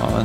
Ja,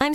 I'm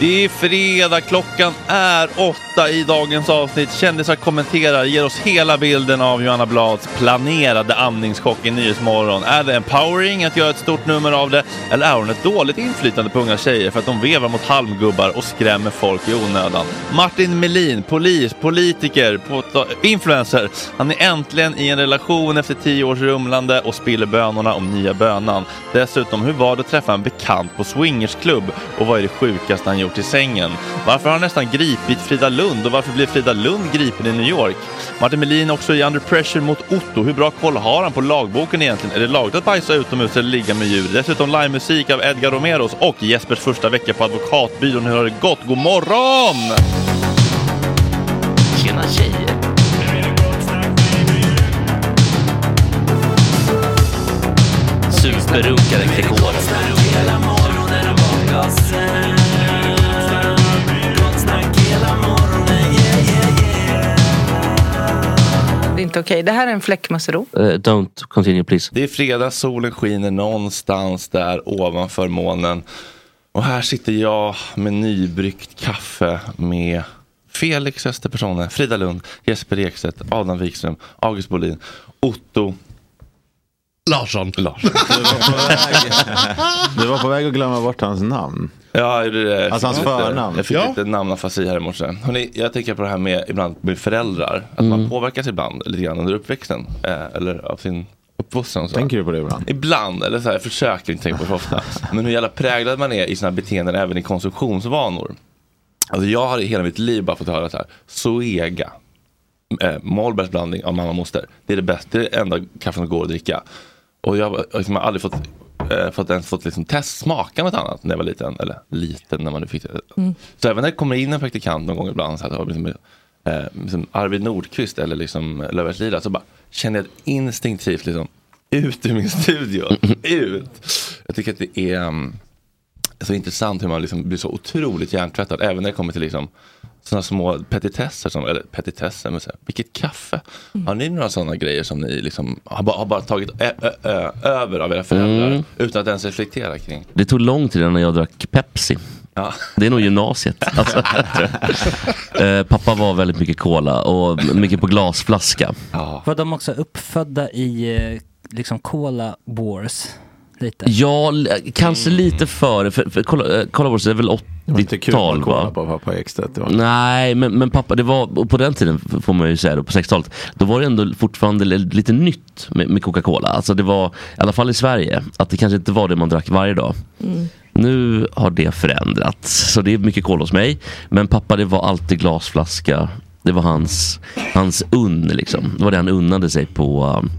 Det är fredag, klockan är åtta i dagens avsnitt. Kändisar kommenterar, ger oss hela bilden av Johanna Blads planerade amningschock i Nyhetsmorgon. Är det empowering att göra ett stort nummer av det? Eller är hon ett dåligt inflytande på unga tjejer för att de vevar mot halmgubbar och skrämmer folk i onödan? Martin Melin, polis, politiker, på- influencer. Han är äntligen i en relation efter tio års rumlande och spiller bönorna om nya bönan. Dessutom, hur var det att träffa en bekant på swingersklubb? Och vad är det sjukaste han gjort i sängen? Varför har han nästan gripit Frida Lund? Och varför blev Frida Lund gripen i New York? Martin Melin också i Under Pressure mot Otto. Hur bra koll har han på lagboken egentligen? Är det lagligt att bajsa utomhus eller ligga med djur? Dessutom livemusik av Edgar Romeros och Jespers första vecka på Advokatbyrån. Hur har det gått? God morgon! förunkade dekoren. Det är inte okej. Det här är en fläckmussero. Eh, don't continue please. Det är fredag, solen skiner någonstans där ovanför månen. Och här sitter jag med nybryggt kaffe med Felix Österpersonen, Frida Lund, Jesper Ekstedt, Adam Wikström, August Bolin, Otto Larsson. Larsson. Du var på väg att glömma bort hans namn. Ja, är det det? Alltså hans Jag fick lite- förnamn. Jag fick Ja. lite namnafasi här i morse. Hörrni, jag tänker på det här med ibland med föräldrar. Att Mm. man påverkas ibland lite grann under uppväxten. Eh, eller av sin uppfostran. och så. Tänker du på det ibland? Ibland, eller så här, jag försöker inte tänka på det så ofta. Men hur jävla präglad man är i sina beteenden även i konsumtionsvanor. Alltså jag har i hela mitt liv bara fått höra så här, Zoega. Eh, Malbergs blandning av mamma och moster. Det är det bästa, det är det enda kaffet som går att dricka. Och jag, har- liksom, jag har aldrig fått, eh, fått ens fått liksom test smaka något annat när jag var liten. Eller liten när man nu fick det. Så även när det kommer in en praktikant någon gång ibland. Så här, och liksom, eh, liksom Arvid Nordqvist eller liksom Löfbergs Lila. Så bara känner jag instinktivt liksom ut ur min studio. Ut! Jag tycker att det är mm, så intressant hur man liksom blir så otroligt hjärntvättad. Även när det kommer till liksom sådana små petitesser. Som, eller petitesser, men så här, vilket kaffe. Mm. Har ni några sådana grejer som ni liksom har, bara, har bara tagit ö, ö, ö, över av era föräldrar? Mm. Utan att ens reflektera kring. Det tog lång tid innan jag drack Pepsi. Ja. Det är nog gymnasiet. Alltså, tror jag. Eh, pappa var väldigt mycket cola och mycket på glasflaska. Var de också uppfödda i eh, liksom cola wars? Lite. Ja, l- kanske lite före, för, för kolla, eh, kolla på det är väl Mm. Det var inte kul att 80-tal kolla va? på pappa Ekstedt. Det var- Nej, men, men pappa, det var, och på den tiden f- får man ju säga då, på 60-talet, då var det ändå fortfarande li- lite nytt med, med Coca-Cola. Alltså det var, i alla fall i Sverige, att det kanske inte var det man drack varje dag. Nu har det förändrats, så det är mycket cola hos mig. Men pappa, det var alltid glasflaska. Det var hans, hans unn liksom. Det var det han unnade sig på, um,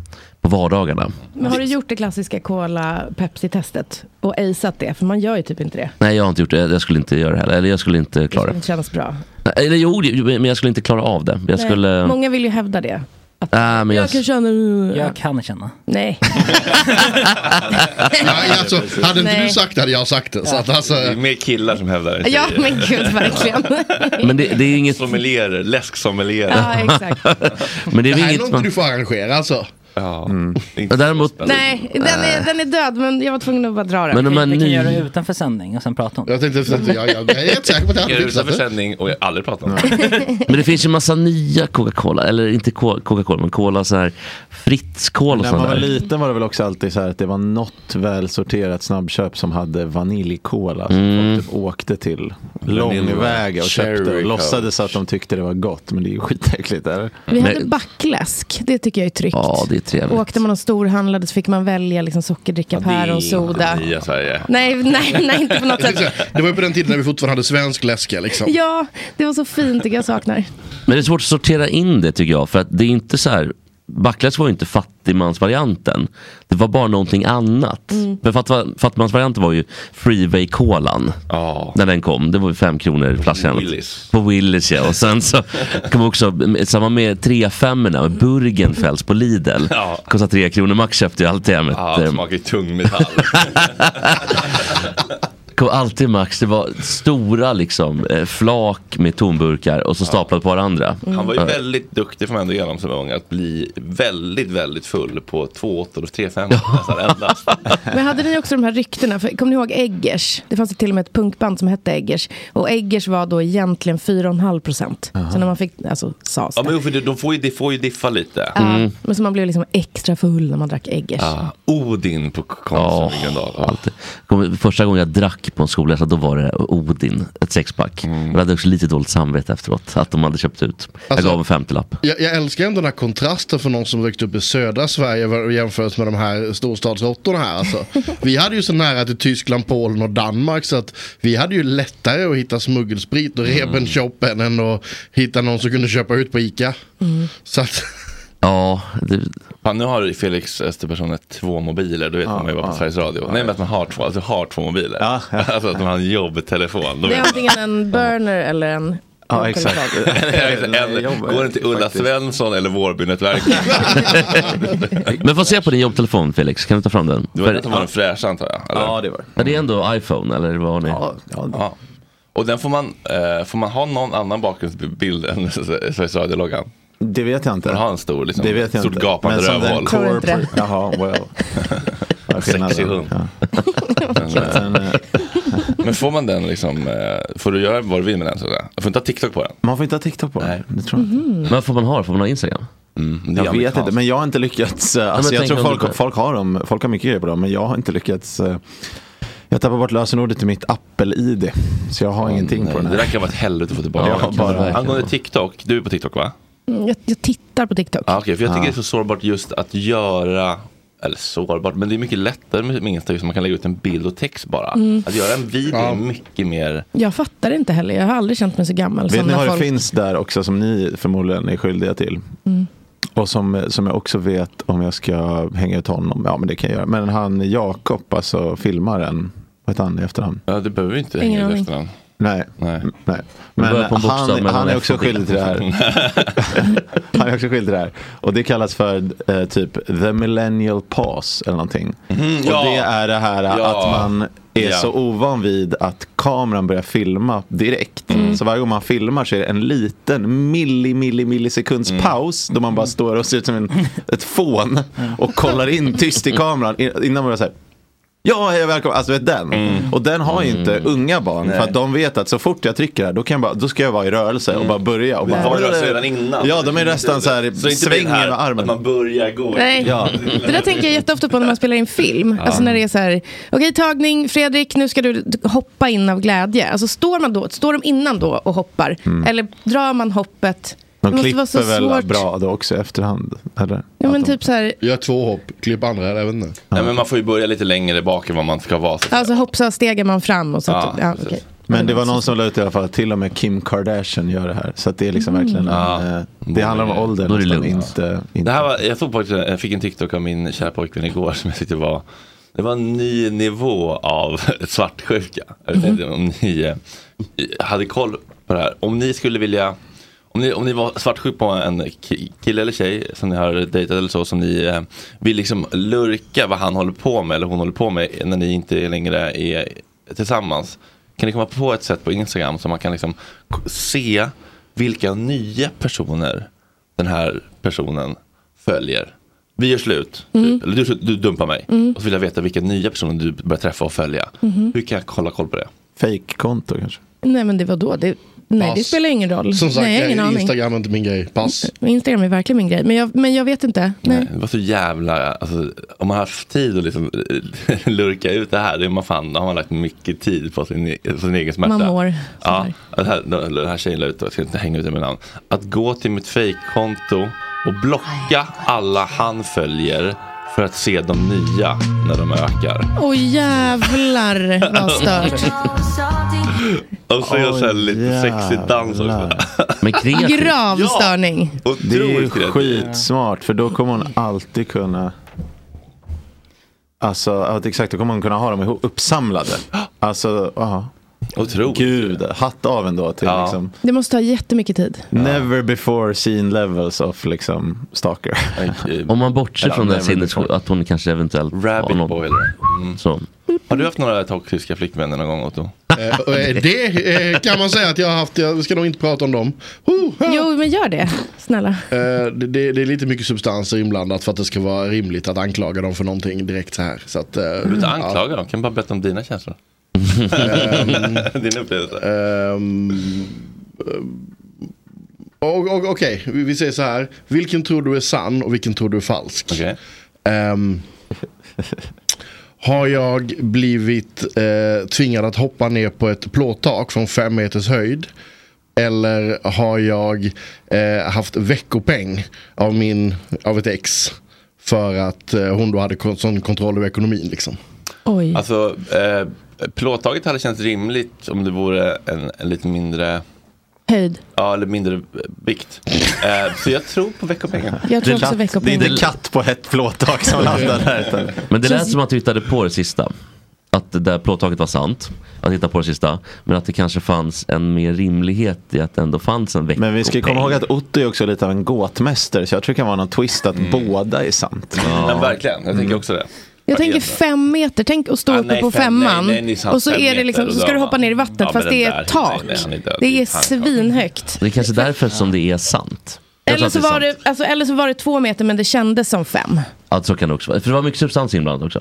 på vardagarna. Men har du gjort det klassiska Cola Pepsi-testet och aceat det? För man gör ju typ inte det. Nej, jag har inte gjort det. Jag skulle inte göra det heller. Eller jag skulle inte klara det. Det känns bra. Eller jo, det- men jag skulle inte klara av det. Jag Nej, skulle... Många vill ju hävda det. Att Nej, men jag, jag- kan känna... Jag kan känna. Nej. Nej, alltså, hade inte Nej. du sagt det hade jag sagt det. Så att, alltså, Det är mer killar som hävdar det. än Ja, tjejer. men gud, verkligen. Men det, det är inget... Sommelierer, läsksommelierer. ja, exakt. Men det det är här är inget något du man... Mm. får arrangera alltså. Ja. Däremot... Nej, den är, den är död, men jag var tvungen att bara dra den. Äh. Men om man Vi kan göra det ny... utanför sändning och sen prata om det. Jag tänkte, så att jag, jag, jag är helt säker på att jag Jag hade är utanför fixat det. sändning och jag har aldrig pratat om det. Men det finns ju massa nya Coca-Cola. Eller inte Co- Coca-Cola, men Cola så här... Fritz Cola och När man sånt var där. liten var det väl också alltid så här att det var något välsorterat snabbköp som hade vaniljkola som folk typ åkte till lång väg och Mm. Cherry köpte och Coke. låtsades att de tyckte det var gott men det är ju skitäckligt. Eller? Vi hade Men- backläsk, det tycker jag är tryggt. Ja, det är Och trevligt. Åkte man och storhandlade så fick man välja liksom sockerdricka, päronsoda. Nya Sverige. Nej, nej, nej, inte på något Det är så sätt. här, Det var ju på den tiden när vi fortfarande hade svensk läska liksom. Ja, det var så fint, tycker jag saknar. Men det är svårt att sortera in det tycker jag. För att det är inte så här... Backlash var ju inte fattigmansvarianten. Det var bara någonting annat. Men fatt- fattigmansvarianten var ju Freeway-colan. Ja. När den kom, det var ju fem kronor flaskan. Willys. På Willys ja. Och sen så kom också, samma med 3-5orna, med Burgenfels på Lidl. Ja. Kostade tre kronor max köpte jag alltid hem. ett, Ja, det eh, smakar ju tung metall. kom alltid max, det var stora liksom eh, flak med tomburkar och så staplat på varandra. Mm. Han var ju Ja. väldigt duktig, får man ändå ge honom som ung, att bli väldigt, väldigt full på två åttor och tre femmor nästan endast. Men hade ni också de här ryktena? För, kommer ni ihåg Eggers? Det fanns ju till och med ett punkband som hette Eggers. Och Eggers var då egentligen 4,5 procent. Så när man fick, alltså sas det. Ja, men jo, för det- de får ju, de får ju diffa lite. Ja, Mm. men så man blev liksom extra full när man drack Eggers. Ah, Odin på Ja, Konsum vilken dag. Ja. alltid. Kom- Första gången jag drack på en skolresa, då var det Odin, ett sexpack. Mm. Jag hade också lite dåligt samvete efteråt, att de hade köpt ut. Jag Alltså- gav en femtiolapp. Jag, jag älskar ändå den här kontrasten för någon som växte upp i södra Sverige jämfört med de här storstadsråttorna här. Alltså. Vi hade ju så nära till Tyskland, Polen och Danmark så att vi hade ju lättare att hitta smuggelsprit och Mm. Rebenshoppen än att hitta någon som kunde köpa ut på Ica. Mm. Så att, Ja, det, Fan, nu har Felix Österperson två mobiler, då vet man ju bara på Sveriges Radio. Nej men att man har två, alltså har två mobiler. Ja. Alltså att man har en jobbtelefon. Det Då vet är man. antingen en burner eller en Ja, exakt. en, går den till Ulla Svensson eller Vårbynätverket? Men få se på din jobbtelefon Felix, kan du ta fram den? Det var den som var den fräscha antar jag? Eller? Ja, det var Ja, det är ändå iPhone eller vad har ni? Ja, Ja. Och den får man, eh, får man ha någon annan bakgrundsbild än Sveriges Radio-loggan? Det vet jag inte. Man har en stor, liksom, Det vet jag stort inte. gapande Men som den rövhål. Tror inte det. corporate- Jaha, well. Vad är skillnaden? Sexig hund. Men, eh, Men får man den liksom, eh, får du göra vad du vill med den? Sådär? Får inte ha TikTok på den? Man får inte ha TikTok på Nej. det tror jag inte. Mm-hmm. Mhm. Men får man ha Får man ha Instagram? Mm, det är jag vet amerikanskt. inte, men jag har inte lyckats. eh, Alltså, tänk jag tror om du folk, går- folk, har dem, folk har mycket grejer på dem, men jag har inte lyckats. eh, Jag tappar bort lösenordet till mitt Apple-ID. Så jag har ingenting på den Det här. där kan vara ett helvete att få tillbaka. Ja, det kan det bara, verkligen angående vara. TikTok, du är på TikTok va? Mm, Jag, jag tittar på TikTok. Ja, Ah, okej, för jag tycker Ja. det är så sårbart just att göra, eller sårbart, men det är mycket lättare med med Insta just man kan lägga ut en bild och text bara. Mm. Att göra en video Ja. är mycket mer Jag fattar inte heller. Jag har aldrig känt mig så gammal. Vet som ni Alltså, när vad folk... det finns där också som ni förmodligen är skyldiga till? Mm. Och som, som jag också vet om jag ska hänga ut honom. Ja, men det kan jag göra. Men han Jakob, alltså filmaren. Vad heter han i efternamn? Ja, det behöver vi inte Ingen hänga ut aning. efternamn. Nej. Mm, Nej. Nej. Vi Men börjar på en han, bokstav, han, men han är är också efter skyldig till det här. han är också skyldig till det här. Och det kallas för eh, typ the millennial pause eller någonting. Mhm, och ja. det är det här eh, Ja. att man är Ja. så ovan vid att kameran börjar filma direkt. Mm. Så varje gång man filmar så är det en liten milli, milli, millisekunds Mm. paus då man bara står och ser ut som en, ett fån och kollar in tyst i kameran i- innan man bara säger Ja, hej och välkommen. Alltså vet den. Och den har ju inte unga barn. Mm. Nej. För att de vet att så fort jag trycker här, då, kan jag bara, då ska jag vara i rörelse och bara börja. Och Vi bara, var i Mm. rörelse redan innan. Ja, de är nästan så här, Så inte svänger det här med armen. att man börjar gå. Nej, Ja. det där tänker jag jätteofta på när man spelar in film. Ja. Alltså när det är så här, okej tagning, Fredrik, nu ska du hoppa in av glädje. Alltså står, man då, står de innan då och hoppar? Mm. Eller drar man hoppet? De det måste vara så klipper väl svårt. bra då också i efterhand. Eller? Ja, men typ så här, Gör två hopp, klipp andra, jag vet inte. Nej, men man får ju börja lite längre bak än vad man ska vara. Så. alltså hoppsa stegar man fram och så. Ja, ja, precis. okej. Men det var någon som la ut i alla fall att till och med Kim Kardashian gör det här. Så att det är liksom Mm. verkligen, en, eh, det handlar om ålder. nästan, Inte, inte. Det här var, jag, såg på, jag fick en TikTok av min kära pojkvän igår som jag tyckte var det var en ny nivå av svartsjuka. Jag vet inte om ni eh, hade koll på det här. Om ni skulle vilja, om ni, om ni var svartsjuk på en ki- kille eller tjej som ni har dejtat eller så som ni eh, vill liksom lurka vad han håller på med eller hon håller på med när ni inte längre är tillsammans. Kan ni komma på ett sätt på Instagram så man kan liksom k- se vilka nya personer den här personen följer. Vi gör slut, Mm. eller du, du dumpar mig. Mm. Och så vill jag veta vilka nya personer du börjar träffa och följa. Mhm. Hur kan jag kolla koll på det? Fake-konto kanske? Nej, men det var då. Det, nej, det Pass. spelar ingen roll. Som sagt, nej, jag har ingen jag- aning. Mm. Instagram Instagram- är inte min grej. Pass. Instagram är verkligen min grej. Men jag, men jag vet inte. Nej. Det var så jävla, alltså, om man har haft tid att liksom lurka ut det här, det är man fan, då har man lagt mycket tid på sin, e- på sin egen smärta. Man mår så Ja, det här, det här tjejen la ut, jag ska inte hänga ut det med namn. Att gå till mitt fejkkonto och blocka alla han följer för att se de nya när de ökar. Åh jävlar vad stört. Och så gör så här lite sexig dans också. Men Grav störning. Det är ju Otroligt kreativt. skitsmart för då kommer hon alltid kunna Alltså att exakt, då kommer hon kunna ha dem ihop, uppsamlade. Alltså, ja. Otroligt. Gud, hatt av ändå till liksom Det måste ta jättemycket tid. Never before seen levels of liksom stalker. Om man bortser Eller, från den never sinnes before. att hon kanske eventuellt har Rabbit någon. boy eller? Mm. Så. Har du haft några toxiska flickvänner någon gång Otto? Eh, och, eh, det eh, kan man säga att jag har haft. Jag ska nog inte prata om dem. Jo, men gör det. Snälla. Eh, det, det, det är lite mycket substanser inblandat för att det ska vara rimligt att anklaga dem för någonting direkt så här. Så att, eh, Du behöver inte ja. anklaga dem, kan bara berätta om dina känslor. Ehm, Din upplevelse. Ehm, ehm, och- och- Okej, vi, vi säger så här. Vilken tror du är sann och vilken tror du är falsk? Ehm, har jag blivit eh, tvingad att hoppa ner på ett plåttak från fem meters höjd? Eller har jag eh, haft veckopeng av, min, av ett ex? För att eh, hon då hade kon- sån kontroll över ekonomin liksom. Oj. Alltså, eh, plåttaget hade känts rimligt om det vore en, en lite mindre Höjd. Ja, eller mindre eh, vikt. Eh, så jag tror på veckopengen. Jag tror Det också lät- Mm. veckopeng. det är inte katt på hett plåttak som landar där. Men det lät som att du hittade på det sista. att det där plåttaket var sant. Att hitta på det sista. Men att det kanske fanns en mer rimlighet i att det ändå fanns en veckopeng. Men vi ska ju komma ihåg att Otto är också lite av en gåtmästare. Så jag tror det kan vara någon twist att Mm. båda är sant. Men verkligen, jag tänker också det. Jag tänker fem meter, tänk att stå Ah, uppe nej, på fem- femman nej, nej, det är sant, och så, fem är det liksom, meter, så ska då du hoppa ner i vattnet Ja, fast men det den är där- ett tak. nej, nej, han är död. Det är svinhögt. Det är kanske därför som det är sant. Jag tror Eller att så, är var sant. det, alltså, eller så var det två meter men det kändes som fem. Ja, så kan det också vara. För det var mycket substans inblandat också.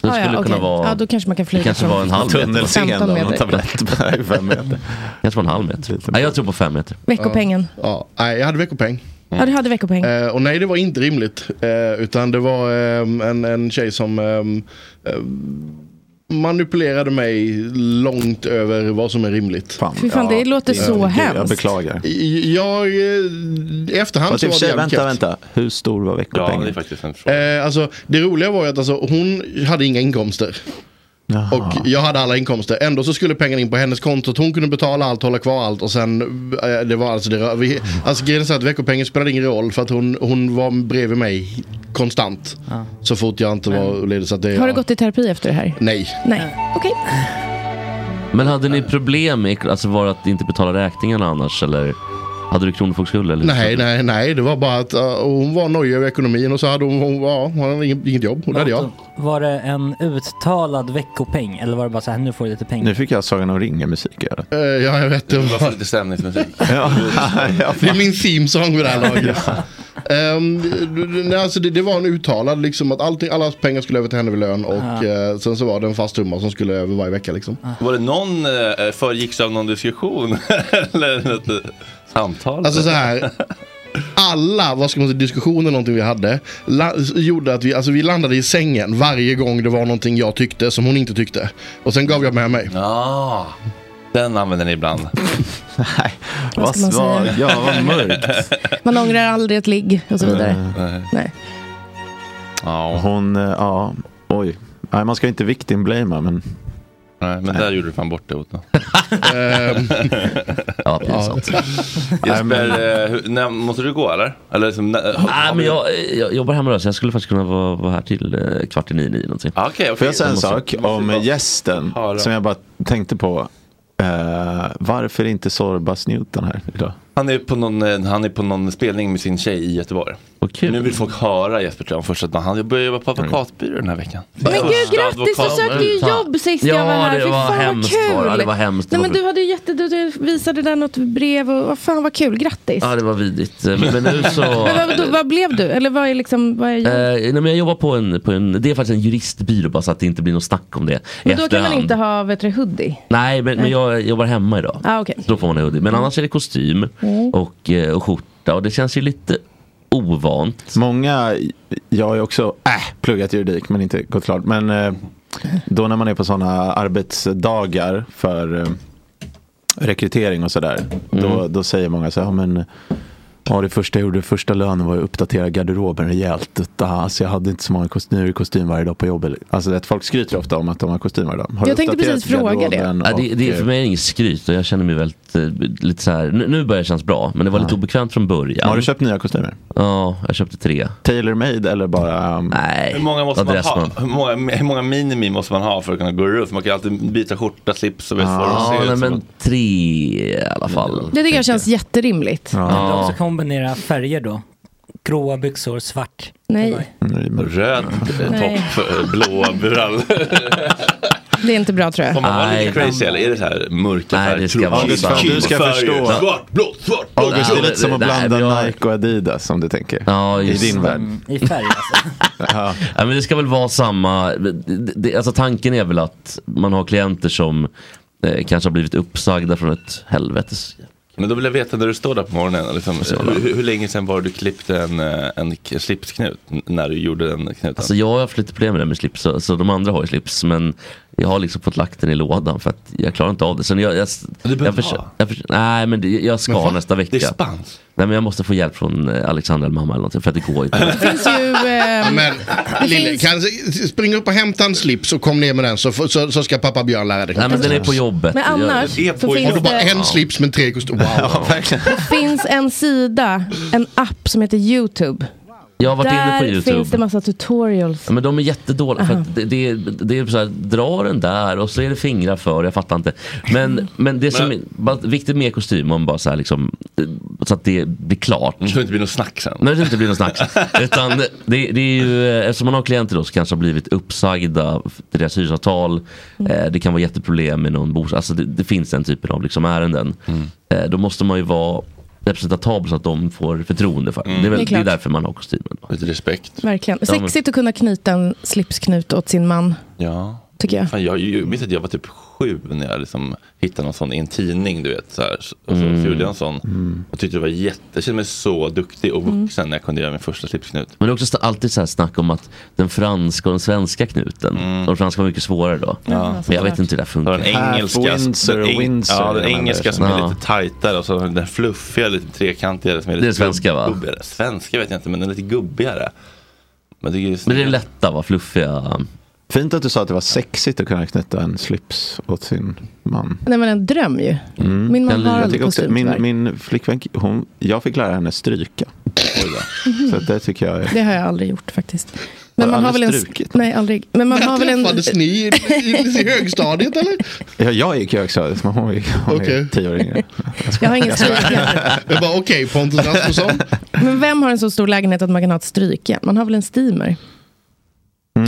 Det Ah, ja, skulle kunna okej. vara... Ja, då kanske man kan flyga det kanske från var en halv meter. 15 Tunnelseende om man meter. tar brett. Fem meter. kanske var en halv meter. Nej, jag tror på fem meter. Veckopengen. Ja, nej, jag hade veckopeng. Mm. Ja, du hade veckopeng. Eh, och nej, det var inte rimligt. Eh, utan det var ehm, en, en tjej som ehm, eh, manipulerade mig långt över vad som är rimligt. Fy fan, det låter så hemskt. Jag beklagar. I- Jag, eh, i efterhand Fast så i och var för det sig, jävligt typ vänta, kul. vänta. Hur stor var veckopengen? faktiskt en Eh, alltså, det roliga var ju att alltså, hon hade inga inkomster. Och jag hade alla inkomster. Ändå så skulle pengarna in på hennes konto. Hon kunde betala allt, hålla kvar allt och sen, eh, det var alltså det vi, Alltså grejen är så att veckopengen spelade ingen roll för att hon, hon var bredvid mig konstant. Så fort jag inte var ledig. Så att det, Har du gått i terapi efter det här? Nej. Nej, okej. Men hade ni problem med alltså, var det att inte betala räkningarna annars? Eller hade du kronofogdeskuld? eller? Nej, nej, nej. Det var bara att eh, hon var nojig över ekonomin och så hade hon, hon, ja, hon hade inget, inget jobb. Och det hade jag. Var det en uttalad veckopeng eller var det bara så här, nu får du lite pengar? Nu fick jag Sagan om ringen-musik göra. Eh, ja, jag vet. Det var, lite stämningsmusik. ja, ja, Det är min themesång vid det här laget. Ehm, d- d- nej, alltså det, det var en uttalad liksom att allting, alla pengar skulle över till henne vid lön och eh, sen så var det en fast summa som skulle över varje vecka liksom. Var det någon, eh, föregicks av någon diskussion? Eller något eh, samtal? Alltså så här. Alla vad ska man säga, diskussioner någonting vi hade la, gjorde att vi, alltså, vi landade i sängen varje gång det var någonting jag tyckte som hon inte tyckte. Och sen gav jag med mig. Ja, den använder ni ibland. Vad ska vad, man säga? vad, ja, vad mörkt. Man ångrar aldrig ett ligg och så Mm. vidare. Nej. Nej. Ja, Hon, eh, ja, oj. Nej, man ska ju inte victimblama, men nej, men där gjorde du fan bort det Otto. Ehm, Ja, pinsamt. Jesper, eh, hur- när, måste du gå eller? Eller liksom, när- Nej, men jag, jag jobbar hemma så jag skulle faktiskt kunna vara, vara här till eh, kvart i nio, nio någonting. Ah, Okej, Får okej. jag säga en Då måste- sak då måste om vi bara- gästen höra. som jag bara tänkte på. Eh, varför är inte Sorbas Newton här idag? Han är, på någon, eh, han är på någon spelning med sin tjej i Göteborg. Vad kul. Nu vill folk höra Jesper Trön först att han börjar jobba på advokatbyrå den här veckan. Men gud, Första grattis! Du advokat- sökte ju Fan. jobb sist Ja, jag var här. det Fy var fan hemskt vad kul! var det. Ja, det var hemskt. Det Nej, var men du, hade ju jätte, du, du visade där något brev och vad fan vad kul, grattis! Ja, det var vidigt. Eh, Men, men nu så... Men vad, vad, vad blev du? Eller vad är liksom, vad är jobb? Eh, nej, men jag jobbar på en, på en, det är faktiskt en juristbyrå bara så att det inte blir något snack om det. Men då kan man efterhand. inte ha vet du, hoodie? Nej, men, men jag jobbar hemma idag. Ah, okej. Så då får man en hoodie. Men annars är det kostym och, eh, och skjorta och det känns ju lite ovant. Många, jag har ju också äh, pluggat juridik men inte gått klart. Men eh, då när man är på sådana arbetsdagar för eh, rekrytering och sådär. Då, Mm. då säger många så här, "Ja, men Ja, det första jag gjorde, första lönen var att uppdatera garderoben rejält. Utan, Alltså, jag hade inte så många kostymer i kostym varje dag på jobbet. Alltså, att folk skryter ofta om att de har kostym varje dag. Har du Jag tänkte uppdaterat precis fråga det. garderoben Ja, det, det är och, för mig inget skryt och jag känner mig väldigt, eh, lite så här, nu, nu börjar det kännas bra. Men det var lite obekvämt från början. eh, Har du köpt nya kostymer? Ja, jag köpte tre. Tailor made eller bara? Um, Nej, Hur många, måste vad man dress ha? Hur, många, hur många minimi måste man ha för att kunna gå runt? Man kan ju alltid byta skjorta, slips och uniform. Ja, Det ser nej, ut som men att- tre i alla fall. Det tycker jag känns jätterimligt. Kan du också kombinera färger då? Gråa byxor, svart. Nej, Röd Mm. eh, Nej. topp, eh, blåa brallor. det är inte bra tror Får jag. man vara Nej. lite crazy eller är det så här mörka Nej, färger? det ska Tråkigt. vara August, sant. du ska Färger. förstå. Svart, blått, svart, blått. August, det är Nej, lite som att nej, men blanda jag- Nike och Adidas som du tänker. Ja, I just din det. Mm. värld. Mm, I färg alltså. Ja, men det ska väl vara samma. Det, det, alltså tanken är väl att man har klienter som eh, kanske har blivit uppsagda från ett helvetes... Men då vill jag veta när du står där på morgonen. Liksom, hur, hur- hur länge sedan var du klippte en, eh, en k- slipsknut? n- När du gjorde den knuten? Alltså jag har haft lite problem med det med slips, så, så de andra har ju slips. Men jag har liksom fått lagt den i lådan för att jag klarar inte av det. Sen jag, jag, du behöver jag, inte försö- ha. jag försö- Nej men det, jag ska nästa det är vecka. spans. Nej men jag måste få hjälp från eh, Alexandra eller mamma eller någonting för att det går ju inte. Det finns ju... Eh, Men Lille, finns- kan, spring upp och hämta en slips och kom ner med den så, f- så, så ska pappa Björn lära dig. Nej men den är på jobbet. men annars det är på- så Har finns du bara det... en slips men tre kostymer? Wow. verkligen. finns en sida, en app som heter YouTube. Jag har varit Där inne på YouTube. finns det massa tutorials. Ja, men de är jättedåliga. För Aha. att det, det, det är så här, dra den där och så är det fingrar för, jag fattar inte. Men, men det som är bara viktigt med kostym, om bara så, här, liksom, eh, så att det blir klart. Så det inte blir något snack sen. Nej, så det inte blir något snack. Utan det, det är ju, eh, eftersom man har klienter då så kanske har blivit uppsagda, för deras hyresavtal, Mm. eh, det kan vara jätteproblem med någon bostad. Alltså det, det finns den typen av liksom ärenden. Mm. Eh, då måste man ju vara representatabel så att de får förtroende för det. Det är, väl, Det det är är, klart. därför man har kostymen. Mm. Lite respekt. Verkligen. Ja, men- Sexigt att kunna knyta en slipsknut åt sin man, Ja. tycker jag. Fan, jag, jag minns att jag var typ sju när jag liksom hittade någon sån i en tidning. Du vet, så här. Och så Mm. gjorde jag en sån. Jag tyckte det var jätte, jag kände mig så duktig och vuxen när jag kunde göra min första slipsknut. Men det är också sta- alltid så här snack om att den franska och den svenska knuten, och den franska var mycket svårare då. Ja, Men jag såklart. vet inte hur det där funkar. Mm. Den engelska, den, eng- ja, den engelska som är lite tajtare och så den fluffiga, lite trekantiga. Som är lite Det är svenska, va? Gubbigare. Svenska vet jag inte men den är lite gubbigare. Men det är ju Men det är lätta va, fluffiga. Fint att du sa att det var sexigt att kunna knyta en slips åt sin man. Nej men en dröm ju. Mm. Min man har jag aldrig tycker också, kostym min, tyvärr. min flickvän, hon, jag fick lära henne stryka. Så att det tycker jag är... Det har jag aldrig gjort faktiskt. Men du man har väl aldrig en... strukit? Nej, aldrig. Men man När har väl en... träffades ni i, i, i högstadiet eller? Ja, jag gick ju högstadiet, men hon, är- hon är Okej. tio år yngre. Jag har ingen strykjärn. Jag bara okej Pontus Rasmusson. Men vem har en så stor lägenhet att man kan ha ett strykjärn? Man har väl en steamer?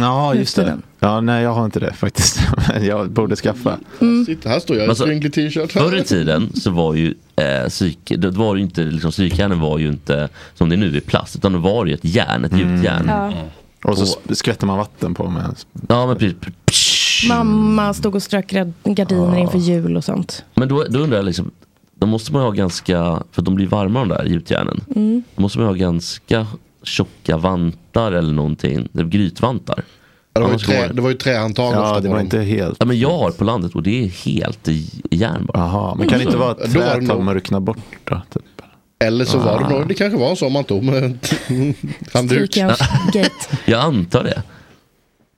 Ja, just det. Ja, nej, jag har inte det faktiskt. Men jag borde skaffa. Mm. Sitt, här står jag i Alltså, skrynklig t-shirt. Förr i tiden så var ju eh, psyk, då var det ju inte, liksom, psykhjärnan var ju inte som det är nu i plast, utan då var det ju ett järn, ett gjutjärn. Mm. Ja. Mm. Och så skvätter man vatten på med. Ja men precis. Mamma stod och strök grad- gardiner inför Ah. jul och sånt. Men då, då undrar jag liksom, då måste man ju ha ganska, för de blir varma de där gjutjärnen. Mm. Då måste man ju ha ganska tjocka vantar eller någonting, det är grytvantar. Ja, Det var ju, Annars går trä, det var ju trähandtag ofta på dem. helt. Ja, men jag har på landet och det är helt i i järn bara. Jaha, men kan det inte vara Mm. Då att var det träet har nog- mörknat bort då? Typ. Eller så var det Ah. nog, det kanske var så om man tog med en handduk. Strykjärnsgate. Jag antar det.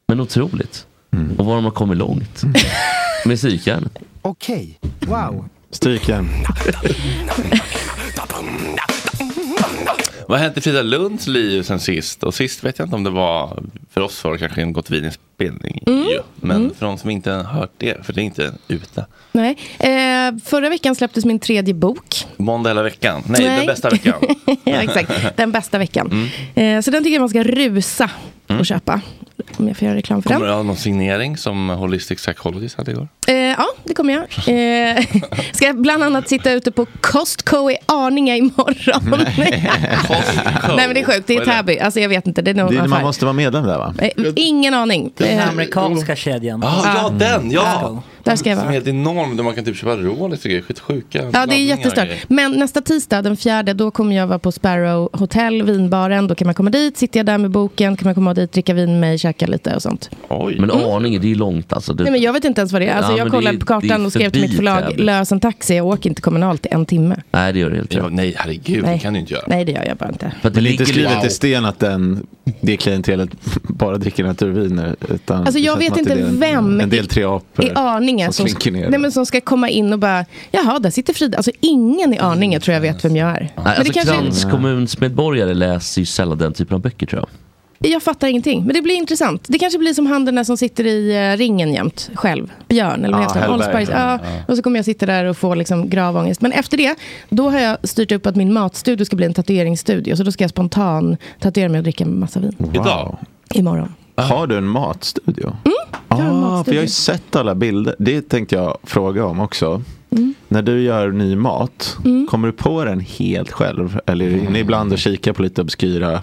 Men otroligt. Mm. Och var de har kommit långt. Med psykjärn. Okej, wow. Strykjärn. Vad har hänt i Frida Lunds liv sen sist? Och sist vet jag inte om det var, för oss var det kanske en Gott Wien-inspelning. Mm. ju. Mm. Men för de som inte har hört det, för det är inte ute. Nej. Eh, förra veckan släpptes min tredje bok. Måndag hela veckan. Nej, Nej. den bästa veckan. ja, exakt. Den bästa veckan. Mm. Eh, så den tycker jag man ska rusa och köpa. Om jag får göra reklam för den. Kommer du ha någon signering som Holistic Psychologist hade igår? Eh, ja, det kommer jag. Eh, ska bland annat sitta ute på Costco i Arninge imorgon. Nej, Mm. men det är sjukt. Det är Vad är det? Täby. Alltså, jag vet inte. Det är någon Det är, man affär. måste vara medlem där va? Eh, ingen aning. Den Eh, amerikanska kedjan. Mm. Ah, ja, den, ja! Där ska jag Som är vara. helt enorm, där man kan typ köpa Rolex och grejer. Skitsjuka Ja, det är laddningar och jättestört. grejer. Men nästa tisdag, den fjärde, då kommer jag vara på Sparrow Hotel, vinbaren. Då kan man komma dit, sitter jag där med boken, kan man komma dit, dricka vin med mig, käka lite och sånt. Men Arninge, det är långt alltså. Det, Mm. Nej, men jag vet inte ens vad det är. Alltså, Ja, jag men det kollade är- på det är kartan och skrev till förbi mitt förlag, Täby. lös en taxi, jag åker inte kommunalt i en timme. Nej, det gör det helt rätt. Nej, herregud, Nej. det kan du inte göra. Nej, det gör jag bara inte. För att det Men det är inte ligger lite- skrivet i sten att den, det klientelet bara dricker naturviner. Utan Alltså, det jag känns vet som att det inte är en- vem En del I triaper. Arninge som som, slinker ner. nej, men som ska komma in och bara, jaha, där sitter Frida. Alltså ingen i Arninge tror jag vet vem jag är. Men Mm. Nej, alltså, det kanske, Kranskommunsmedborgare läser ju sällan den typen av böcker tror jag. Jag fattar ingenting, men det blir intressant. Det kanske blir som han den där som sitter i eh, ringen jämt, själv. Björn, eller vad Ja, heter han? Hellberg. Allspice. Ja, Ja. och så kommer jag sitta där och få liksom gravångest. Men efter det, då har jag styrt upp att min matstudio ska bli en tatueringsstudio. Så då ska jag spontan tatuera mig och dricka en massa vin. Idag? Imorgon. Ah. Har du en matstudio? Mm, ah, för jag har ju sett alla bilder. Det tänkte jag fråga om också. Mm. När du gör ny mat, kommer du på den helt själv? Eller är du inne ibland och kikar på lite obskyra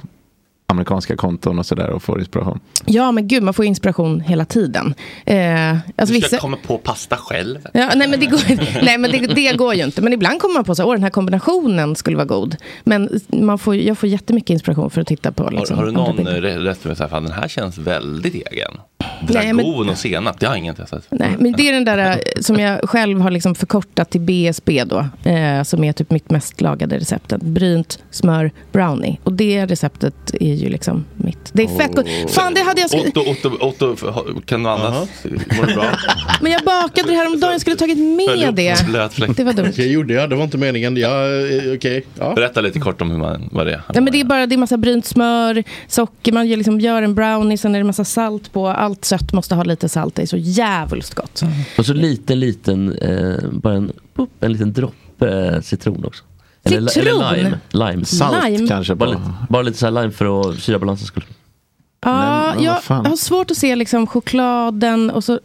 amerikanska konton och sådär och får inspiration? Ja, men gud, man får ju inspiration hela tiden. Eh, alltså du ska vissa... komma på pasta själv. Ja, nej, men, det går, nej, men det, det går ju inte. Men ibland kommer man på så här, "Åh, den här kombinationen skulle vara god. Men man får, jag får jättemycket inspiration för att titta på Har, liksom, har du andra någon bilder. eh, re- rätt med så här, fan den här känns väldigt egen? Nej, men- Dragon och senap, det har ingen testat. Nej, men det är den där eh, som jag själv har liksom förkortat till BSB då. Eh, som är typ mitt mest lagade recept. Brynt smör brownie. Och det receptet är ju liksom mitt. Det är fett gott. Fan, det hade jag skrivit. Otto, Otto, Otto, f- kan du andas? Mår du bra? Men jag bakade det här om dagen. Jag skulle tagit med det. Det var dumt. Okej, gjorde jag. Det var inte meningen. Jag, eh, okej. ja. Berätta lite kort om hur man, vad det är. Nej, men det är bara det är massa brynt smör, socker, man gör, liksom, gör en brownie, sen är det massa salt på. Allt sött måste ha lite salt, det är så jävligt gott. Och så liten, liten, eh, bara en, pop, en liten droppe eh, citron också. Citron? eller lime. lime. Salt Lime? kanske Bara lite, bara lite så här lime för att syrabalansens skull. Ja, vad jag fan. har svårt att se liksom, chokladen och så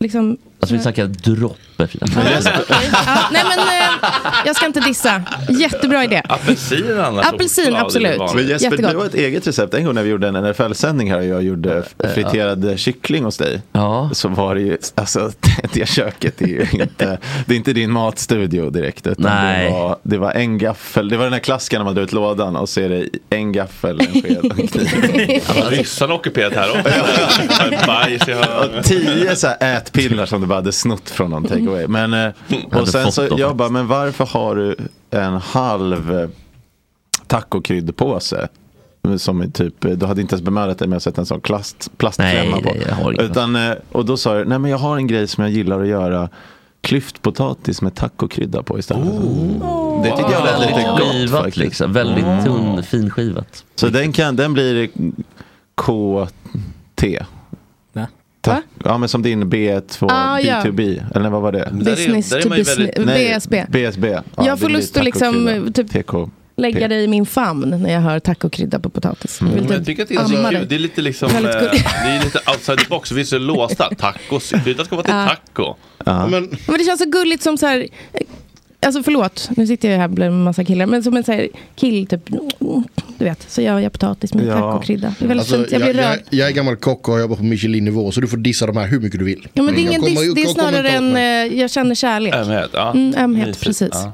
liksom... Alltså vi snackar droppe. Frida. Ja, nej men, eh, jag ska inte dissa. Jättebra idé. Apelsin annars? Apelsin, Choklad är absolut. det vanliga. Men Jesper, Jättegott. du har ett eget recept. En gång när vi gjorde en NFL-sändning här och jag gjorde friterad kyckling hos dig. Så var det ju, alltså det köket är ju inte, det är inte din matstudio direkt. Utan Nej. Det, var, det var en gaffel, det var den här klassiken när man drar ut lådan och så är det en gaffel, en sked och en kniv. Ryssarna har ockuperat här också. Bajs i hörnet. Och tio så här ätpinnar som du bara hade snott från någon takeaway. Men, eh, hade och sen fått så dem. jag bara, men varför har du en halv eh, tacokryddpåse? Som är typ, eh, du hade inte ens bemödat dig med att sätta en sån plast, plastklämma Nej, på. nej, jag har ingen Utan, eh, och då sa du, nej men jag har en grej som jag gillar att göra. Klyftpotatis med tacokrydda på istället. Det tycker jag lät lite gott Skivat faktiskt. liksom, väldigt Mm. tunn, finskivat. Så den, kan, den blir KT. Va? Tack. Ja men som din B2, Ah, ja. B2B, eller vad var det? Men där är- Business där är to man ju business- väldigt- Nej, BSB. BSB. Ja, Jag det får blir lust att liksom, tacokrydda. typ, TK. Lägga det i min famn när jag hör tacokrydda på potatis. Mm. Vill Men du jag tycker att det är så amma kul. dig? Det är lite liksom, eh, Väldigt det gulligt. är lite outside the box. Vi är så låsta. Tacos, kryddat ska vara till Ja. taco. Men, Men det känns så gulligt som så här... eh, Alltså förlåt, nu sitter jag här bland en massa killar. Men som en så här kill, typ. Du vet, så gör jag potatis med tacokrydda. Det är väldigt Alltså, fint, jag blir jag, rörd. jag är gammal kock och har jobbat på Michelin-nivå så du får dissa de här hur mycket du vill. Ja, men det är, Jag ingen kommer- diss, det är jag kommer snarare inte åt en, mig. eh, jag känner kärlek. Äh, Ömhet, ja. Mm, ömhet, Mysigt, precis. ja.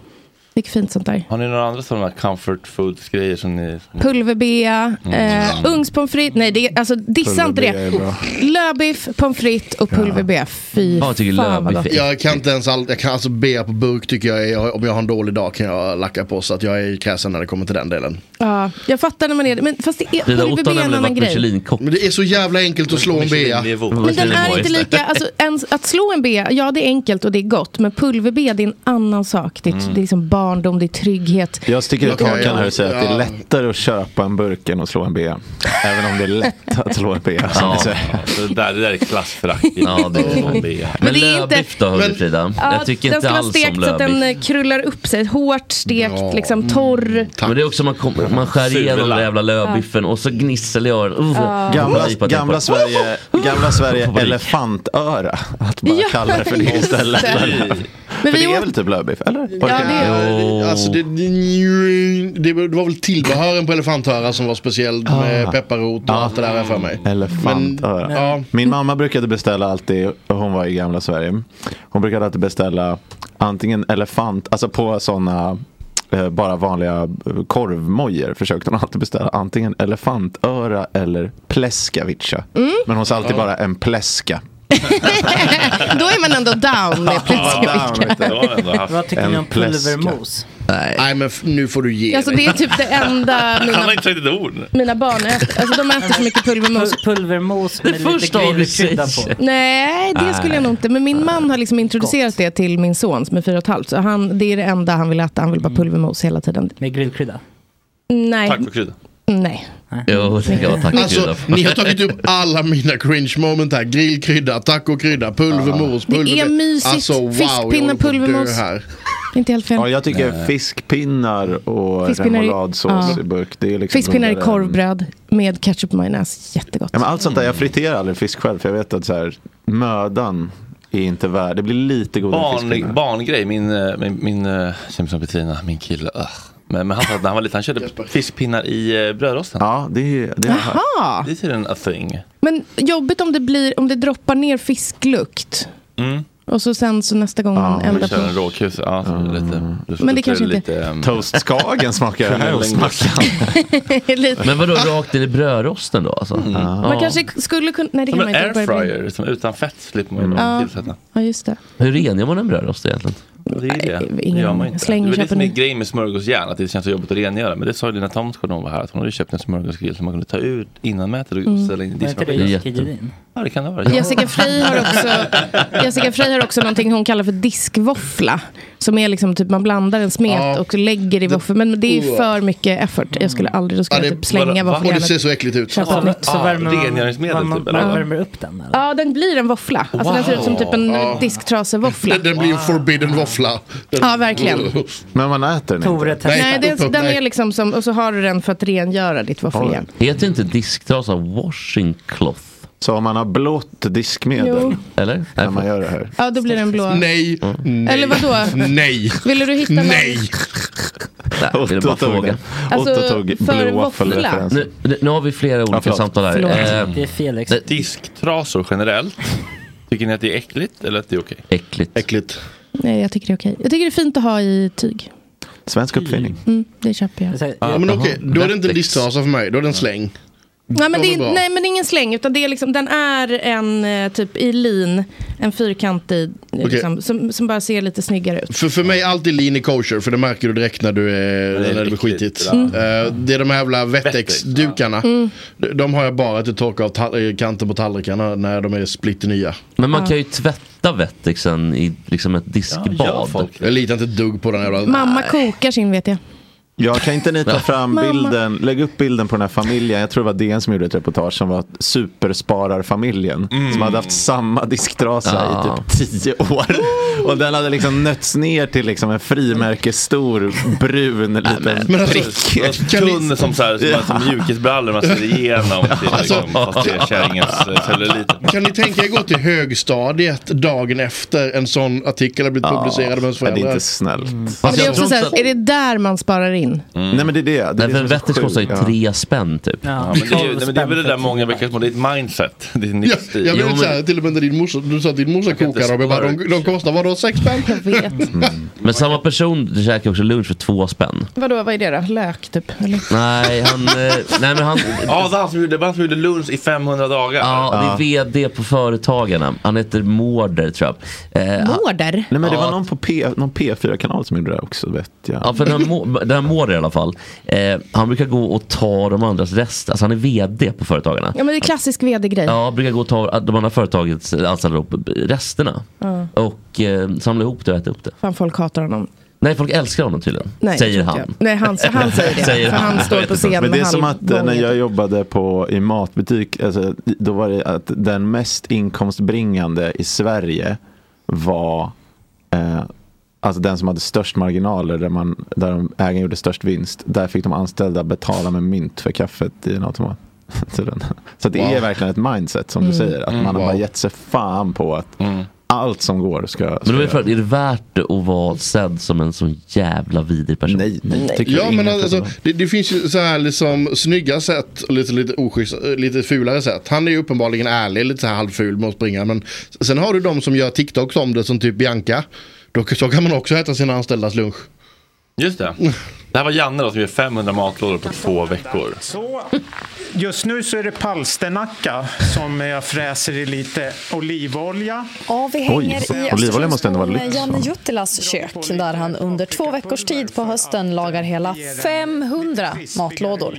Mycket fint sånt där. Har ni några andra sådana comfort foods grejer som ni... Pulverbea, eh, Mm. ugnspommes frites. Nej, det, är- alltså dissa inte Pulverbea det. är bra. Lövbiff, pommes frites och pulverbea. Fy fan vad gott. Jag kan inte ens all, jag kan alltså bea på burk tycker jag, är, jag om jag har en dålig dag kan jag lacka på så att jag är kräsen när det kommer till den delen. Ja, jag fattar när man är det. Men fast det är pulverbea är en annan grej. Men det är så jävla enkelt att slå en bea. Men den är inte lika, alltså, en, att slå en bea, ja det är enkelt och det är gott. Men pulverbea det är en annan sak. Det är, Mm. det är liksom barndom, det är trygghet. Jag sticker ut Okej, hakan här och säger att det ja. är lättare att köpa en burk än att slå en B. Även om det är lätt att slå en B. som Ja. ni säger. Det där, det där är klassförakt. Ja, det är det. Men det är inte- lövbiff då, hörru Men- Frida. Ja, jag tycker den inte ska vara alls stekt om så att den lövbiff. eh, krullar upp sig. Hårt stekt, Ja. liksom torr. Men det är också man, kommer- man skär igenom den där jävla lövbiffen och så gnissel i öronen. Uh, Ja. Gamla, Nej, på att jag gamla får- Sverige, gamla Sverige elefantöra. Att bara Ja, kalla det för det just istället. det. För det är väl typ lövbiff? Eller? Ja, det är- Alltså det, det var väl tillbehören på elefantöra som var speciell med Ah. pepparrot och allt det där har jag för mig. Elefantöra. Men- ja. Min mamma brukade beställa alltid, hon var i gamla Sverige, hon brukade alltid beställa antingen elefant, alltså på sådana bara vanliga eh, korvmojor försökte hon alltid beställa antingen elefantöra eller pleskavica. Mm. Men hon sa alltid bara en pleska. Mm. Då är man ändå down med Pleskavica. Vad tycker ni om pulvermos? Nej. men f- nu får du ge Alltså dig. det är typ det enda Han mina, har inte sagt ett ord. mina barn äter. Alltså de äter så mycket pulvermos. Pulvermos med lite första grillkrydda på. Nej, det skulle jag nog inte. Men min man har liksom introducerat det till min son som är fyra och ett halvt. Så han, det är det enda han vill äta. Han vill bara pulvermos hela tiden. Mm. Med grillkrydda? Nej. Tacokrydda. Nej. Jo, det kan vara tacokrydda. Alltså, ni har tagit upp alla mina cringe moment här. Grillkrydda, tacokrydda, pulvermos, Det är pulverbe- Alltså, mysigt. jag håller Fiskpinnar, på att dö pulvermos. här. Inte helt fel. Ja, jag tycker fiskpinnar och Fiskpinnar i- remouladsås ja. i burk. Det är liksom Fiskpinnar i godare än- korvbröd med ketchup och majonnäs. Jättegott. Ja, men allt sånt där, jag friterar aldrig fisk själv för jag vet att så här, mödan är inte värd, det blir lite godare än Barn, fiskpinnar. barngrej, min, eh, min, min eh, känner som Petrina, min kille. ugh. Men, men han sa att när han var liten, han körde fiskpinnar i eh, brödrosten. Ja, det, det Jaha. Det är tydligen a thing. Men jobbigt om det, blir, om det droppar ner fisklukt. Mm. Och så sen så nästa gång man ändrar kör på. en råkuss. Ja, så det är lite, Mm. eh, Men det kanske inte- Toast Skagen smakar den här ostmackan. Lite. Men vadå, rakt in i brödrosten då alltså? Mm. Man kanske skulle kunna... Nej, det kan Som man en inte. Bara i bröd. airfryer, som utan fett slipper man ju Mm. mm. Ja. tillsätta. Ja, just det. Hur rengör man en brödrost egentligen? Det är ju det. ingen det gör man aning. inte. Slänger, det är väl det köper som är ny. grejen med smörgåsjärn, att det känns så jobbigt att rengöra. Men det sa ju Lina Thomsgård när hon var här, att hon hade ju köpt en smörgåsgrill som man kunde ta ut innan mätet och Mm. ställa in i Var inte det diskmaskinen. Jessica Gedin? Ja, det kan det vara. Jessica Frey har också, Jessica Frey har också någonting hon kallar för diskvåffla. Som är liksom typ man blandar en smet och lägger i våffeln. Men det är ju för mycket effort. Jag skulle aldrig, då skulle jag typ slänga Och det våffeljärnet. ser så äckligt ut. Köpa nytt. Så värmer man- Rengöringsmedel man- typ, man eller? vad? värmer upp den. Ja, den blir en våffla. Alltså den ser ut som typ en Ja. disktrasevåffla. Den, den blir en forbidden våffla. Den- Ja, verkligen. Men man äter den Nej, inte. det, den är liksom som, och så har du den för att rengöra ditt våffeljärn. Heter inte disktrasa washing cloth? Så om man har blått diskmedel. Jo. Eller? Mm. När man gör det här. Ja, då blir den blå. Nej, nej. Eller vadå? Nej. Ville du hitta någon- Där, ville bara tog fråga. den. Alltså, Otto tog för blå waffle våffla? referens. Nu, nu- nu har vi flera olika samtal här. Eh, Det är Felix. Disktrasor generellt. Tycker ni att det är äckligt eller att det är okej? Äckligt. Äckligt. Nej, jag tycker det är okej. Jag tycker det är fint att ha i tyg. Svensk uppfinning. Mm, det köper jag. Ja, men okej, då är det inte en disktrasa för mig, då är det en släng. Nej men, De det är är, bra. nej men det är ingen släng, utan det är liksom, den är en eh, typ i lin, en fyrkantig, eh, Okej. liksom, som, som bara ser lite snyggare ut. För, för mig är alltid lean i kosher, för det märker du direkt när du är, Det är när det blir riktigt skitigt. bra. Mm. Eh, det är de här jävla Wettex-dukarna. Mm. De- De har jag bara till torka av tall- eh, kanten på tallrikarna när de är splitternya. Men man kan ju tvätta vettexen i liksom ett diskbad. Jag litar inte ett dugg på den jävla... Mamma kokar sin vet jag. Ja, kan inte ni ta fram Mamma. bilden, lägg upp bilden på den här familjen. Jag tror det var DN som gjorde ett reportage som var superspararfamiljen. Mm. Som hade haft samma disktrasa Ja. i typ tio år. Och den hade liksom nötts ner till liksom en frimärkesstor brun liten Men alltså, prick. Tunn som, så här, som, Ja. som mjukisbrallor man ser igenom. Till, liksom, fast det är kärringens eh, cellulit. Kan ni tänka er gå till högstadiet dagen efter en sån artikel har blivit publicerad av ens föräldrar? Ja, Mm. Det är inte snällt. Alltså, Men det är också så här, är det där man sparar in? Nej men det är det. det, är Nej, för en det som är så vettex sjukt. kostar ju Ja. tre spänn typ. Ja, Mm. men det, är, ju- nej, men det är väl det där många veckor små, det är ett mindset. Det är Ja, en livsstil. jag blev lite såhär, till och med när din morsa, du sa att din morsa kokar dem, jag bara, de, de kostar vadå, sex spänn? Jag vet. Men samma person käkar också lunch för två spänn. Vadå, vad är det då? Lök typ? Eller? Nej, han... eh, nej, men han Ja, det var han som gjorde, det var han som gjorde lunch i 500 dagar. ja, det är vd på Företagarna. Han heter Mårder tror jag. Eh, han- Mårder? Nej men det Ja. var någon på P, någon P4-kanal som gjorde det också vet jag. Ja, för den, här må, den här Mårder i alla fall. Eh, han brukar gå och ta de andras rester. Alltså han är vd på Företagarna. Ja men det är klassisk vd-grej. Ja, brukar gå och ta de andra företagets anställda upp resterna. Ja. Och eh, samla ihop det och äta upp det. Fan folk hatar honom. Nej, folk älskar honom tydligen. Nej, säger jag tror han. inte jag. Nej han, han säger det. Säger för han, han. står Jag på vet scen med Men det är halv- som att eh, när bången. jag jobbade på, i matbutik, alltså, då var det att den mest inkomstbringande i Sverige var eh, alltså den som hade störst marginaler, där, man, där de, ägaren gjorde störst vinst. Där fick de anställda betala med mynt för kaffet i en automat. Så den- Så det är Wow. verkligen ett mindset som du Mm. säger, att man har Wow. bara gett sig fan på att allt som går ska... Men ska då är, frågan, är det värt det att vara sedd som en sån jävla vidrig person? Nej, nej. tycker Ja jag men inte. alltså, det, det finns ju så här liksom snygga sätt och lite, lite oschyssta, eh, lite fulare sätt. Han är ju uppenbarligen ärlig, lite så här halvful med att springa. Men sen har du de som gör TikToks om det som typ Bianca. Då, så kan man också äta sina anställdas lunch. Just det. Det här var Janne då som gjorde 500 matlådor på två veckor. Så, just nu så är det palsternacka som jag fräser i lite olivolja. Ja, vi Oj, hänger i olivolja måste ändå vara Östersunds- lyx, Janne va? Juttelas kök där han under två veckors tid på hösten lagar hela 500 matlådor.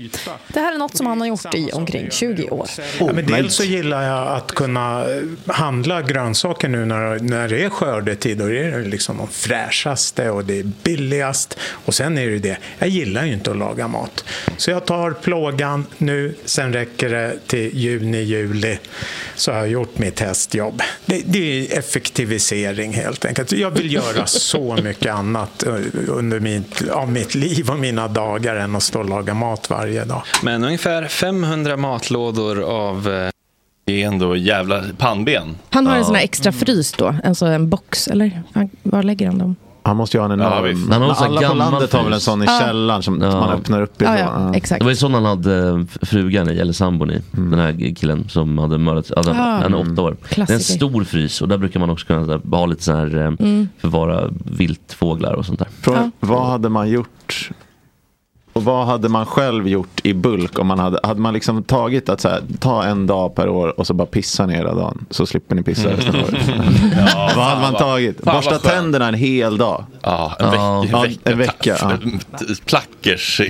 Det här är något som han har gjort i omkring 20 år. Ja, men dels så gillar jag att kunna eh, handla grönsaker nu när, när det är skördetid. Och det är liksom de fräschaste och det är billigast. Och sen är det ju det, jag gillar ju inte att laga mat. Så jag tar plågan nu, sen räcker det till juni, juli. Så har jag gjort mitt hästjobb. Det, det är effektivisering helt enkelt. Jag vill göra så mycket annat eh, under mitt, av mitt liv och mina dagar än att stå och laga mat varje dag. Men ungefär 500 matlådor av... eh, Det är ändå jävla pannben. han har en sån här extra frys då, alltså en box eller? Han, var lägger han dem? Han måste ju ha en Ja, enorm. visst. men Han har också en alla på gammal landet har väl en frys. sån i Ja. källaren som Ja. man öppnar upp i. Det var ju sån han hade eh, frugan i, eller sambon i. Mm. Den här killen som hade mördat, ja, den- Ah. han är åtta år. Det är en Klassiker. stor frys och där brukar man också kunna så här, ha lite så här, eh, Mm. förvara viltfåglar och sånt där. Frågan, Vad hade man gjort? Och vad hade man själv gjort i bulk? Om man hade, hade man liksom tagit att så här, ta en dag per år och så bara pissa ner hela dagen. Så slipper ni pissa resten av året. Mm. Ja, vad hade fan man vad- tagit? fan vad Borsta skönt. tänderna en hel dag. Ja, en veck- Ja, vecka. en vecka, ja. Plackers.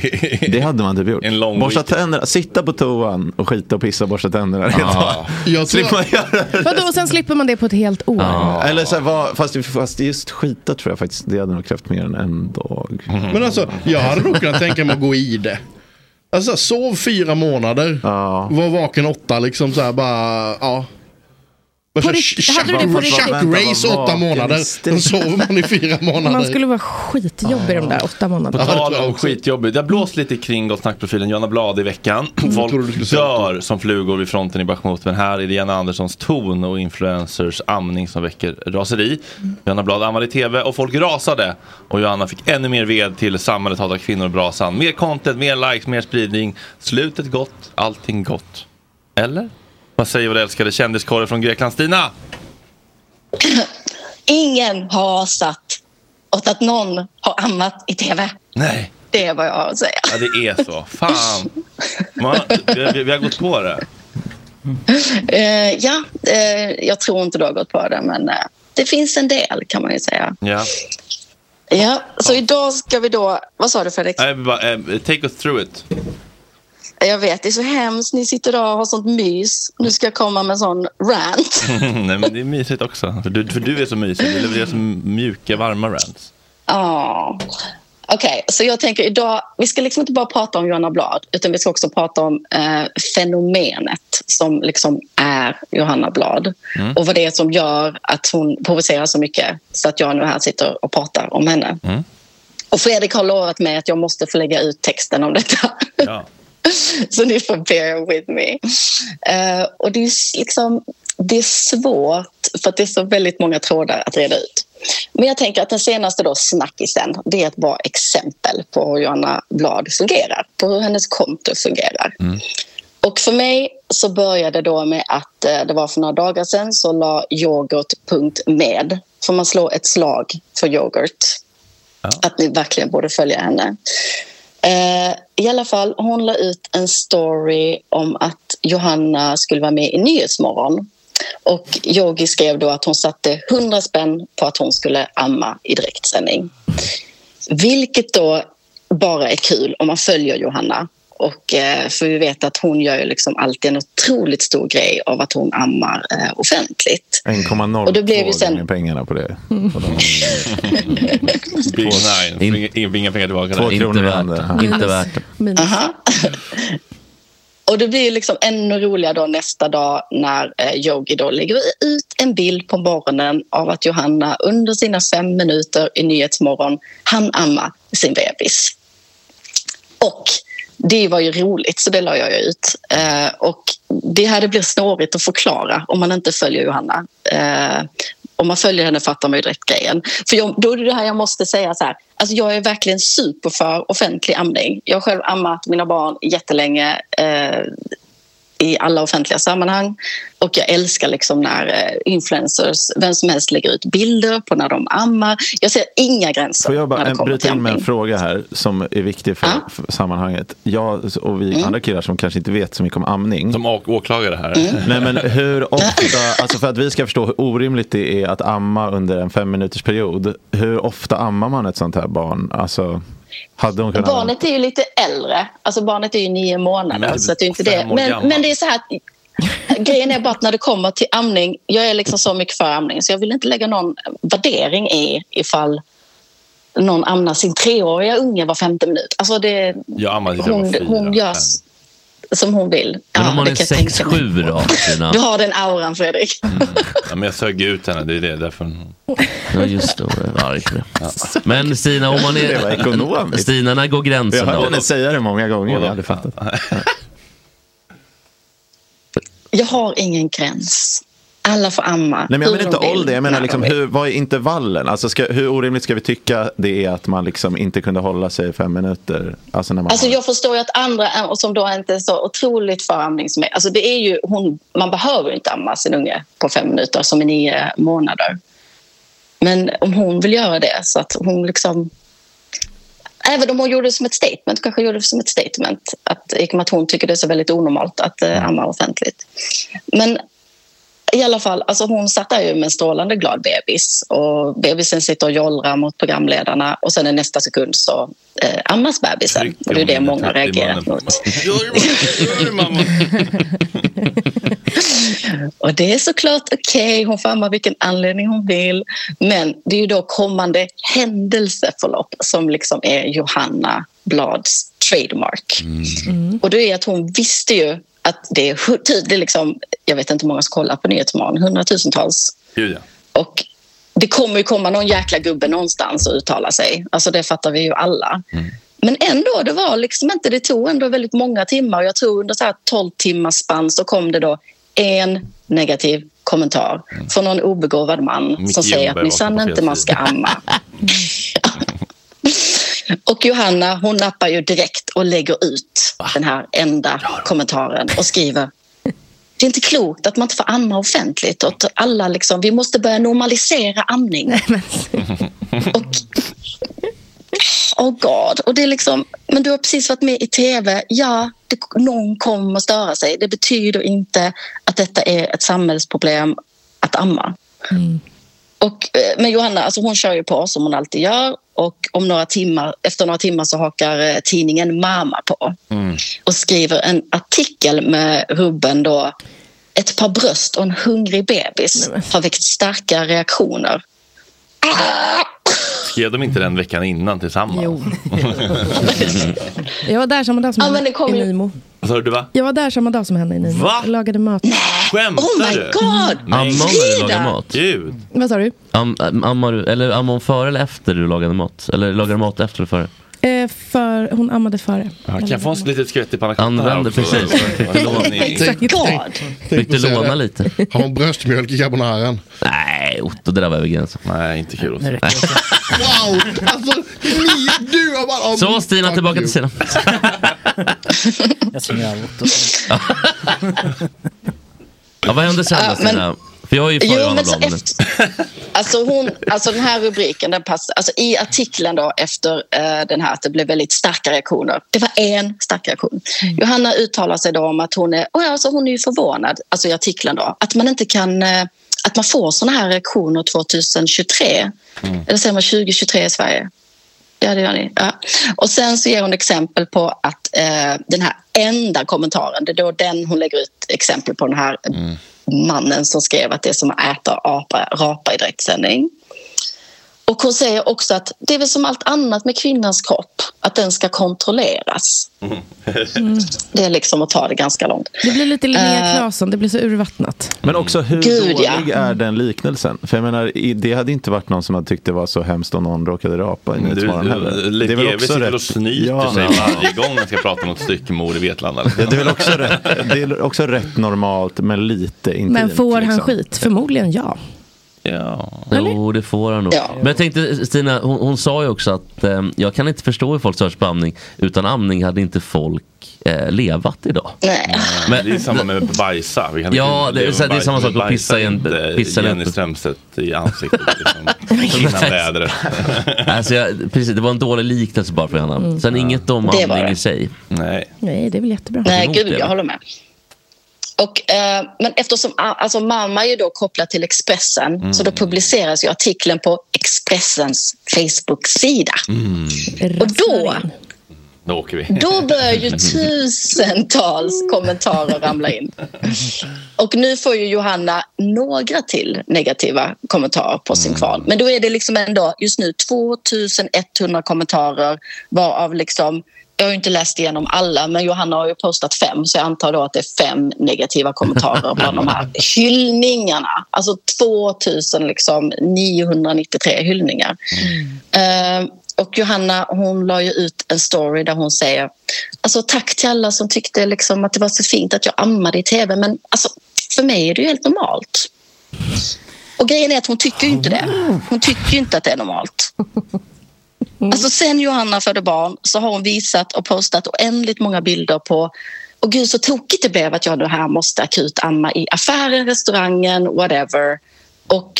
Det hade man typ gjort. En lång borsta weekend. tänderna, sitta på toan och skita och pissa och borsta tänderna en hel Ja. dag. Slipper man göra det. Vadå, och sen slipper man det på ett helt år? Eller så här, vad, fast, fast just skita tror jag faktiskt, det hade nog krävt mer än en dag. Men alltså, jag hade nog kunnat tänka mig att gå i det. Alltså, sov fyra månader. Var vaken åtta liksom så här bara, ja. Bara På så- riktigt- Chuck- hade du det på Chuck riktigt? Race åtta månader, sen sover man i fyra månader. Man skulle vara skitjobbig de där åtta På månaderna. tal om skitjobbigt, det har blåst lite kring Gott Snack-profilen Johanna Blad i veckan. Folk dör som flugor vid fronten i Bachmut, men här är det Jenna Anderssons ton och influencers amning som väcker raseri. Johanna Blad ammade i tv och folk rasade. Och Johanna fick ännu mer ved till Samhället hatar kvinnor och brasan. Mer content, mer likes, mer spridning. Slutet gott, allting gott. Eller? Vad säger vår älskade kändiskorre från Grekland, Stina? Ingen har satt åt att någon har ammat i tv. Nej. Det är vad jag har att säga. Ja, det är så. Fan. Man, vi, vi, vi har gått på det. Eh, ja, eh, jag tror inte du har gått på det, men eh, det finns en del kan man ju säga. Ja. Ja, så idag ska vi då... Vad sa du, Felix? Nej, bara, eh, take us through it. Jag vet, det är så hemskt. Ni sitter där och har sånt mys. Nu ska jag komma med en sån rant. Nej, men det är mysigt också. För du, för du är så mysig. Du levererar så mjuka, varma rants. Ja. Okej, så jag tänker idag... Vi ska liksom inte bara prata om Johanna Blad utan vi ska också prata om eh, fenomenet som liksom är Johanna Blad Mm. och vad det är som gör att hon provocerar så mycket så att jag nu här sitter och pratar om henne. Mm. Och Fredrik har lovat mig att jag måste få lägga ut texten om detta. Ja. Så ni får bear with me. Eh, och det är, s- liksom, det är svårt, för att det är så väldigt många trådar att reda ut. Men jag tänker att den senaste då, snackisen, det är ett bra exempel på hur Johanna Blad fungerar, på hur hennes konto fungerar. mm. Och för mig så började det då med att eh, det var för några dagar sedan så la yoghurt.med, får man slå ett slag för yoghurt, att ni verkligen borde följa henne. Eh, I alla fall, hon la ut en story om att Johanna skulle vara med i Nyhetsmorgon. Och Yogi skrev då att hon satte 100 spänn på att hon skulle amma i direktsändning. Vilket då bara är kul om man följer Johanna. Och, eh, för vi vet att hon gör ju liksom alltid en otroligt stor grej av att hon ammar eh, offentligt. Och det blev ju 1,02 sen- gånger pengarna på det. Big nine. Inga- Inga pengar tillbaka. Två där. kronor i handen. Inte värt det. Aha. Och det blir ju liksom ännu roligare då nästa dag när eh, Yogi då lägger ut en bild på morgonen av att Johanna under sina fem minuter i Nyhetsmorgon hann amma sin bebis. Och det var ju roligt, så det la jag ju ut. Eh, och det här det blir snårigt att förklara om man inte följer Johanna. Eh, om man följer henne fattar man ju direkt grejen. För jag, då är det det här jag måste säga så här. Alltså jag är verkligen super för offentlig amning. Jag har själv ammat mina barn jättelänge. Eh, i alla offentliga sammanhang. Och jag älskar liksom när eh, influencers, vem som helst lägger ut bilder på när de ammar. Jag ser inga gränser Får jag bara när det en, kommer till bryta in med en amning. fråga här som är viktig för, för sammanhanget. Jag och vi Mm. andra killar som kanske inte vet så mycket om amning. Som å- åklagare här. Mm. Nej men hur ofta, alltså för att vi ska förstå hur orimligt det är att amma under en fem minuters period. Hur ofta ammar man ett sånt här barn? Alltså, hade hon kunnat Barnet är ju lite äldre. Alltså barnet är ju nio månader. Men- så att det är inte det. fem år Men, gammal. men det är så här att Grejen är bara att när det kommer till amning, jag är liksom så mycket för amning så jag vill inte lägga någon värdering i ifall någon amnar sin treåriga unge var femte minut. Alltså det, Jag ammade tills jag var hon, fyra. hon gör s- som hon vill. Men Ja, om man det är kan jag tänka mig. 6-7 då? Stina? Du har den auran, Fredrik. Mm. Ja, men jag sög ut henne. Det är det. Därför... hon- Ja just det, hon är arg för det. Men Stina, om man Det var är... ekonomiskt. Stina, när går Jag gränsen hörde då? henne säga det många gånger. Jag hade fattat. Jag har ingen gräns. Alla får amma. Nej, men jag hur menar inte de vill, ålder, jag menar när de liksom, vill. hur, vad är intervallen? Alltså ska, hur orimligt ska vi tycka det är att man liksom inte kunde hålla sig i fem minuter? Alltså när man Alltså jag förstår ju att andra am- och som då inte är så otroligt för amning som är, alltså det är ju, hon, man behöver ju inte amma sin unge på fem minuter som är nio månader. Men om hon vill göra det så att hon liksom Även om hon gjorde det som ett statement, kanske gjorde det som ett statement att, i och med att hon tycker det är så väldigt onormalt att eh, Mm. amma offentligt. Men i alla fall, alltså hon satt där ju med en strålande glad bebis och bebisen sitter och jollrar mot programledarna och sen i nästa sekund så eh, ammas bebisen. och det är det många reagerat mot. Och det är såklart okej, hon får amma vilken anledning hon vill. Men det är ju då kommande händelseförlopp som liksom är Johanna Blads trademark. Och det är att hon visste ju att det är, hu- ty- det är liksom, jag vet inte hur många som kollar på Nyhetsmorgon, hundratusentals. Gud ja. Och det kommer ju komma någon jäkla gubbe någonstans och uttala sig. Alltså det fattar vi ju alla. Men ändå, det var liksom inte, det tog ändå väldigt många timmar. Jag tror under så här 12 timmars spann så kom det då en negativ kommentar från någon obegåvad man Micke som säger Ljungberg att minsann var på fel inte man ska sida." amma. och Johanna hon nappar ju direkt och lägger ut den här enda kommentaren och skriver det är inte klokt att man inte får amma offentligt. Och att alla liksom, vi måste börja normalisera amning. Oh god. Och det är liksom, men du har precis varit med i tv. Ja, det, någon kommer att störa sig. Det betyder inte att detta är ett samhällsproblem att amma. Och, eh, men Johanna alltså hon kör ju på som hon alltid gör. Och om några timmar, efter några timmar så hakar eh, tidningen Mama på och skriver en artikel med rubben då Ett par bröst och en hungrig bebis har väckt starka reaktioner. Skrev de inte den veckan innan tillsammans? Jo. Jag var där samma dag som Ja, men henne det kom i ju- Nimo. Vad sa du va? Jag var där samma dag som henne i Nimo. Va? Jag lagade mat. Skämtar Oh my du? God! Nej. Mm. Ammar när du lagar mat? Gud. Vad sa du? Am, am- ammar du, eller ammar hon före eller efter du lagade mat? Eller lagade du mat efter eller före? Eh, för, hon ammade före. Kan jag få en litet skvätt i pannacotta? Använder precis. Fick du låna- Exakt. Fick du låna lite? Har hon bröstmjölk i carbonaran? Nej, Otto, det där var över gränsen. Nej, inte kul Otto. Wow! Alltså, ni, du har bara... oh, Så Stina, fuck tillbaka you. till Stina. Jag som gör Otto. Ja, vad hände sen då, men- Stina? För jag är ju för Jo, Johanna men så Blad nu. Alltså, hon, alltså den här rubriken, den passar, alltså i artikeln då efter eh, den här att det blev väldigt starka reaktioner. Det var en stark reaktion. Johanna uttalar sig då om att hon är, och alltså hon är ju förvånad, alltså i artikeln då, att man inte kan, eh, att man får sådana här reaktioner 2023. Eller säger man 2023 i Sverige? Ja, det gör ni. Ja. Och sen så ger hon exempel på att eh, den här enda kommentaren, det är då den hon lägger ut exempel på den här mannen som skrev att det är som att äta apa, rapa i direktsändning. Och hon säger också att det är väl som allt annat med kvinnans kropp, att den ska kontrolleras. Det är liksom att ta det ganska långt. Det blir lite Linnea Eh. Claesson, det blir så urvattnat. Men också hur Gud, dålig ja. är den liknelsen? För jag menar, i- det hade inte varit någon som hade tyckt det var så hemskt om någon råkade rapa i Du, du, Nyhetsmorgon heller. Det är väl GW också sitter och rätt- snyter Ja. sig varje gång han ska prata om något styckmord i Vetlanda. liksom. Ja, det, är väl också rätt, det är också rätt normalt, men lite intimt. Men får han liksom. skit? Förmodligen ja. Ja. Jo, det får han nog. Ja. Men jag tänkte, Stina, hon, hon sa ju också att eh, jag kan inte förstå hur folk störs på amning. Utan amning hade inte folk eh, levat idag. Men- det är samma med bajsa. Vi kan Ja, inte- det är så här, det är samma sak att bajsa pissa i en- inte pissa i en- Jenny Strömstedt i ansiktet. Liksom. Innan vädret. alltså, jag, precis, det var en dålig liknelse bara för Johanna. Mm. Sen inget om Det var amning det. i sig. Nej. Nej, det är väl jättebra. Nej, gud, jag håller med. Och, eh, men eftersom alltså, mamma är ju då kopplad till Expressen Mm. så då publiceras ju artikeln på Expressens Facebook-sida. Mm. Och då, Då åker vi. då börjar ju tusentals kommentarer ramla in. Och nu får ju Johanna några till negativa kommentarer på sin kvarn. Men då är det liksom ändå just nu 2100 kommentarer varav liksom jag har ju inte läst igenom alla, men Johanna har ju postat fem så jag antar då att det är fem negativa kommentarer bland de här hyllningarna. Alltså 2993 liksom 993 hyllningar. Eh, och Johanna hon la ju ut en story där hon säger alltså, tack till alla som tyckte liksom att det var så fint att jag ammade i tv men alltså, för mig är det ju helt normalt. Och grejen är att hon tycker ju inte det. Hon tycker ju inte att det är normalt. Alltså sen Johanna födde barn så har hon visat och postat oändligt många bilder på och gud så tokigt det blev att jag nu här måste akut amma i affären, restaurangen, whatever. Och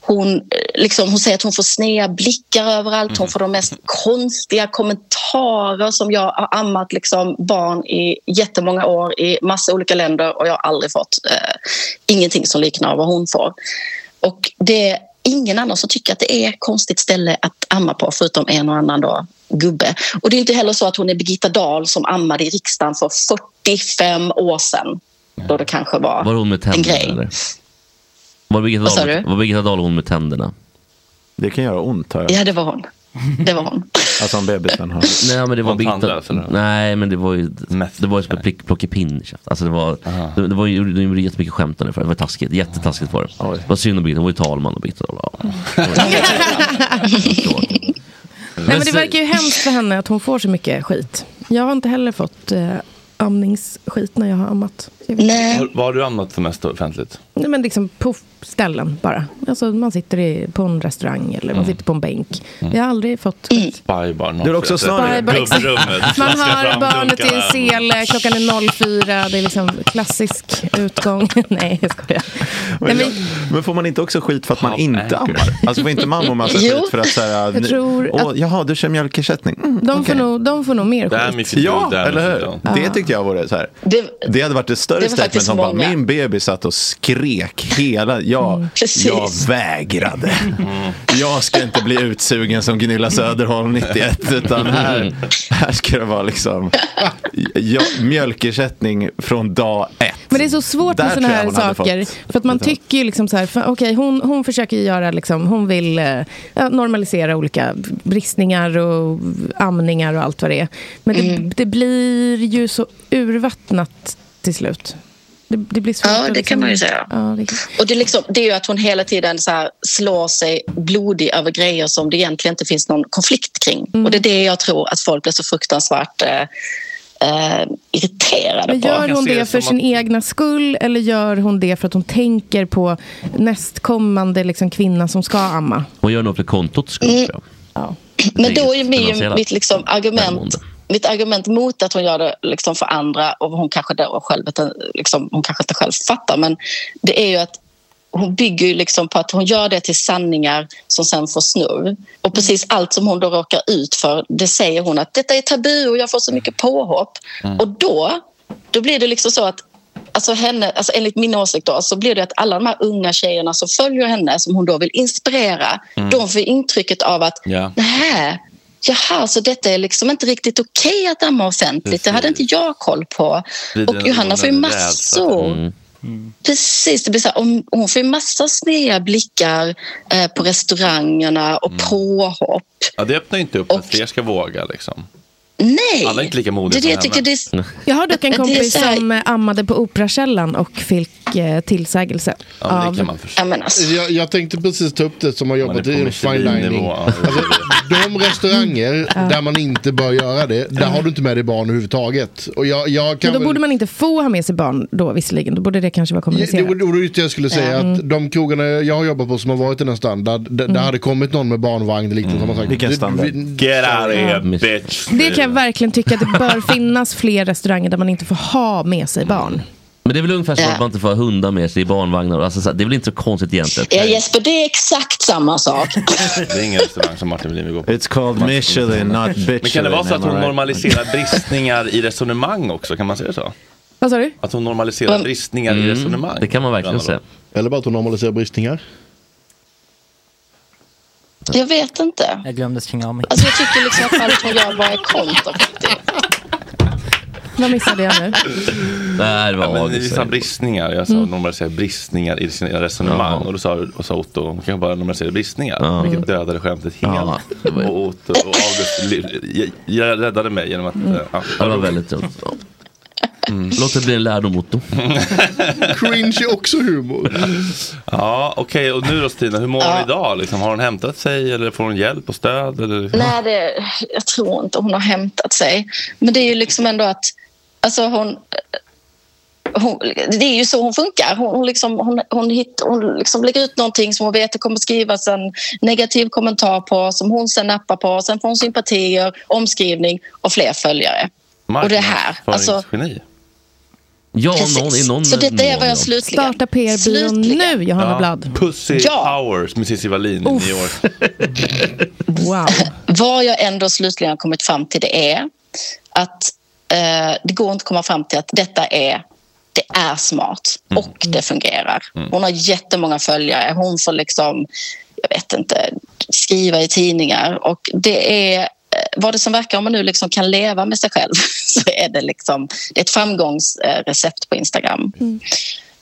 hon, eh, liksom, hon säger att hon får snea blickar överallt. Hon får de mest konstiga kommentarer som jag har ammat liksom, barn i jättemånga år i massa olika länder och jag har aldrig fått eh, ingenting som liknar vad hon får. Och det är ingen annan som tycker att det är ett konstigt ställe att amma på förutom en och annan då, gubbe. Och det är inte heller så att hon är Birgitta Dahl som ammade i riksdagen för 45 år sedan. Då det kanske var, Var hon med en tänderna grej. eller? Var Birgitta, Vad sa Dahl, du? var Birgitta Dahl hon med tänderna? Det kan göra ont har Ja, det var hon. Det var hon. Alltså om bebisen har... Nej men det var Var hon Birgitta, Nej men det var ju, det var ju som ett plockepinn. Alltså det var, det, det var ju, de gjorde jättemycket skämt om det för det var taskigt, jättetaskigt var det. Det var synd om Birgitta, hon var ju talman och Birgitta Dahl. Ja. Nej, men det verkar ju hemskt för henne att hon får så mycket skit. Jag har inte heller fått eh, amningsskit när jag har ammat. Jag vet- Har- Vad har du annat för mest offentligt? Nej, men liksom på ställen bara. Alltså, man sitter i, på en restaurang eller man Mm. sitter på en bänk. Mm. Jag har aldrig fått... Spybar. någon Du är också får jag snarare- säga. Spybar, exakt. Gubbrummet. Man Flaska hör fram, barnet i dunkar. sele, klockan är 04, det är liksom klassisk utgång. Nej, jag skojar. Nej, Men, men, men får man inte också skit för att man inte anchor. ammar? Alltså får inte mammor massa Jo, skit för att så här, jag tror åh, att- jaha, du kör mjölkersättning? Mm, de, får nog, de får nog mer skit. Ja, eller hur? Det tyckte jag vore så här. Det, det hade varit ett det större var statement faktiskt som bara, många. min bebis satt och skrek hela, jag, Precis. jag vägrade. Jag ska inte bli utsugen som Gunilla Söderholm 91, utan här, här ska det vara liksom ja, mjölkersättning från dag ett. Men det är så svårt Där med såna tror jag här hon hade saker. fått För att man tycker ju liksom så här, för, okej, hon, hon försöker ju göra liksom, hon vill eh, ja, normalisera olika bristningar och amningar och allt vad det är. Men det, Mm. det blir ju så urvattnat till slut. Det, det blir svårt Ja, att det liksom, kan man ju säga. Ja, det, Och det, är liksom, det är ju att hon hela tiden så här slår sig blodig över grejer som det egentligen inte finns någon konflikt kring. Mm. Och det är det jag tror att folk blir så fruktansvärt eh, eh, irriterade men på. gör hon det för sin egna skull eller gör hon det för att hon tänker på nästkommande liksom, kvinna som ska amma? Hon gör nog för kontot skull Mm. tror jag. Men då är Det är ju finansiella mitt liksom argument mitt argument mot att hon gör det liksom för andra och hon kanske, då själv, inte- liksom, hon kanske inte själv fattar men det är ju att hon bygger ju liksom på att hon gör det till sanningar som sen får snurr. Och precis allt som hon då råkar ut för det säger hon att detta är tabu och jag får så mycket påhopp. Mm. Och då, då blir det liksom så att Alltså henne, alltså enligt min åsikt då, så blir det att alla de här unga tjejerna som följer henne som hon då vill inspirera, Mm. de får intrycket av att Ja. Nähä, jaha, så detta är liksom inte riktigt okej att amma offentligt. Det hade inte jag koll på. Blir det Och en Johanna får ju onödig massor. rädsla? Mm. Precis, det blir så här, om- hon får ju massa sneda blickar eh, på restaurangerna och Mm. påhopp. Ja, det öppnar ju inte upp för att fler ska våga. Liksom. Nej! Alla är inte lika Det modiga är det jag som tycker det henne. Jag har dock en Det är kompis så här- som eh, ammade på Operakällaren och fick eh, tillsägelse. av... alltså. jag, jag tänkte precis ta upp det som har jobbat är på i fine dining. Michelin-nivå. Alltså, de restauranger där man inte bör göra det, där har du inte med dig barn överhuvudtaget. Och jag, jag kan Men då väl- borde man inte få ha med sig barn då visserligen. Då borde det kanske vara kommunicerat. Jo, Det var just det jag skulle säga. Mm. Att de krogarna jag har jobbat på som har varit i den standard, där, Mm. där hade kommit någon med barnvagn eller liknande. som har sagt, Vilken "Det- standard? vi- Get out of here, bitch. Det kan jag verkligen tycka att det bör finnas fler restauranger där man inte får ha med sig barn. Men det är väl ungefär som att man inte får ha hundar med sig i barnvagnar. Alltså, så här, det är väl inte så konstigt egentligen. Ja, Jesper, det är exakt samma sak. Det är ingen restaurang som Martin Melin vill gå på. It's called Michelin, not Michelin. Men kan det vara så am att I hon right? normaliserar bristningar i resonemang också? Kan man säga så? Vad sa du? Att hon normaliserar Mm. bristningar i resonemang? Det kan man verkligen säga. Eller bara att hon normaliserar bristningar. Jag vet inte. Jag glömde stänga av mig. Alltså jag tycker liksom att allt hon gör bara är kontra. Vad missade jag nu? Nej, det var ja, men August, ni sa säger. bristningar. Jag sa Mm. normalisera bristningar i sina resonemang. Och då sa, och sa Otto, hon kan bara normalisera bristningar. Vilket dödade skämtet helt. Och Otto och August li- jag, jag räddade mig genom att... Mm. Ja, Mm. det var väldigt dumt. Låt det bli en lärdom, Otto. Cringe är också humor. Ja, okej. Och nu då Stina, hur mår hon idag? Liksom, har hon hämtat sig eller får hon hjälp och stöd? Eller? Nej, det, jag tror inte hon har hämtat sig. Men det är ju liksom ändå att... Alltså hon, hon, det är ju så hon funkar. Hon, hon, liksom, hon, hon, hitt, hon liksom lägger ut någonting som hon vet det kommer skrivas en negativ kommentar på som hon sen nappar på. Sen får hon sympatier, omskrivning och fler följare. Och det här. Alltså, Marknadsföringsgeni. Ja, Precis. någon- Så detta är vad jag slutligen... Starta PR-byrån nu, Johanna Blad. Pussy Ja. Powers med Cissi Wallin i Uff. New York. Wow. Vad jag ändå slutligen har kommit fram till det är att eh, det går inte att komma fram till att detta är det är smart Mm. och det fungerar. Mm. Hon har jättemånga följare. Hon får liksom, jag vet inte, skriva i tidningar. Och det är eh, vad det som verkar, om man nu liksom kan leva med sig själv, så är det liksom det är ett framgångsrecept på Instagram.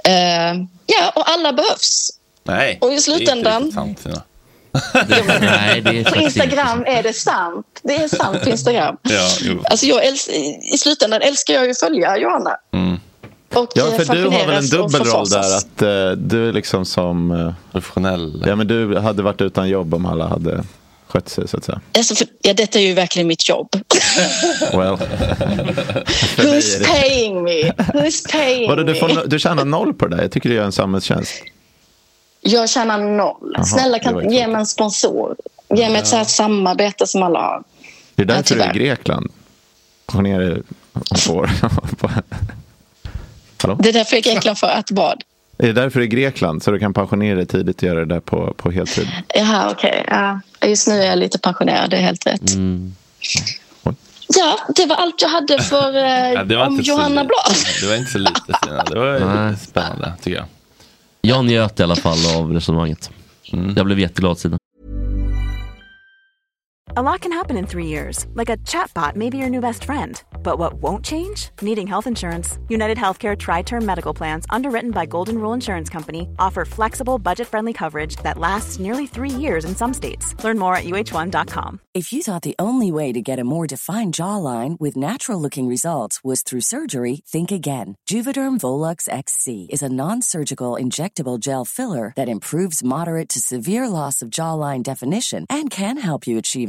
Eh, ja, och alla behövs. Nej, Och i slutändan- det är inte riktigt sant. Tina. Nej, det är På Instagram är det sant. Det är sant på Instagram. Ja, jo. Alltså jag älsk, I slutändan älskar jag ju att följa Johanna. Och Ja, eh, för du har väl en fascineras och dubbel roll där? förfasas. Att eh, du är liksom som... eh, Ja, men du hade varit utan jobb om alla hade skött sig, så att säga. Alltså, för, ja, detta är ju verkligen mitt jobb. Well. För dig är Who's det- paying me? Who's paying Vadå, du, me? får, du tjänar noll på det där? Jag tycker du gör en samhällstjänst. Jag tjänar noll. Jaha, Snälla, det var kan, ju ge mig en sponsor. Ge mig ett så här samarbete som alla har. Det är därför du är tyvärr. i Grekland. Pensionera dig om två år. Hallå? Det är därför jag är i Grekland för att vad? Är det därför du är i Grekland? Så du kan pensionera dig tidigt och göra det där på, på heltid? Jaha, okej. Ja, just nu är jag lite pensionerad, det är helt rätt. Ja, det var allt jag hade för eh, Ja, det var om inte så Johanna li- Blad. Det var inte så lite, Tina. Det var lite spännande, tycker jag. Jag njöt i alla fall av resonemanget. Mm. Jag blev jätteglad Stina. A lot can happen in three years, like a chatbot may be your new best friend. But what won't change? Needing health insurance. United Healthcare Tri Term Medical Plans, underwritten by Golden Rule Insurance Company, offer flexible, budget friendly coverage that lasts nearly three years in some states. Learn more at uh1.com. If you thought the only way to get a more defined jawline with natural looking results was through surgery, think again. Juvederm Volux XC is a non surgical injectable gel filler that improves moderate to severe loss of jawline definition and can help you achieve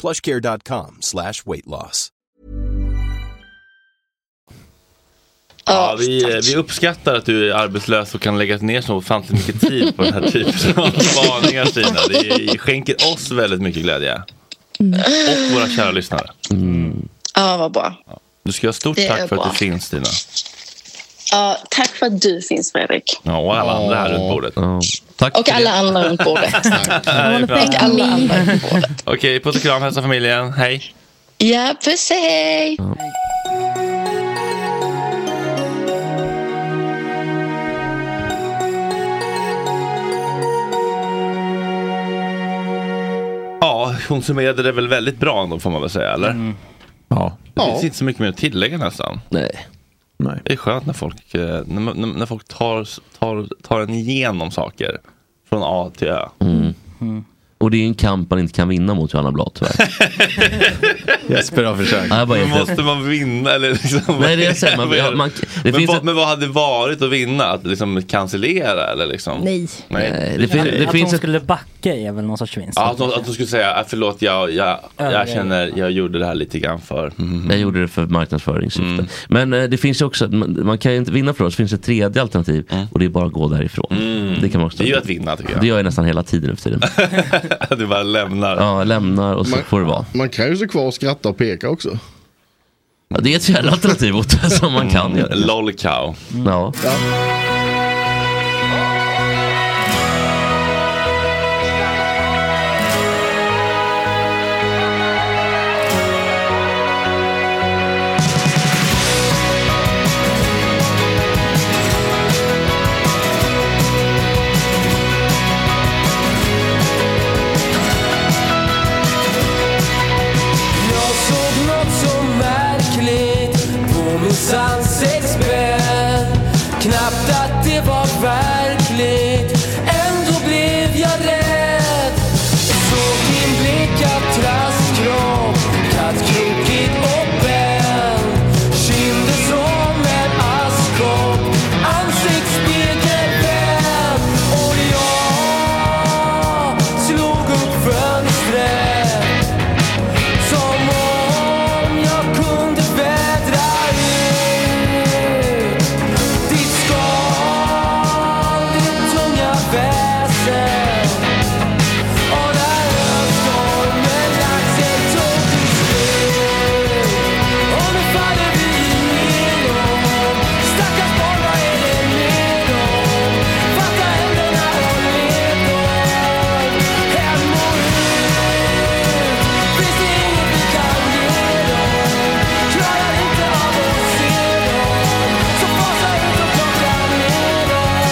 plushcare.com slash weight loss. Ja, vi, eh, vi uppskattar att du är arbetslös och kan lägga ner så ofantligt mycket tid på den här typen av spaningar Tina. Det skänker oss väldigt mycket glädje. Mm. Och våra kära lyssnare. Ja, vad bra. Du ska ha stort Det är tack för att bra. du finns Tina. Ja, tack för att du finns, Fredrik. Ja, och alla andra här runt bordet. Tack Och alla andra runt bordet. Det här är bra. Och alla andra runt bordet. Okej, puss och kram, hälsa familjen. Hej. Ja, puss och hej! Ja, hon summerade det väl väldigt bra ändå får man väl säga, eller? Mm. Ja. Det Ja. finns inte så mycket mer att tillägga nästan. Nej. Nej. Det är skönt när folk, eh, när, man- när, när folk tar, tar, tar en igenom saker. Från A till Ö. Mm. Och det är en kamp man inte kan vinna mot Johanna Blad tyvärr. Jesper har försökt. Ja, jag bara Men erkänner. måste man vinna eller liksom? Nej, det är så här, man- Vad är det? man- det men, finns vad, men vad hade varit att vinna? Att liksom cancellera eller liksom? Nej. Nej. att, att hon skulle backa är väl någon sorts vinst. Ja, att de, att de skulle säga "Ah, förlåt, jag, jag, jag Överväg. känner, jag gjorde det här lite grann för. Jag gjorde det för marknadsföringssyfte. Mm. Men eh, det finns ju också, man, man kan ju inte vinna för oss. Det finns ett tredje alternativ och det är bara att gå därifrån. Det kan man också. Mm. Det är ju att vinna tycker jag. Det gör jag nästan hela tiden nu för tiden. du bara lämnar. Ja, jag lämnar och så Man- får det vara. Man kan ju stå kvar och skratta och peka också. Ja, det är ett fjärde alternativ åt det som man Mm. kan göra. Lolcow. Ja. Jag såg något så märkligt på min ansiktsbädd Knappt att det var verkligt, ändå blev jag rädd Såg din blick av trastkropp, kattkrokig och bänd Kinder som en askkopp, ansiktsspegelvänd Och jag slog upp fönstret som om jag kunde vädra ut ditt skal, ditt tunga väsen. Och när höststormen lagt sig tog du slut. Och nu faller vi igenom. Stackars barn, vad är det med dem? Fatta händerna och leder hem och ut. Finns det inget vi kan ge dem? Klarar inte av att se dem. Så fasa ut och plocka ner dem.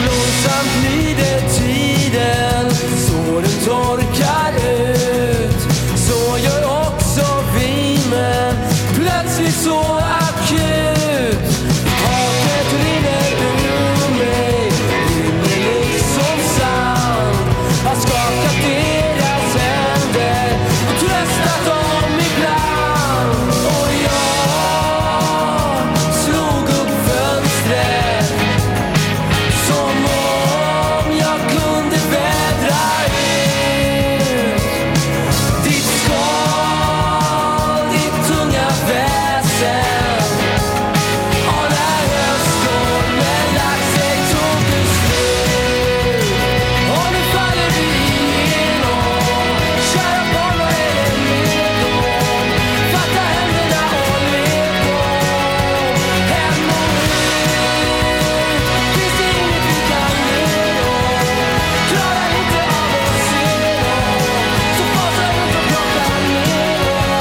Långsamt lider tiden så den torkar ut. Så gör också vi men plötsligt så akut. Hatet rinner ur mig, rinner liksom sand. Har skakat deras händer och tröstat dem ibland. Och jag slog upp fönstret som om jag kunde vädra ut ditt skal, ditt tunga väsen. Och när höststormen lagt sig tog du slut. Och nu faller vi igenom. Kära barn, vad är det med dem? Fatta händerna och led dem. Hem och ut. Finns det inget vi kan ge dem? Klarar inte av att se dem. Så fasa ut och plocka ner dem.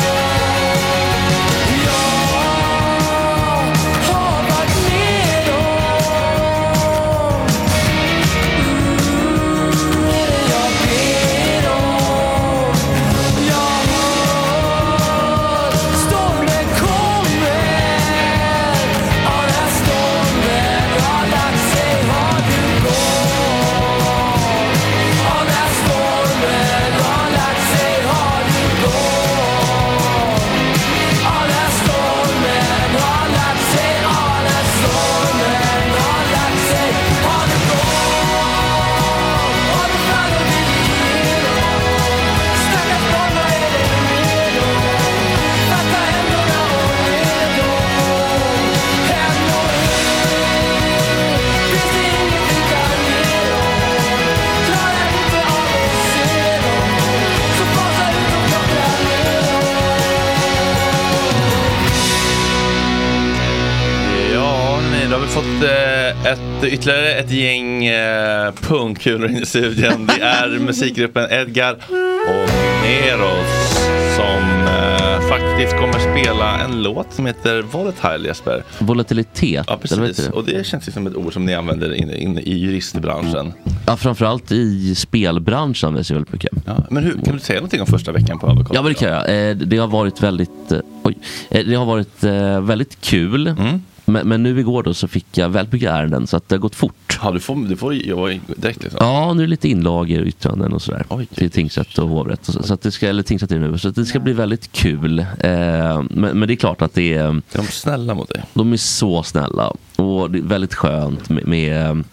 Jag har varit med om. Mm, är det jag ber om? Jag hör stormen kommer. Ja, när stormen har lagt sig har du gått. Ja, när stormen har lagt sig har du gått. Ja, när stormen har lagt sig, ja, när stormen har lagt sig har du gått. Och nu faller vi igenom. Stackars barn, vad är det med dem? Fatta händerna och led dem. Hem och ut. Finns det inget vi kan ge dem? Klarar inte av att se dem. Så fasa ut och plocka ner dem. Ja, nej, då har vi fått eh, ett, ytterligare ett gäng eh, pungkulor in i studion. Det är musikgruppen Edgar och Neros som eh, faktiskt kommer spela en låt som heter Volatile Jesper. Volatilitet, Ja, eller vad heter precis. det? Och det känns ju som ett ord som ni använder in, in, i juristbranschen. Ja, framförallt i spelbranschen används det väldigt mycket. men hur, kan du säga någonting om första veckan på Avocado? Ja, men det kan jag. Eh, Det har varit väldigt, eh, oj, Eh, det har varit eh, väldigt kul. Mm. Men, men nu igår då så fick jag väldigt mycket ärenden så att eh, det har gått fort. Ja, du får, du får jobba direkt liksom. Ja, nu är det lite inlagor och yttranden och sådär. till tingsrätt och hovrätt. Och så, så att det ska, eller tingsrätt är det nu. Så att det ska bli väldigt kul. Eh, men, men det är klart att det är... Är de snälla mot dig? De är så snälla. Och det är väldigt skönt med... med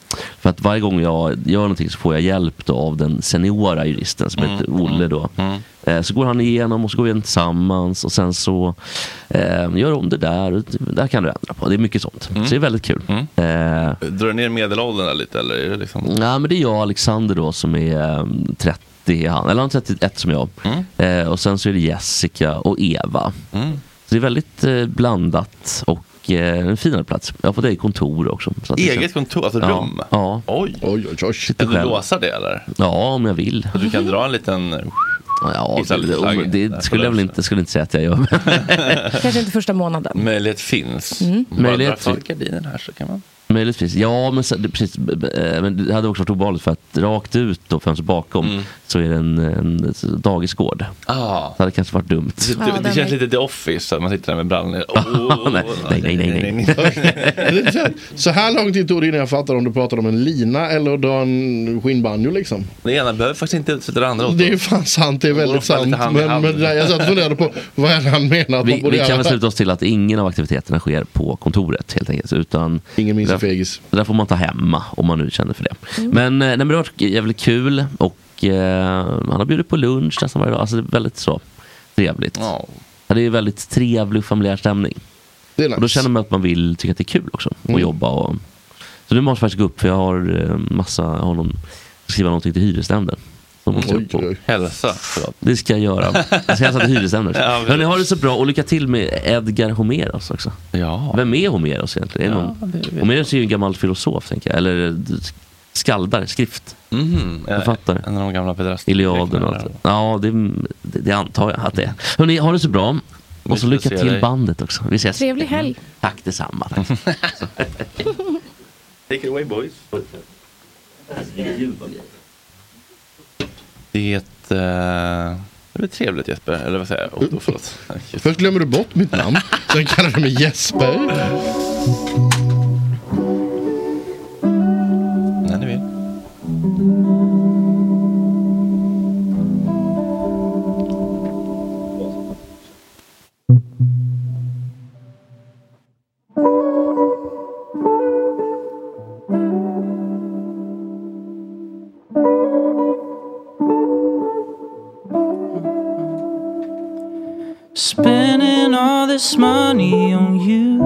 för att varje gång jag gör någonting så får jag hjälp då av den seniora juristen som heter Mm, Olle då. Eh, Så går han igenom och så går vi igenom tillsammans och sen så eh, gör om det där. och det Där kan du ändra på. Det är mycket sånt. Så det är väldigt kul. Eh, Mm. Drar du ner medelåldern där lite eller? Är det liksom... Nej, men det är jag och Alexander då som är eh, 30, är han, eller han är 31 som jag. Eh, och sen så är det Jessica och Eva. Så det är väldigt eh, blandat och eh, en finare plats. Jag har fått eget kontor också. Så att det Eget känns- kontor? Alltså ja, rum? Ja. Oj. Oj, oj, oj. Kan du själv. låsa det eller? ja, om jag vill. Du kan dra en liten... Ja, Hissa lite det, flagg. det, Där skulle jag väl inte, skulle inte säga att jag gör. Kanske inte första månaden. Möjlighet finns. Mm. Bara Möjlighet dra för finns. gardinen här så kan man. Möjligtvis. Ja, men, sen, det, precis, b- b- eh, men det hade också varit obehagligt för att rakt ut då, fönstret bakom, så är det en, en dagisgård. Ah. Det hade kanske varit dumt. Det, det, det känns lite The Office, att man sitter där med brallan ner. Ah, nej, nej, nej, nej, nej. Det är så här- Så här lång tid tog det innan jag fattade om du pratade om en lina eller att dra en skinnbanjo liksom. Det ena behöver faktiskt inte utsätta det andra åt. Det är fan sant, det är väldigt ofta sant. lite Men, hand i hand. men det där, jag satt och funderade på vad är det han menar att man Vi, borde vi kan göra. väl sluta oss till att ingen av aktiviteterna sker på kontoret helt enkelt. Utan ingen minns där, fegis. där får man ta hemma om man nu känner för det. Mm. Men, eh, nej, men det har varit jävligt kul och eh, han har bjudit på lunch nästan varje dag. Alltså det är väldigt så trevligt. Ja, det är väldigt trevlig och familjär stämning. Det är Och då känner man att man vill tycka att det är kul också. Och Mm. jobba och... Så nu måste jag faktiskt gå upp för jag har eh, massa, jag har någon, skriva någonting till hyresnämnden. Så måste jag upp på. Hälsa. förlåt. Det ska jag göra. Jag ska hälsa till hyresnämnden. Ja, precis. Hörni, ha det så bra och lycka till med Edgar Homeros också. Ja. Vem är Homeros egentligen? Är det Ja, någon? det vet jag. Homeros är ju en gammal filosof, tänker jag. Eller d- skaldare, skrift. Ja, Författare. Eh, En av de gamla pedrasterna. Iliaden och allt det Ja, det, det, det antar jag att det är. Hörni, ha det så bra. Och så Mysigt att lycka se till dig. bandet också. Vi ses. Trevlig Mm. helg. Tack detsamma. Tack. Take it away boys. Det är ett... eh, Det blir trevligt Jesper, eller vad säger jag? Oh, förlåt. Först glömmer du bort mitt namn, sen kallar du mig Jesper. När ni vill. Spending all this money on you.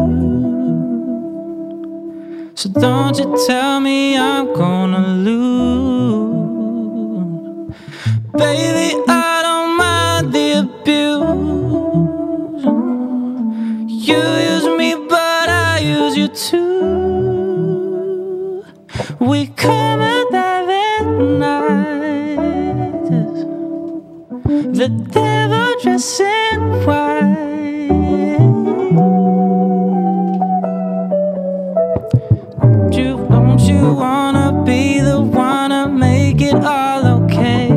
So don't you tell me I'm gonna lose. Baby, I don't mind the abuse. You use me, but I use you too. We come alive at night. The devil dressed in white. Don't you, don't you wanna be the one to make it all okay?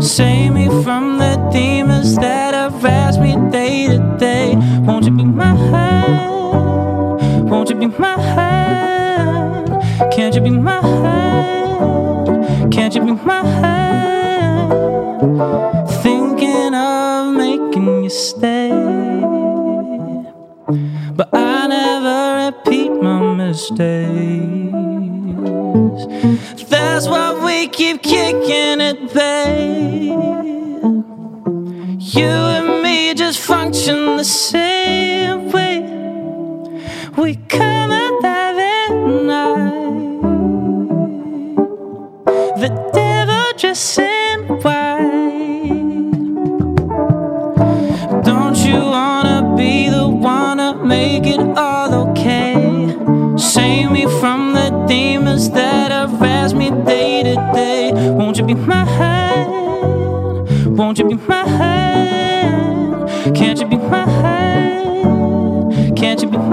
Save me from the demons that harass me day to day. Won't you be mine? Won't you be mine? Can't you be mine? Can't you be mine? thinking of making you stay. But I never repeat my mistakes. That's why we keep kicking it, babe. You and me just function the same way. We come alive at night. The devil dressed in white. Don't you wanna be the one to make it all okay? Save me from the demons that harass me day to day. Won't you be mine? Won't you be mine? Can't you be mine? Can't you be mine?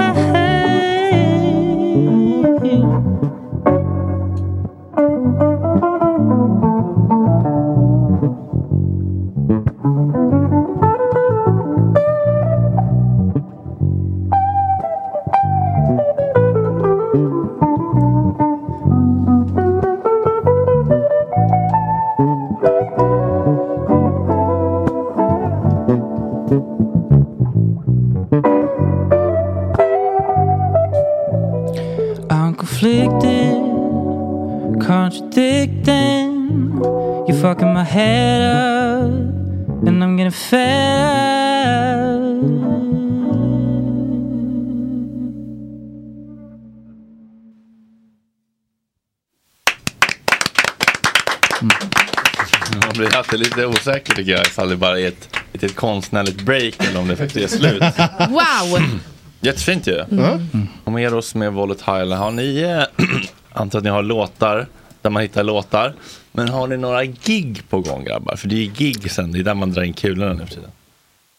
I'm conflicted, contradicting. You're fucking my head up, and I'm getting fed up. Man blir alltid lite osäker tycker jag ifall det bara är ett litet konstnärligt break eller om det faktiskt är slut. Wow! Jättefint ju. Mm. Om Eros med Volatile, har ni, eh, antar att ni har låtar där man hittar låtar. Men har ni några gig på gång grabbar? För det är ju gig sen, det är där man drar in kulorna nu för tiden.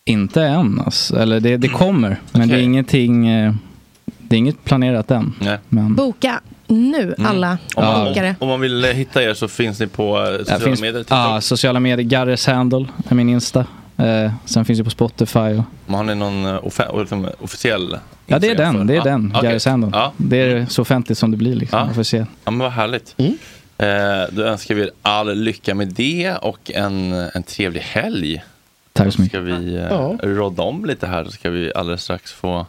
Inte än, alltså. eller det, Mm. det kommer. Men det, är ingenting, eh, det är inget planerat än. Men, Boka nu Mm. alla Om man, bokare. om man vill eh, hitta er så finns ni på eh, Ja, sociala finns, medier. ja, sociala medier, Garres handle är min Insta. Eh, sen finns det på Spotify. Och, Men Har ni någon eh, offe- liksom, officiell? ja, det är Instagram den. Det för- är Ja, Ah, den, okej. Garres handle. Ja. Det är så offentligt som det blir, liksom, officiellt. Ja, men vad härligt. Mm. Eh, då önskar vi er all lycka med det och en, en trevlig helg. Tack så mycket. Ska vi eh, Ja. rodda om lite här så ska vi alldeles strax få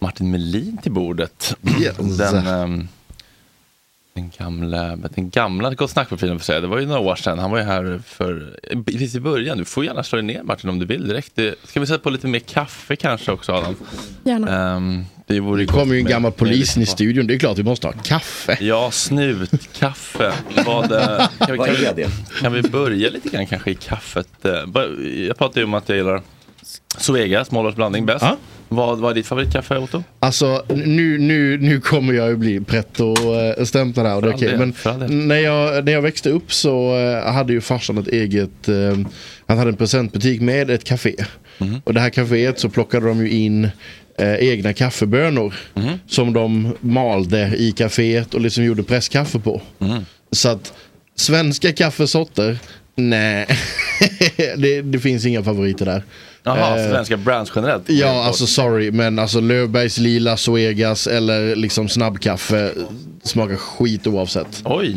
Martin Melin till bordet. Den, ehm, den gamla, den gamla Gott Snack-profilen får säga. Det var ju några år sedan. Han var ju här för, precis i början. Du får gärna slå dig ner Martin om du vill direkt. Det- Ska vi sätta på lite mer kaffe kanske också Adam? Gärna. Ehm, det vore ju Det kommer ju en gott med- gammal med polis lite in i kaffe. studion. Det är klart vi måste ha kaffe. Ja, snutkaffe. Vad, eh, kan, vi, Vad kan, vi, är det? kan vi börja lite grann kanske i kaffet? eh, bara- Jag pratade ju om att jag gillar Zoega, småårsblandning bäst. Vad, vad är ditt favoritkaffe Otto? Alltså nu, nu, nu kommer jag ju bli pretto-stämplad här och det är För okej. all del, Men för all del. när jag, när jag växte upp så eh, hade ju farsan ett eget, eh, han hade en presentbutik med ett café. Och det här caféet så plockade de ju in eh, egna kaffebönor som de malde i caféet och liksom gjorde presskaffe på. Så att svenska kaffesorter, nej, det, det finns inga favoriter där. Jaha, Eh, svenska brands generellt? Ja, alltså sorry, men alltså Löfbergs Lila, Zoegas eller liksom snabbkaffe smakar skit oavsett. Oj!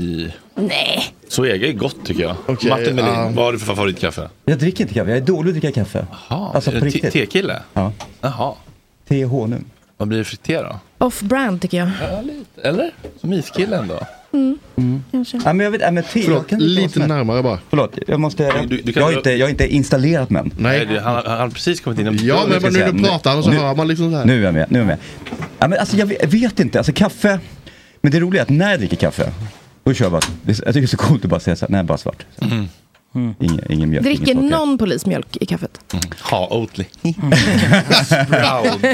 Nej. Zoega är gott tycker jag. Martin Melin, ja. vad har du för favoritkaffe? Jag dricker inte kaffe, jag är dålig att dricka kaffe. Alltså, Jaha, är du te- tekille? Ja. Jaha. TH nu. Vad blir det för te då? Off-brand tycker jag. Eller? Som iskillen då? Mm, Ja, kanske. men jag vet, ja, men te, Förlåt, jag kan inte lite närmare bara. Förlåt, jag måste... Du- du kan- jag, har inte, jag har inte installerat mig än. Nej. du, han, han har precis kommit in. Ja, men vad nu du pratar han så hör man liksom så här. Nu är jag med, nu är jag med. Ja, men alltså, jag vet- vet inte, alltså kaffe. Men det roliga är att när jag dricker kaffe, då kör jag bara. det är så- Jag tycker det är så coolt att bara säga så här, nej bara svart. Ingen, ingen mjölk, Dricker ingen socker. någon polismjölk i kaffet? Mm. Ha Oatly.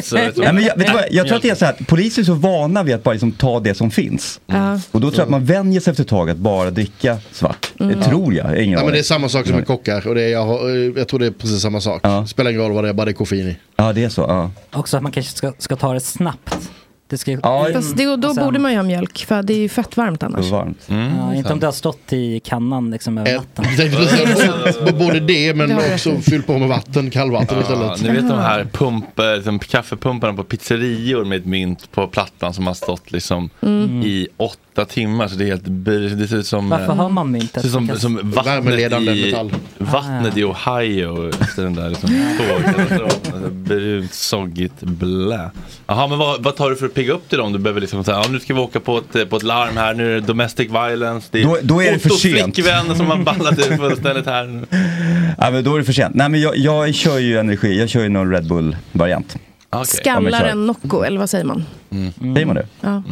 så jag tror- Nej, men jag, vet du vad, jag tror att det är så här, att poliser är så vana vid att bara liksom ta det som finns. Ja. Och då tror jag att man vänjer sig efter ett tag att bara dricka svart. Mm. Det tror jag, jag har Ja, ingen men aning. Mm. det är samma sak som med kockar och det är, jag, har- eh, jag tror det är precis samma sak. Spelar ingen roll vad det är, bara det är koffein i. Ja, det är så. Ja. Också att man kanske ska, ska ta det snabbt. Det ska, Mm. Fast det, då och sen- borde man ju ha mjölk, för det är ju fett varmt annars. varmt. ja, inte om det har stått i kannan liksom över Eh, natten. Mm. jag tänkte precis säga, både det men Det har jag också rätt fyll på med vatten, kallvatten Ja, istället. Ah, ni vet de här pump, eh, liksom, kaffepumparna på pizzerior med ett mynt på plattan som har stått liksom Mm. i åtta timmar. Så det, är helt, br- det ser ut som, Varför eh, har man myntet? det ser ut som, Kanske- som vattnet, Värmeledande i, metall. vattnet i Ohio. efter Den där liksom, tågkatastrofen. Alltså, Brunt, soggigt, blä. Jaha, men vad, vad tar du för att pigga upp dig då? Om du behöver liksom säga, ja, nu ska vi åka på ett, eh, på ett larm här, nu är det domestic violence. Det är Då- då är det för Ottos sent. flickvän som har ballat ur fullständigt här. Ja, men då är det för sent. Nej, men jag, jag kör ju energi, jag kör ju någon Red Bull-variant. Ah, Om jag Skallar kör. Mm. en Nocco, eller vad säger man? Säger man det? Ja.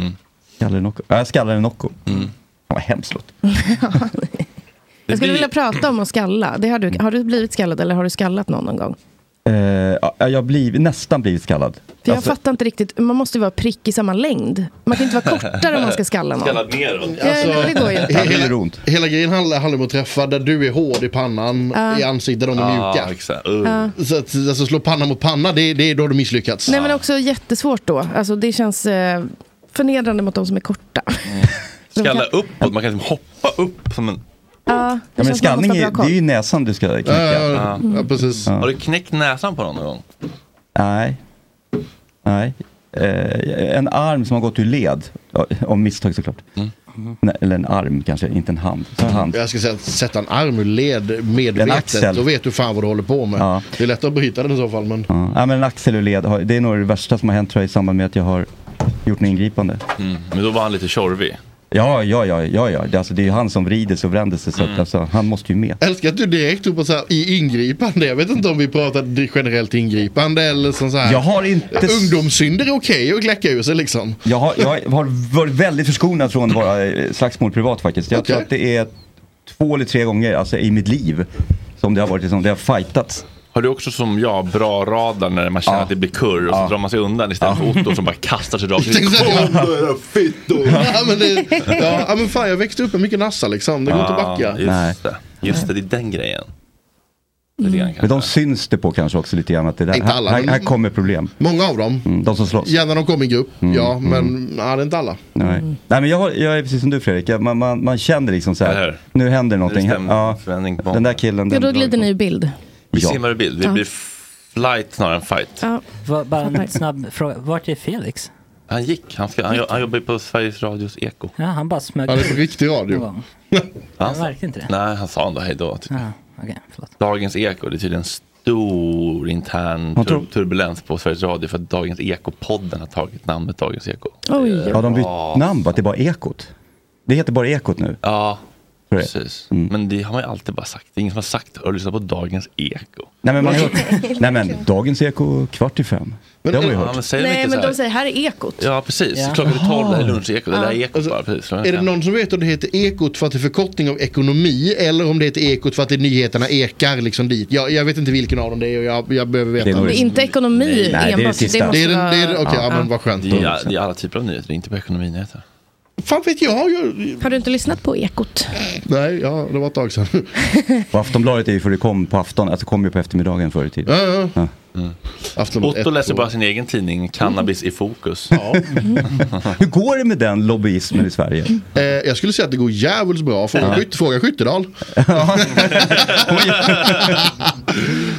Skallar en Nocco. Ja, jag skallar en Nocco. Fan vad hemskt låt. Jag skulle blir- vilja prata om att skalla. Det har, du, har du blivit skallad eller har du skallat någon någon gång? Eh, ja, jag har blivit, nästan blivit skallad. För jag Alltså- fattar inte riktigt, man måste ju vara prick i samma längd. Man kan inte vara kortare om man ska skalla någon. neråt. Ja, det går ju inte. he- Det gör hela, alltså, hela grejen handlar, handlar om att träffa där du är hård i pannan, Ja. i ansiktet de är Ja, mjuka. Exakt. Ja. Så att, alltså, slå panna mot panna, det, det är då du misslyckats. Nej men också jättesvårt då. Alltså det känns eh, förnedrande mot de som är korta. Skalla uppåt, man kan liksom hoppa upp som en... Ja, Ja, det men känns som att man skallning måste ha är, bra det är koll. ju näsan du ska knäcka. Ja. precis. Har du knäckt näsan på någon någon gång? Nej. Nej. Eh, en arm som har gått ur led. Ja, Om misstag såklart. Mm. Nej, eller en arm kanske, inte en hand. Så en hand. Mm. Jag ska säga, sätta en arm ur led En medvetet, axel. då vet du fan vad du håller på med. Ja. Det är lätt att bryta den i så fall, men... Ja. Ja, men en axel ur led, har- det är nog det värsta som har hänt tror jag, i samband med att jag har gjort en ingripande. Mm, Men då var han lite tjorvig. Ja, ja, ja, ja, ja. Det, alltså, det är ju han som vrider sig och vänder sig, så att, Mm. alltså, han måste ju med. Älskar att du direkt tog på så här, i ingripande. Jag vet inte om vi pratar generellt ingripande eller som så här. Jag har inte... Ungdomssynder är okej att kläcka ur sig liksom. Jag har, jag har varit väldigt förskonad från våra eh, slagsmål privat faktiskt. Jag tror att det är två eller tre gånger alltså, i mitt liv som det har varit liksom, det har fightats. Har du också som jag bra radar när man känner att det blir kurr och så drar man sig undan istället för Otto som bara kastar sig rakt Tänk så här, Kom då, era fittor! ja, men det, ja, ja, men fan jag växte upp med mycket nassa liksom. Det går inte att backa. Just det. just det, det är den grejen. Men de syns det på kanske också lite grann att det där, Inte alla, här, här, men- här kommer problem. Många av dem. Mm, de som slåss. Gärna de kommer i grupp, Mm, ja. mm. Men ja, det är inte alla. Nej. Mm. Nej, men jag, har, jag är precis som du Fredrik, Jag- man, man, man känner liksom så här, nu händer någonting. Det stämmer. ja, den där killen, Ja, den då glider ni ur bild. Vi Ja. simmar i bild, vi Ja. blir flight snarare än fight. Ja. Va- Bara en Fattar. snabb fråga. Vart är Felix? Han gick, han, ska, han, jo- han jobbar ju på Sveriges Radios Eko. Ja, han bara smög Ja, det är på riktig radio. Alltså. någon gång. Han, Jag märkte inte det. Nej, han sa ändå hej då. Typ. Ja, okej, förlåt. Dagens Eko, det är tydligen stor intern Jag tur- tror- turbulens på Sveriges Radio för att Dagens Eko-podden har tagit namnet Dagens Eko. Oj. Ja, de bytt namn bara till bara Ekot. Det heter bara Ekot nu. Ja, precis. Mm. Men det har man ju alltid bara sagt. Det är ingen som har sagt att lyssna på Dagens Eko. Nej men, man har hört, nej, men dagens Eko kvart i fem. det har man ju Ja, hört. men säg det Nej inte men så de här. säger, här är ekot. Ja, precis. Ja. Klockan är tolv, det här är Jaha. lunchekot. Det där är Ja. alltså, ekot bara. Precis. Klockan Är det fem. någon som vet om det heter Ekot för att det är förkortning av ekonomi eller om det heter Ekot för att det är nyheterna ekar liksom dit? Jag, jag vet inte vilken av dem det är och jag, jag behöver veta. Det är inte ekonomi Nej, nej, det är enbart. sista. måste Det är den- det är den- vara- okej, ja, men vad skönt. Det är, det är alla typer av nyheter, det är inte bara ekonominyheter. Fan vet jag. Har du inte lyssnat på ekot? Nej, ja, det var ett tag sedan. Och Aftonbladet är ju för det kom på afton, alltså kom ju på eftermiddagen förr i tiden. Ja, ja. Otto läser bara sin egen tidning, Cannabis i fokus. Hur går det med den lobbyismen i Sverige? Eh, jag skulle säga att det går jävligt bra. Fråga, Ja. Skytt, fråga Skyttedal.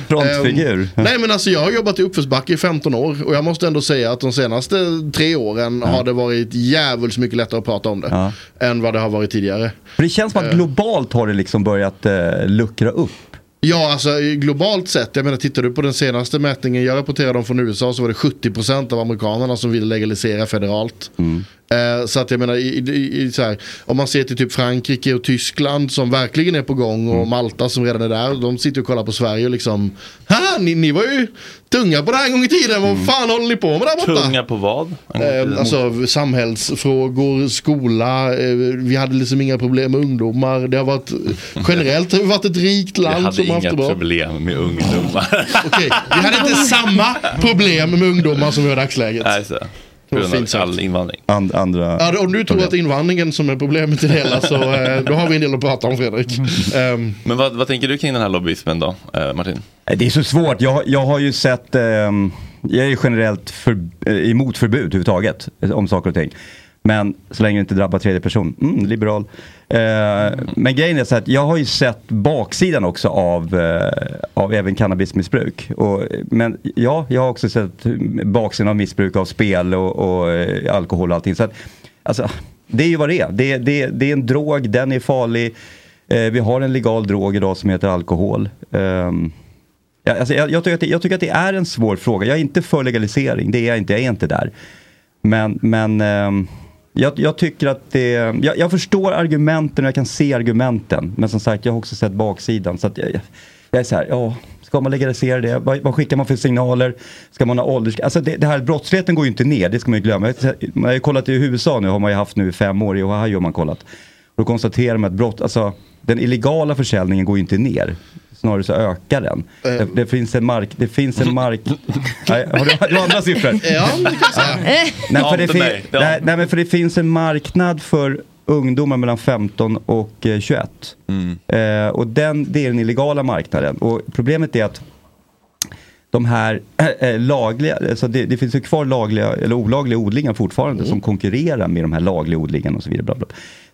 Frontfigur. Nej men alltså jag har jobbat i uppförsbacke i 15 år och jag måste ändå säga att de senaste tre åren har det varit jävligt mycket lättare att prata om det än vad det har varit tidigare. För det känns Ehm. som att globalt har det liksom börjat eh, luckra upp. Ja, alltså globalt sett, jag menar tittar du på den senaste mätningen jag rapporterade om från USA så var det 70% av amerikanerna som ville legalisera federalt. Eh, Så att jag menar, i, i, i, så här, om man ser till typ Frankrike och Tyskland som verkligen är på gång Mm. och Malta som redan är där. De sitter och kollar på Sverige och liksom, "Ha, ni, ni var ju tunga på det här en gång i tiden, vad fan håller ni på med där borta? Mm. Tunga på vad? Eh, Alltså samhällsfrågor, skola, eh, vi hade liksom inga problem med ungdomar. Det har varit, generellt har vi varit ett rikt Jag land hade som har haft inga det bra. problem med ungdomar. Okej, vi hade inte samma problem med ungdomar som vi har i dagsläget. Nej, så. På grund av all invandring. And, andra... Ja, om du tror att invandringen som är problemet i det hela så eh, då har vi en del att prata om Fredrik. Ehm, Men vad, vad tänker du kring den här lobbyismen då, eh, Martin? Nej, Det är så svårt. Jag, jag har ju sett, ehm, jag är ju generellt för, eh, emot förbud överhuvudtaget eh, om saker och ting. Men så länge det inte drabbar tredje person, mm, liberal. Eh, Men grejen är så att jag har ju sett baksidan också av, eh, av även cannabismissbruk. Och, eh, men ja, jag har också sett mm, baksidan av missbruk av spel och, och eh, alkohol och allting. Så att, alltså, det är ju vad det är. Det, det, det är en drog, den är farlig. Eh, Vi har en legal drog idag som heter alkohol. Ehm, Ja, alltså, jag, jag, tycker att det, jag tycker att det är en svår fråga. Jag är inte för legalisering, det är jag inte. Jag är inte där. Men, men ehm, jag, jag tycker att det... Jag, jag förstår argumenten och jag kan se argumenten. Men som sagt, jag har också sett baksidan. Så att jag, jag- jag är så här, ja, ska man legalisera det? Vad, vad skickar man för signaler? Ska man ha ålders... Alltså det, det här brottsligheten går ju inte ner, det ska man ju glömma. Jag, man har ju kollat i USA nu, har man ju haft nu i fem år, i Ohio har man kollat. Och då konstaterar man att brott, alltså, den illegala försäljningen går ju inte ner. Snarare så ökar den. Det, det finns en mark... Det finns en mark nej, har du, du har andra siffror? Ja, det kan jag säga. Nej, för det Inte fin- mig. Ja. nej, nej, men för det finns en marknad för ungdomar mellan 15 och eh, 21. Mm. Eh, och den, det är den illegala marknaden. Och problemet är att de här eh, lagliga, alltså det, det finns ju kvar lagliga eller olagliga odlingar fortfarande som konkurrerar med de här lagliga odlingarna och så vidare. Bla bla.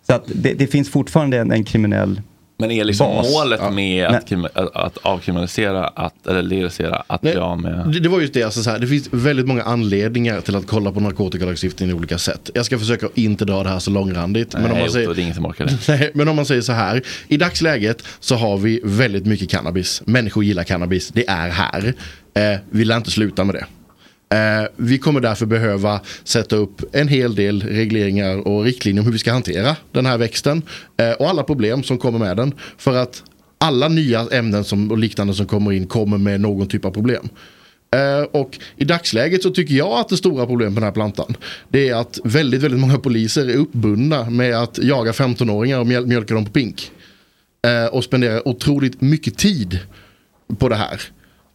Så att det, det finns fortfarande en, en kriminell Men är liksom bas. målet med Nej. att, krimi- att- att avkriminalisera, att, eller legalisera, att bli av med... Det, det var just det, alltså så här, det finns väldigt många anledningar till att kolla på narkotikalagstiftningen i olika sätt. Jag ska försöka inte dra det här så långrandigt. Nej, men, om man Otto, säger, det är ingen som orkar det. nej, men om man säger så här, i dagsläget så har vi väldigt mycket cannabis. Människor gillar cannabis, det är här. Eh, vi lär inte sluta med det. Eh, vi kommer därför behöva sätta upp en hel del regleringar och riktlinjer om hur vi ska hantera den här växten. Eh, och alla problem som kommer med den. För att alla nya ämnen som, och liknande som kommer in kommer med någon typ av problem. Eh, Och i dagsläget så tycker jag att det stora problemet med den här plantan det är att väldigt, väldigt många poliser är uppbundna med att jaga 15-åringar och mjöl- mjölka dem på pink. Eh, Och spenderar otroligt mycket tid på det här.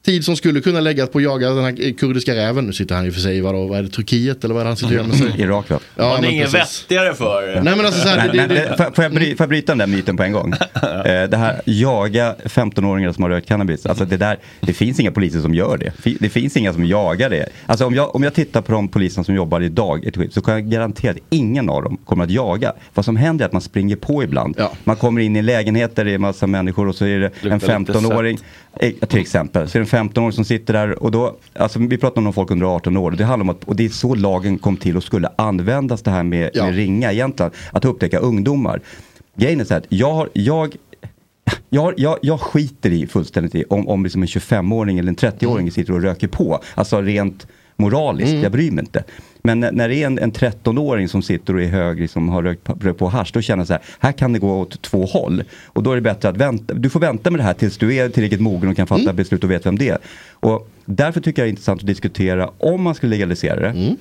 Tid som skulle kunna läggas på att jaga den här kurdiska räven. Nu sitter han i och för sig i vad, då, vad är det, Turkiet eller vad är det han sitter och gömmer sig i? Irak va? Ja, men precis. vettigare för? Nej, men alltså så här, det- det- Mm. det- får, får jag bry, får jag bryta den där myten på en gång? Eh, det här jaga 15-åringar som har rökt cannabis. Alltså det, där, det finns inga poliser som gör det. Fi- Det finns inga som jagar det. Alltså om jag, om jag tittar på de poliserna som jobbar idag i ett skydd så kan jag garantera att ingen av dem kommer att jaga. Vad som händer är att man springer på ibland. Man kommer in i en lägenhet där det är massa människor och så är det en Luktar lite 15-åring. Eh, Till exempel, så är det en 15-åring som sitter där och då, alltså vi pratar om de folk under 18 år, det handlar om att, och det är så lagen kom till och skulle användas det här med, med ringa egentligen, att upptäcka ungdomar. Grejen är så här, att jag, har, jag, jag, jag, jag skiter i fullständigt i om, om liksom en 25-åring eller en 30-åring sitter och röker på, alltså rent moraliskt, Mm. jag bryr mig inte. Men när- när det är en, en 13-åring som sitter och är hög, liksom, har rökt, pa- rökt på hasch, då känner jag så här, här kan det gå åt två håll. Och då är det bättre att vänta, du får vänta med det här tills du är tillräckligt mogen och kan fatta beslut och vet vem det är. Och därför tycker jag det är intressant att diskutera om man skulle legalisera det,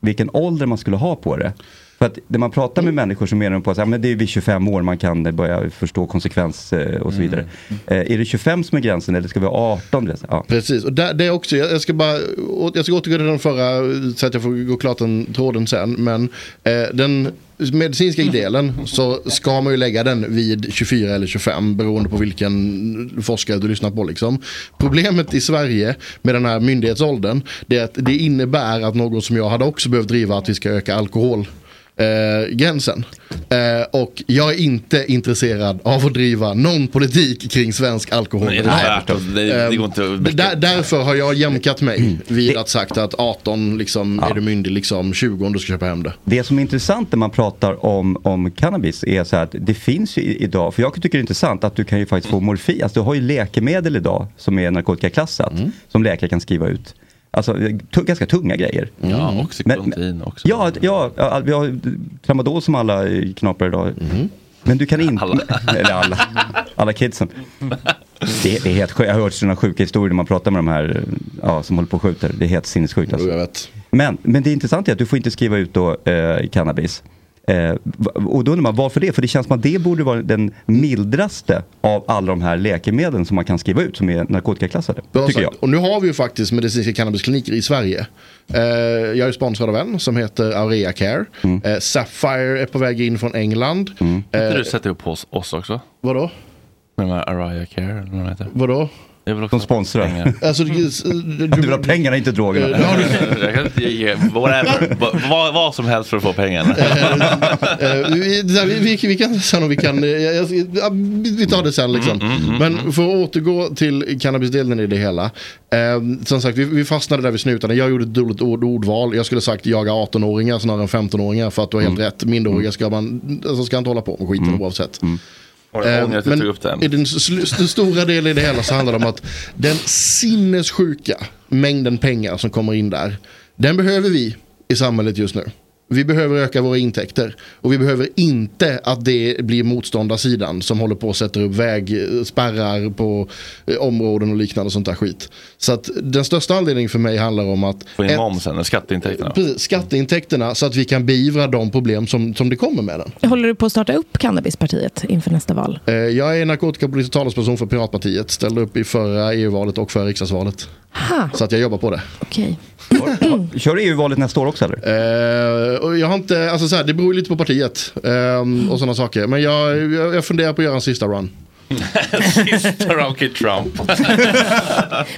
vilken ålder man skulle ha på det. För att när man pratar med människor så menar de på att ja, men det är vid 25 år man kan eh, börja förstå konsekvens eh, och så vidare. Eh, är det 25 som är gränsen eller ska vi ha 18? Ja. Precis, och där, det är också, jag, jag ska bara, å- jag ska återgå till den förra så att jag får gå klart den tråden sen. Men eh, den medicinska delen så ska man ju lägga den vid 24 eller 25 beroende på vilken forskare du lyssnar på. Liksom. Problemet i Sverige med den här myndighetsåldern det är att det innebär att någon som jag hade också behövt driva att vi ska öka alkohol eh, gränsen. Eh, och jag är inte intresserad av att driva någon politik kring svensk alkohol. Nej, det är värt att- det- det går inte att- Eh, där, därför har jag jämkat Mm. mig vid att sagt att 18 liksom, är du myndig, liksom, 20 om du ska köpa hem det. Det som är intressant när man pratar om, om cannabis är så här att det finns ju i- idag, för jag tycker det är intressant att du kan ju faktiskt få morfin, alltså du har ju läkemedel idag som är narkotikaklassat, Mm. som läkare kan skriva ut. Alltså tu- ganska tunga grejer. Mm. Ja, oxycontin också. Ja, ja, ja, vi har tramadol som alla eh, knaprar idag. Mm. Men du kan inte... Alla. Eller alla. Alla kidsen. Det, det är helt sjukt. Jag har hört sådana sjuka historier när man pratar med de här ja, som håller på och skjuter. Det är helt sinnessjukt. Alltså. Men, men det intressanta är att du får inte skriva ut då, eh, cannabis. Eh, va- och då undrar man varför det? För det känns som att det borde vara den mildraste av alla de här läkemedlen som man kan skriva ut som är narkotikaklassade. Bra tycker jag. sagt. Och nu har vi ju faktiskt medicinska cannabiskliniker i Sverige. Eh, jag är sponsrad av en som heter Aurea Care. Mm. Eh, Sapphire är på väg in från England. Kan inte Eh, du sätta upp oss, oss också? Vadå? Med de här Araya Care eller vad de heter. Vadå? Jag vill också De sponsrar. Alltså, du, du vill ha pengarna, inte drogerna. jag kan inte ge whatever. Va- Vad, vad som helst för att få pengarna. Eh, vi, det där, vi, vi, vi kan sen om vi kan, eh, jag, jag, ja, vi- vi tar det sen liksom. Mm, mm, mm, Men för att återgå till cannabisdelen i det hela. Eh, som sagt, vi, vi fastnade där vi snutade. Jag gjorde ett dåligt ord, ordval. Jag skulle sagt jaga 18-åringar snarare än 15-åringar för att du har Mm. helt rätt. Minderåriga ska man, alltså ska inte hålla på med skiten oavsett. Mm. Har du ångrat Eh, att du tog upp den? i den, sl- den stora delen i det hela så handlar det om att den sinnessjuka mängden pengar som kommer in där, den behöver vi i samhället just nu. Vi behöver öka våra intäkter. Och vi behöver inte att det blir motståndarsidan som håller på och sätter upp vägspärrar på eh, områden och liknande sånt där skit. Så att den största anledningen för mig handlar om att Få in ett- momsen, eller skatteintäkterna. Precis, skatteintäkterna så att vi kan beivra de problem som, som det kommer med den. Håller du på att starta upp Cannabispartiet inför nästa val? Eh, Jag är narkotikapolitisk talesperson för Piratpartiet, ställde upp i förra EU-valet och förra riksdagsvalet. Så att jag jobbar på det. Okej. Kör du EU-valet nästa år också eller? jag har inte, alltså så här, det beror ju lite på partiet ehm, och sådana saker. Men jag, jag, jag funderar på att göra en sista run. Sista Rocky Trump.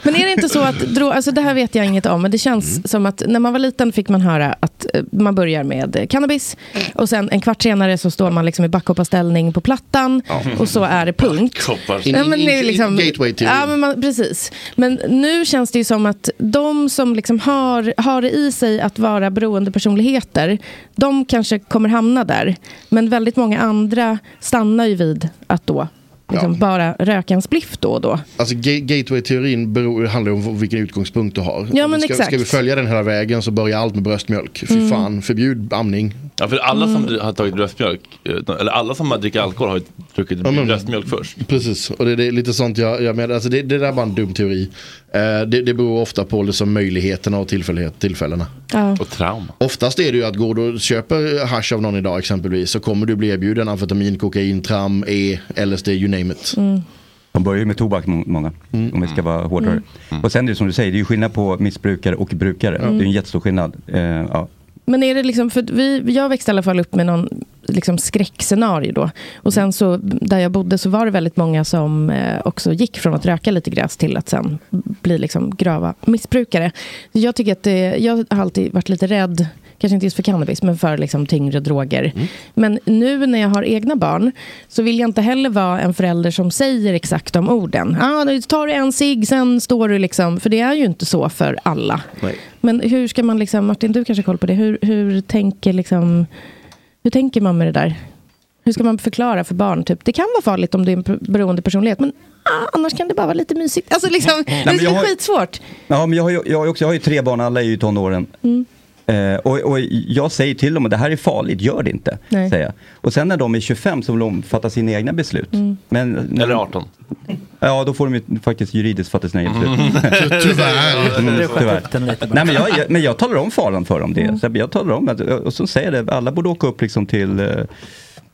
Men är det inte så att, dro- alltså det här vet jag inget om, men det känns Mm. som att när man var liten fick man höra att eh, man börjar med eh, cannabis och sen en kvart senare så står man liksom i backhopparställning på plattan Ja. och så är det punkt. In- Ja, men in- det är in- liksom- gateway till- Ja, men man, precis. Men nu känns det ju som att de som liksom har, har det i sig att vara beroendepersonligheter, de kanske kommer hamna där. Men väldigt många andra stannar ju vid att då liksom bara röka en spliff då och då. Alltså ga- gateway-teorin beror, handlar ju om vilken utgångspunkt du har. Ja, men ska, exakt. ska vi följa den hela vägen så börjar allt med bröstmjölk. Fy Mm. fan, förbjud amning. Ja, för alla som dri- har tagit bröstmjölk, eh, eller alla som har druckit alkohol har ju druckit Ja, men- bröstmjölk först. Precis, och det, det är lite sånt jag, jag menar. Alltså det, det där är bara en dum teori. Eh, det, det beror ofta på liksom möjligheterna och tillfällighet- tillfällena. Och trauma. Oftast är det ju att går du och köper hash av någon idag exempelvis så kommer du bli erbjuden amfetamin, kokain, tram, E, LSD, you name it. De börjar ju med tobak må- många, om vi ska vara hårdare. Mm. Och sen är det som du säger, det är ju skillnad på missbrukare och brukare. Mm. Det är ju en jättestor skillnad. Eh, ja. Men är det liksom, för vi, jag växte i alla fall upp med någon liksom skräckscenario då. Och sen så, där jag bodde så var det väldigt många som eh, också gick från att röka lite gräs till att sen bli liksom grava missbrukare. Jag tycker att det, jag har alltid varit lite rädd, kanske inte just för cannabis, men för liksom tyngre droger. Men nu när jag har egna barn så vill jag inte heller vara en förälder som säger exakt de orden. Ah, nu tar du en cigg, sen står du liksom, för det är ju inte så för alla. Men hur ska man, liksom, Martin, du kanske har koll på det. Hur, hur, tänker liksom, hur tänker man med det där? Hur ska man förklara för barn? Typ, det kan vara farligt om det är en pr- beroende personlighet, men ah, annars kan det bara vara lite mysigt. Alltså, liksom, Nej, det men jag är har- skitsvårt. Ja, men jag, har ju, jag, har ju också, jag har ju tre barn, alla är ju i tonåren. Mm. Eh, och, och jag säger till dem att det här är farligt, gör det inte. Nej. Säger jag. Och sen när de är 25 så vill de fatta sina egna beslut. Men, Eller 18. Ja, då får de ju faktiskt juridiskt fatta sina egna beslut. Mm. Tyvärr. Mm, Du sköt Tyvärr. upp den lite bara. Nej, men, jag, jag, men jag talar om faran för dem. Det. Mm. Så jag- jag talar om att, och så säger jag det, alla borde åka upp liksom till eh,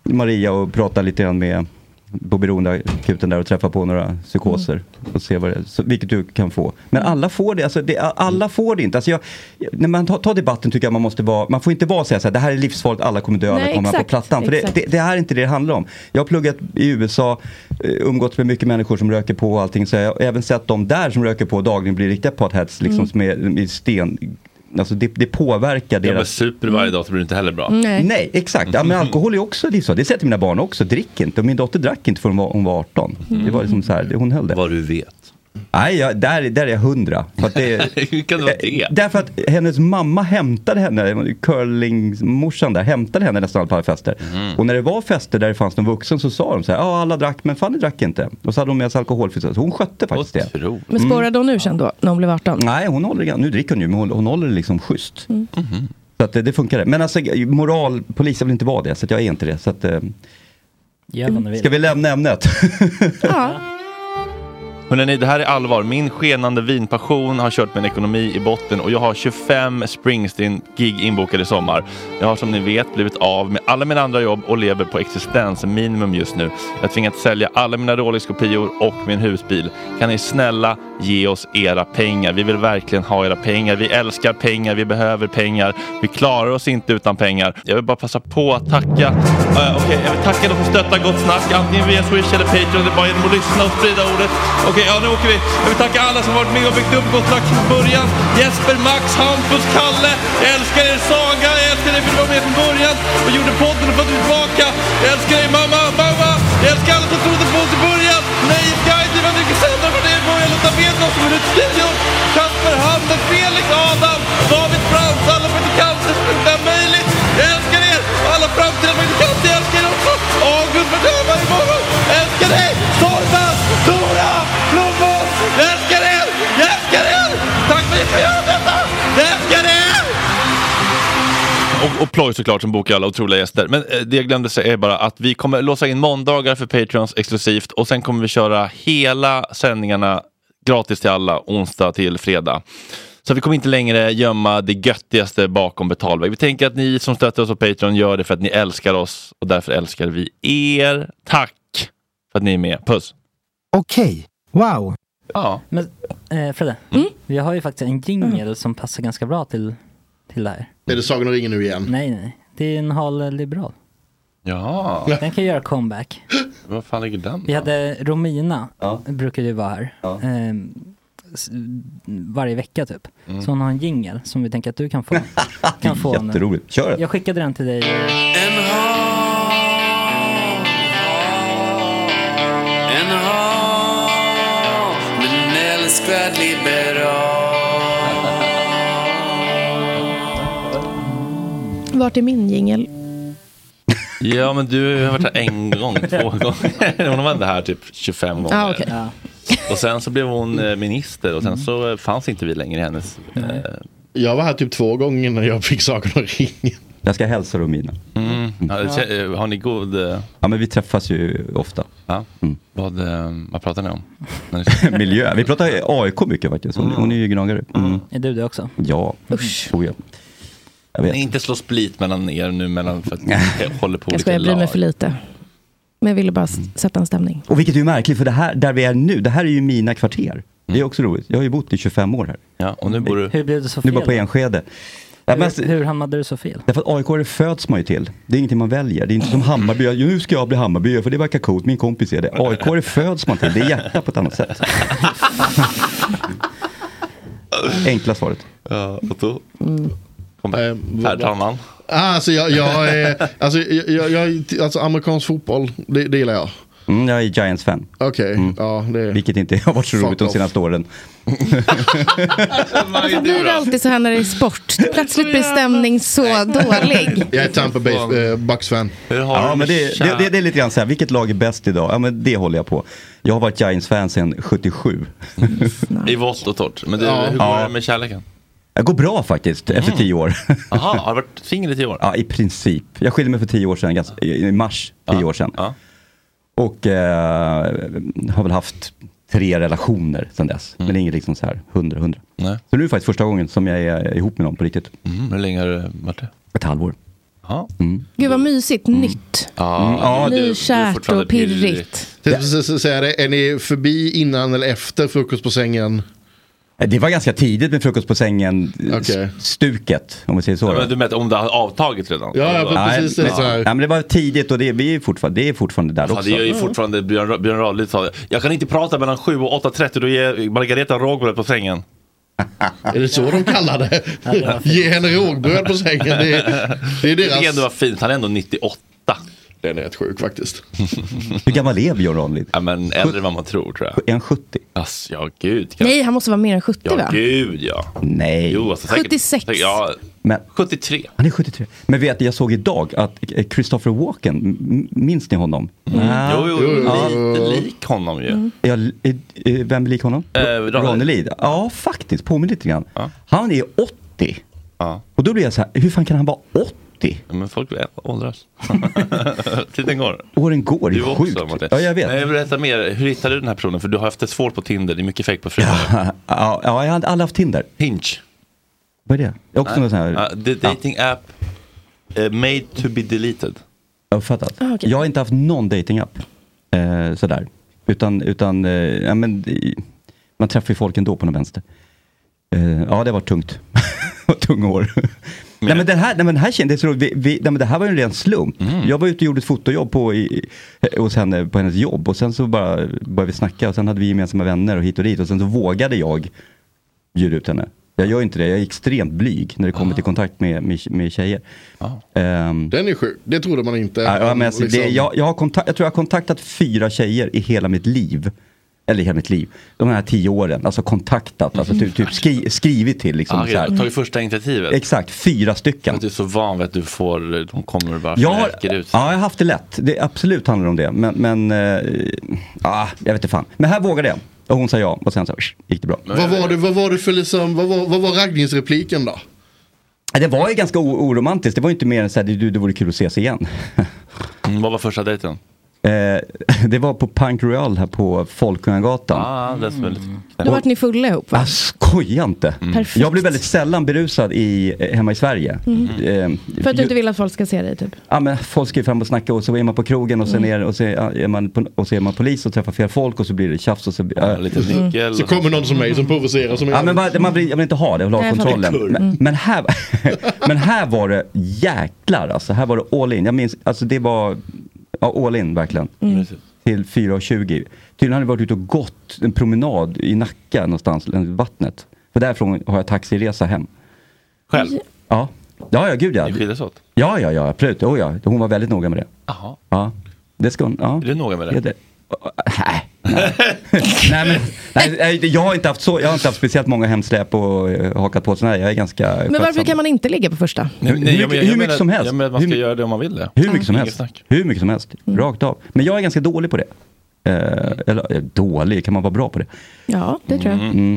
Maria och prata lite grann med på beroendeakuten där och träffa på några psykoser Mm. och se vad det, så, vilket du kan få. Men alla får det, alltså det, alla får det inte. Alltså jag, när man tar, tar debatten tycker jag man måste vara, man får inte bara säga så här, det här är livsfarligt, alla kommer dö, alla Nej, kommer på exakt, plattan. För det, exakt. det, det här är inte det det handlar om. Jag har pluggat i USA, eh, umgåtts med mycket människor som röker på och allting. Så jag har även sett de där som röker på dagligen bli riktiga potheads, liksom Mm. som är, är sten. Alltså det, det påverkar Jag bara deras... super Mm. varje dag så blir det inte heller bra. Mm. Nej. exakt. Ja, men alkohol är också livsfarligt. Det säger jag till mina barn också. Drick inte. Och min dotter drack inte förrän hon var- hon var 18. Det var liksom så här, det- hon höll det. Vad du vet. Nej, jag, där, där är jag hundra. För att det, Eh, Hur kan det vara det? Därför att hennes mamma hämtade henne, curlingmorsan där, hämtade henne nästan på alla fester. Mm. Och när det var fester där det fanns någon vuxen så sa de så här, ja alla drack men Fanny drack inte. Och så hade hon med sig alkoholfritt. Så hon skötte faktiskt det. Men Mm. spårade hon ur sen då, när hon blev 18? Nej, hon håller, det- nu dricker hon ju men hon, hon håller det liksom schysst. Mm. Så att det, det funkar. Men alltså moral, polisen vill inte vara det så att jag är inte det. Så att, eh, Gör vad ni vill. ska vi lämna ämnet? Hörrni, det här är allvar. Min skenande vinpassion har kört min ekonomi i botten och jag har 25 Springsteen-gig inbokade i sommar. Jag har som ni vet blivit av med alla mina andra jobb och lever på existensminimum just nu. Jag har tvingats sälja alla mina Rolex-kopior och min husbil. Kan ni snälla ge oss era pengar? Vi vill verkligen ha era pengar. Vi älskar pengar, vi behöver pengar. Vi klarar oss inte utan pengar. Jag vill bara passa på att tacka. Uh, Okej, jag vill tacka de som stöttar Gott Snack, antingen via Swish eller Patreon. Det är bara genom att lyssna och sprida ordet. Okej, ja nu åker vi. Jag vill tacka alla som varit med och byggt upp Gott Snack från början. Jesper, Max, Hampus, Kalle. Jag älskar er Saga, jag älskar dig för att du var med från början och gjorde podden och för att du är tillbaka. Jag älskar dig mamma, mamma. Jag älskar alla som trodde på oss i början. Nej, guide, vad mycket sändare från er i början. Lotta Bednoff som är ute i studion. Kasper, Handen, Felix, Adam, David Frans, alla praktikanter som gjorde det här möjligt. Jag älskar er! Alla framtida praktikanter, jag älskar er också! August Verdöva imorgon! Jag älskar dig! Torvas, Tora, Blommås! Jag älskar er! Jag älskar er! Tack för att ni får göra detta! Jag älskar er! Och och Ploy såklart som bokar alla otroliga gäster. Men eh, det jag glömde säga är bara att vi kommer låsa in måndagar för Patreons exklusivt och sen kommer vi köra hela sändningarna gratis till alla onsdag till fredag. Så vi kommer inte längre gömma det göttigaste bakom betalväg. Vi tänker att ni som stöttar oss på Patreon gör det för att ni älskar oss och därför älskar vi er. Tack för att ni är med. Puss! Okej. Wow. Ja. Mm. Men eh, Fredde, vi har ju faktiskt en jingle som passar ganska bra till, till det här. Är det Sagan och ringen nu igen? Nej, nej. Det är en hal liberal. Ja. Den kan göra comeback. Var fan ligger den? Vi hade Romina, brukar ju vara här. Eh, s- varje vecka typ. Mm. Så hon har en jingle som vi tänker att du kan få. kan få nu. Jätteroligt. Kör den. Jag skickade den till dig. En hal, men älskvärd liberal Vart är min jingel? Ja, men du har varit här en gång, två gånger. Hon har varit här typ 25 gånger. Ah, okej. Ja. Och sen så blev hon eh, minister och sen så eh, fanns inte vi längre i hennes... Jag var här typ två gånger innan jag fick Sagan och ringen. Jag ska hälsa Romina. Mm. Ja, det kä- eh, Har ni god... eh, Ja men vi träffas ju ofta. Mm. Ja. Vad, eh, vad pratar ni om? Miljö. Vi pratar AIK mycket faktiskt. Hon, hon är ju gnagare. Mm. Är du det också? Ja. Usch. Oh, ja. Jag vet. Nej, inte slå split mellan er nu mellan för att ni håller på Jag olika skojar, jag bryr mig lag. för lite. Men jag ville bara Mm. s- sätta en stämning. Och vilket är ju märkligt för det här, där vi är nu, det här är ju mina kvarter. Det är också roligt. Jag har ju bott i 25 år här. Mm. Ja, och nu bor du... Hur blev det så Nu fel? bara på Enskede. Ja, men, alltså- hur, hur hamnade du så fel? Därför att AIK föds man ju till. Det är ingenting man väljer. Det är inte som Hammarby. Jag- Nu ska jag bli Hammarby för det verkar coolt. Min kompis är det. AIK föds man till. Det är hjärta på ett annat sätt. Enkla svaret. Ja, och då... Eh, Herr talman. Ah, alltså, jag, jag, är, alltså, jag, jag, jag, alltså amerikansk fotboll, det, det gillar jag. Mm, jag är Giants-fan. Okej, ja det Vilket inte har varit så Fuck roligt de off. senaste åren. Varför blir Alltså, det alltid så här när det är sport? Plötsligt blir stämning så dålig. Jag är Tampa Bay eh, Bucks-fan. Ja, men det, det, det, det är lite grann så här, vilket lag är bäst idag? Ja, men det håller jag på. Jag har varit Giants-fan sedan 77. I vått och torrt. Men du, Ja. hur går Ja. det med kärleken? Det går bra faktiskt, efter Mm. tio år. Jaha, har du varit singel i tio år? Ja, i princip. Jag skilde mig för tio år sedan, ganska, i i mars tio år sedan. Och eh, har väl haft tre relationer sedan dess. Men det är inget liksom så här, hundra, hundra. Mm. Nej. Så nu är det faktiskt första gången som jag är ihop med någon på riktigt. Mm, hur länge har du varit det? Ett halvår. Ja. Mm. Gud vad mysigt, nytt. Ja, ja, du- du är Nykärt fortfarande och pirrigt. Så- så- så- så är det, Är ni förbi innan eller efter frukost på sängen? Eh, Det var ganska tidigt med frukost på sängen, s- stuket om vi säger så. Ja, då. men du menar om det har avtagit redan? Nej, nej, men det var tidigt och det, vi är fortfarande, det är fortfarande där Ja, också. Alltså, det Mm. gör ju fortfarande Björn, Björn Ranelid sa det. Jag kan inte prata mellan 7 och 8.30, då ger Margareta rågbröd på sängen. Är det så de kallar det? Ja, det var fint. Ge henne rågbröd på sängen. Det, är- det är Det är deras... ändå fint, han är ändå 98. Den är rätt sjuk faktiskt. Hur gammal är Björn Ranelid? Ja, men äldre än vad man tror tror jag. Är han 70? Ass, ja, gud. Nej, han måste vara mer än 70 Ja, va? gud ja. Nej. Jo, alltså, säkert, 76. Säkert, ja, Men 73. han är 73. Men vet du, jag såg idag att eh, Christopher Walken, m- minns ni honom? Ah. Mm. Jo, jo, Ja. lite lik honom ju. Ja, eh, eh, vem är lik honom? Eh, Ranelid. Ranelid. Ja, faktiskt. Påminner lite grann. Han är 80. Och då blir jag så här, hur fan kan han vara 80? Ja, Men folk åldras. Tiden går. Åren går, det Du är sjukt. också, Martin. Ja, jag vet. Nej, berätta mer. Hur hittade du den här personen? För du har haft det svårt på Tinder. Det är mycket fake på fruar. Ja, ja, jag har aldrig haft Tinder. Hinge. Vad är det? Det är också någon sån här... Ja, det är dating app eh, made to be deleted. Jag har fattat. Ah, okej. Jag har inte haft någon datingapp. Eh, sådär. Utan, utan eh, ja, men, det- man träffar ju folk ändå på någon vänster. Eh, ja, det har varit tungt. Tunga år. Nej men, den här, nej men den här kändes så roligt. vi, vi, nej men det här var ju en ren slump. Jag var ute och gjorde ett fotojobb på, i, eh, hos henne på hennes jobb och sen så bara började vi snacka och sen hade vi gemensamma vänner och hit och dit och sen så vågade jag bjuda ut henne. Jag gör ju inte det, jag är extremt blyg när det kommer till kontakt med, med, med tjejer. Ehm, Den är sjuk. Det trodde man inte. Ja, ja, men alltså, det, Liksom- jag, jag, har kontak- jag tror jag har kontaktat fyra tjejer i hela mitt liv. Eller i hela mitt liv. De här tio åren. Alltså kontaktat, alltså typ, typ skri- skrivit till. Liksom, Ah, så här. okay. Tagit första initiativet. Exakt, fyra stycken. Att du är så van vid att du får, de kommer bara Jag har, läker ut. ja, jag har haft det lätt. Det absolut handlar om det. Men, men eh, ah, jag vet inte fan. Men här vågade jag. Och hon sa ja. Och sen så gick det bra. Vad var det, vad var det för liksom, vad var, vad var raggningsrepliken då? Det var ju ganska o- oromantiskt. Det var ju inte mer än så här, du, det vore kul att ses igen. Ah. Mm, vad var första dejten? Eh, det var på Punk Royal här på Folkungagatan. Ah, det är väldigt... Då vart ni fulla ihop va? Jag skojar inte. Perfekt. Jag blir väldigt sällan berusad i, eh, hemma i Sverige. Mm. Eh, För att du ju- inte vill att folk ska se dig typ? Ja, men folk ska ju fram och snacka och så är man på krogen och, sen Mm. är, och, så är, är man, på, och så är man polis och träffar fel folk och så blir det tjafs och så blir ja, lite nyckel. Så kommer någon som mig som provocerar. Som ja, men man, man vill, jag vill inte ha det, jag vill Nej, jag ha fattar. Mm. kontrollen. Kurv. Men, men, här, men här var det jäklar alltså, här var det all in. Jag minns, alltså det var ja, all in verkligen. Mm. Till 4.20. Tydligen hade vi varit ute och gått en promenad i Nacka någonstans, längs vattnet. För därifrån har jag taxiresa hem. Själv? Ja. Ja, ja, gud ja. Ni skildes åt? Ja, ja, ja, absolut. Oh, ja. Hon var väldigt noga med det. Jaha. Ja, det ska hon. Ja. Är du noga med det? Nej. nej, men, nej, nej, jag har inte haft så, jag har inte haft speciellt många hemsläp och eh, hakat på sådana här. Jag är ganska Men varför kan man inte ligga på första? Nej, nej, Hur jag mycket- men- jag hur mycket menar- som helst. Jag menar att man ska göra det om man vill det. Hur mycket som Inget helst. snack. Hur mycket som helst. Rakt av. Men jag är ganska dålig på det. Eh, Eller eh, dålig, kan man vara bra på det? Ja, det tror jag. Mm.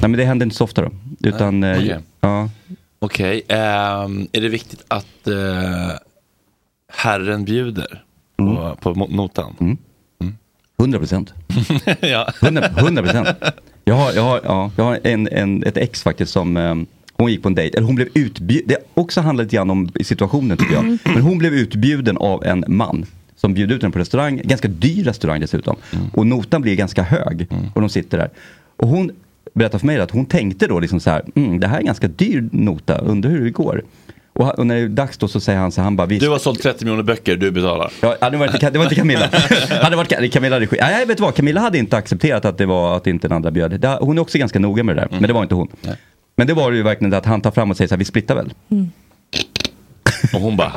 Nej men det händer inte så ofta då. Utan, Nej, eh, okej. ja. Okej, ehm, är det viktigt att eh, herren bjuder på, på mo- notan? Mm. 100 Mm. procent. ja. 100 procent. Jag har, jag har, ja, jag har en, en, ett ex faktiskt som eh, hon gick på en dejt, eller hon blev utbjuden, det också handlar lite grann om situationen tycker Mm. jag. Men hon blev utbjuden av en man som bjöd ut henne på restaurang, ganska dyr restaurang dessutom. Mm. Och notan blir ganska hög och de sitter där. Och hon berättade för mig att hon tänkte då liksom så här, mm, det här är en ganska dyr nota, undrar hur det går. Och, ha- och när det är dags då så säger han så här, han bara, vi Du har sålt 30 miljoner böcker, du betalar. Ja, det var inte, det var inte Camilla. hade varit, Ka- Camilla hade skit. Nej, vet du vad? Camilla hade inte accepterat att det var att inte den andra bjöd. Det, hon är också ganska noga med det Mm. där, men det var inte hon. Men det var ju verkligen det att han tar fram och säger så här, vi splittar väl? Och hon bara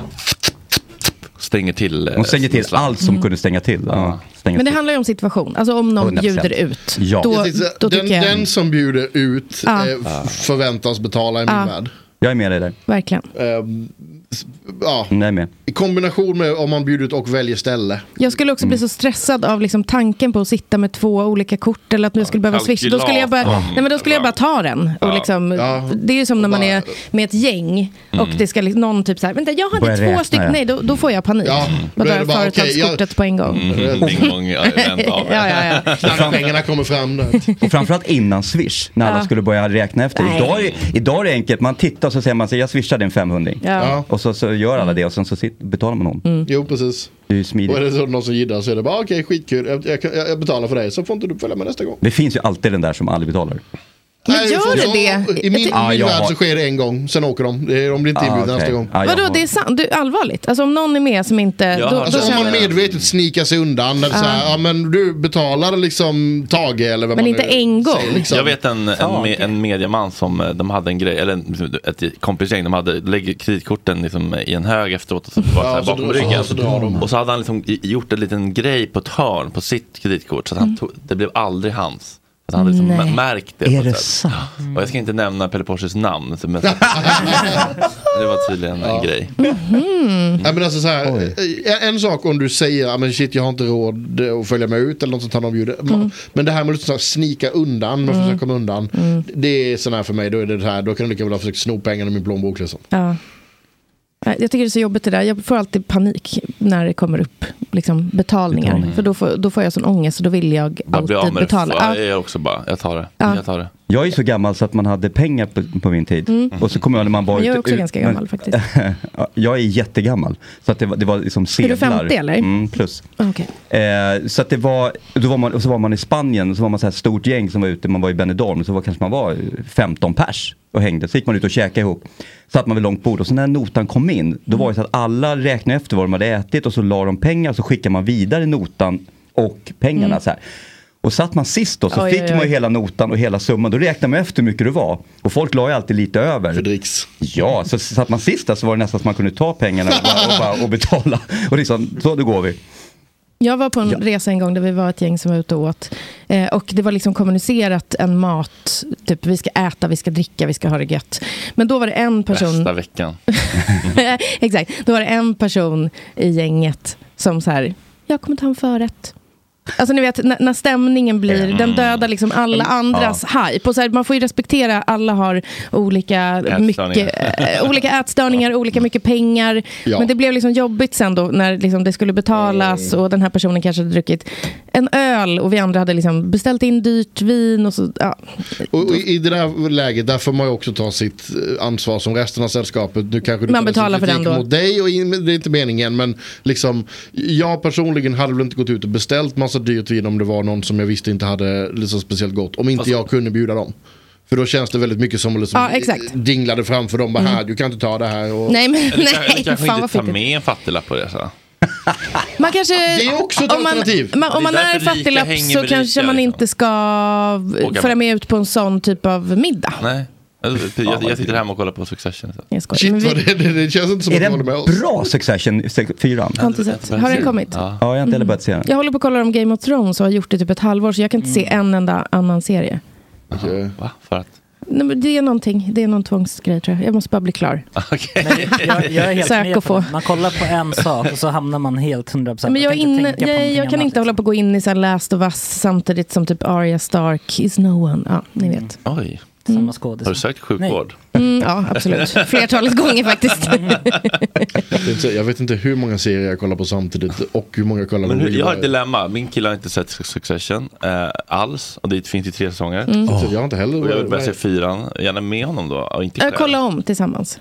stänger till. eh, Hon stänger till snitslan. allt som kunde stänga till. Ja, stänga Mm. Men det till. handlar ju om situation. Alltså om någon 100%. bjuder ut. Ja. Då, Precis, då den- tycker jag den- Den som bjuder ut Ja. eh, f- förväntas betala i min Ja. värld. Jag är med dig där. verkligen. Ehm, s- ja. Nej, med. I kombination med om man bjuder ut och väljer ställe. Jag skulle också bli så stressad av liksom tanken på att sitta med två olika kort eller att jag skulle behöva swisha. Då skulle jag bara, Kalkylatorn. nej men då skulle jag bara ta den. Och Ja. liksom, Ja. Det är ju som när man är med ett gäng och Mm. det ska liksom, någon typ så här, vänta jag Börja hade två räkna, stycken, ja. nej då, då får jag panik. då Då är tar det jag bara, okej, företagskortet på en gång. Mm. Bing bong, ja, vänt av. Ja, ja, ja. Pengarna kommer fram nu. Och framförallt innan Swish, när alla Ja. skulle börja räkna efter. Nej. Idag är, idag är det enkelt, man tittar och så säger man sig, jag swishar din 500 Ja. Och så, så gör Mm. alla det och sen så sit, betalar man honom. Jo, precis. Det är ju smidigt. Och är det så någon som gillar så är det bara okej, skitkul. Jag, jag, kan- jag betalar för dig så får inte du följa med nästa gång. Det finns ju alltid den där som aldrig betalar. Men gör det det? I min, Ja, min jag värld har- så sker det en gång, sen åker de. Det är- De blir inte Ah, inbjudna okej. nästa gång. Ah, Vadå, det är sant? Du, allvarligt? Alltså om någon är med som inte... Då, då alltså, om känner man jag- medvetet snikar sig undan. Eller så här, Ja. ja, men du betalar liksom Tage eller vad Men man inte nu en gång. säger, liksom. Jag vet en, en, me, en medieman som eh, de hade en grej, eller en- ett kompisgäng, de hade lägger kreditkorten liksom i en hög efteråt och så var det så här Ja, så bakom drar- ryggen. ja, så drar de. och så hade han liksom i- gjort en liten grej på ett hörn på sitt kreditkort så att han tog, det blev aldrig hans. För han hade liksom Nej. mä- märkt det. Är på ett det sätt. sant? Och jag ska inte nämna Pelle Porschers namn. så- Men det var tydligen en grej. Mm. Ja, men alltså så här, eh, en, en sak om du säger "Ja, men shit jag har inte råd att följa med ut eller något sånt här. de bjuder. Man- Men det här med att liksom så här, snika undan, man Mm. försöker komma undan. Mm. Det är sån här för mig, då är det det här, då kan du lika väl ha försökt sno pengarna ur min plånbok. Liksom. Ja. Nej, Jag tycker det är så jobbigt det där. Jag får alltid panik när det kommer upp liksom, betalningar. Betalningar. För då får, då får jag sån ångest och då vill jag Bara bli alltid av med det. betala. Jag Ja. är också bara, jag tar det. Ja. Jag tar det. Jag är ju så gammal så att man hade pengar på, på min tid. Mm. Och så kommer jag när man var Men jag är ute- också ut- ganska men- gammal faktiskt. Ja, jag är jättegammal. Så att det, var, det var liksom Är sedlar. du 50 eller? Mm, plus. Okej. Eh, så att det var, då var man, och så var man i Spanien, och så var man så här stort gäng som var ute, man var i Benidorm, så var, kanske man var 15 pers och hängde. Så gick man ut och käkade ihop. Satt man vid långt bord och så när notan kom in, då var det så att alla räknade efter vad de hade ätit och så la de pengar och så skickade man vidare notan och pengarna Mm. så här. Och satt man sist då så Oj, fick oj, man oj. ju hela notan och hela summan. Då räknade man efter hur mycket det var. Och folk la ju alltid lite över. För dricks. Ja, så satt man sist där så var det nästan att man kunde ta pengarna och, bara, och, bara, och betala. Och liksom, så då går vi. Jag var på en resa en gång där vi var ett gäng som var ute och åt. Eh, och det var liksom kommunicerat en mat, typ vi ska äta, vi ska dricka, vi ska ha det gött. Men då var det en person... Bästa veckan. Exakt. Då var det en person i gänget som så här, jag kommer ta en förrätt. Alltså ni vet, när, när stämningen blir, Mm. den dödar liksom alla Mm. andras hype. Och så här, man får ju respektera, alla har olika, Ätstörningar. mycket, eh, olika ätstörningar, olika mycket pengar. Ja. Men det blev liksom jobbigt sen då när liksom det skulle betalas Mm. och den här personen kanske hade druckit en öl och vi andra hade liksom beställt in dyrt vin. Och så, ja. Och och i det där läget, där får man ju också ta sitt eh, ansvar som resten av sällskapet. Nu kanske du Man tar betalar sin för kritik den då. Mot dig och in, det är inte meningen, men liksom, jag personligen hade väl inte gått ut och beställt massa dyrt vin om det var någon som jag visste inte hade liksom speciellt gott. Om inte Alltså- jag kunde bjuda dem. För då känns det väldigt mycket som att liksom Ja, exakt. dinglade framför dem. Bara, Mm. här, du kan inte ta det här. Och... Nej, men- Eller kanske- Nej, eller kanske fan vad inte ta fittigt. med en fattiglapp på resan. Man kanske, det är också ett om man, alternativ. Man, om Det är man är därför rika fattiglapp hänger så med kanske rika, man inte ska Åka föra med. med ut på en sån typ av middag. Nej. Jag, jag, jag sitter hemma och kollar på Succession. Så. Jag skojar. Shit, Men vi- vad det- känns inte som är att du håller med oss. bra Succession 4? Har inte sett. Har den kommit? Ja, jag har inte heller börjat se den. Jag håller på att kolla om Game of Thrones och har gjort det typ ett halvår så jag kan inte se en enda annan serie. Aha, Va? För att? Nej, men det är någonting, det är någon tvångsgrej tror jag. Jag måste bara bli klar. Okej. Jag, jag är helt Sök med och på få. det. Man kollar på en sak och så hamnar man helt 100% Men jag, är inne, tänka på jag, någonting jag kan annat, inte hålla på att gå in i så här Last of Us samtidigt som typ Arya Stark is no one. Ja, ni vet. Oj. Mm. Samma skådis. Har du sökt sjukvård? Mm, ja, absolut. Flertalet gånger faktiskt. Det är inte- Jag vet inte hur många serier jag kollar på samtidigt och hur många jag kollar på Men hur, jag har ett reruns. dilemma. Min kille har inte sett Succession eh, alls. Och det finns ju tre säsonger. Mm. Jag har inte heller... Och jag vill börja se fyran. Gärna med honom då. Och inte Äh, själv. kolla om tillsammans.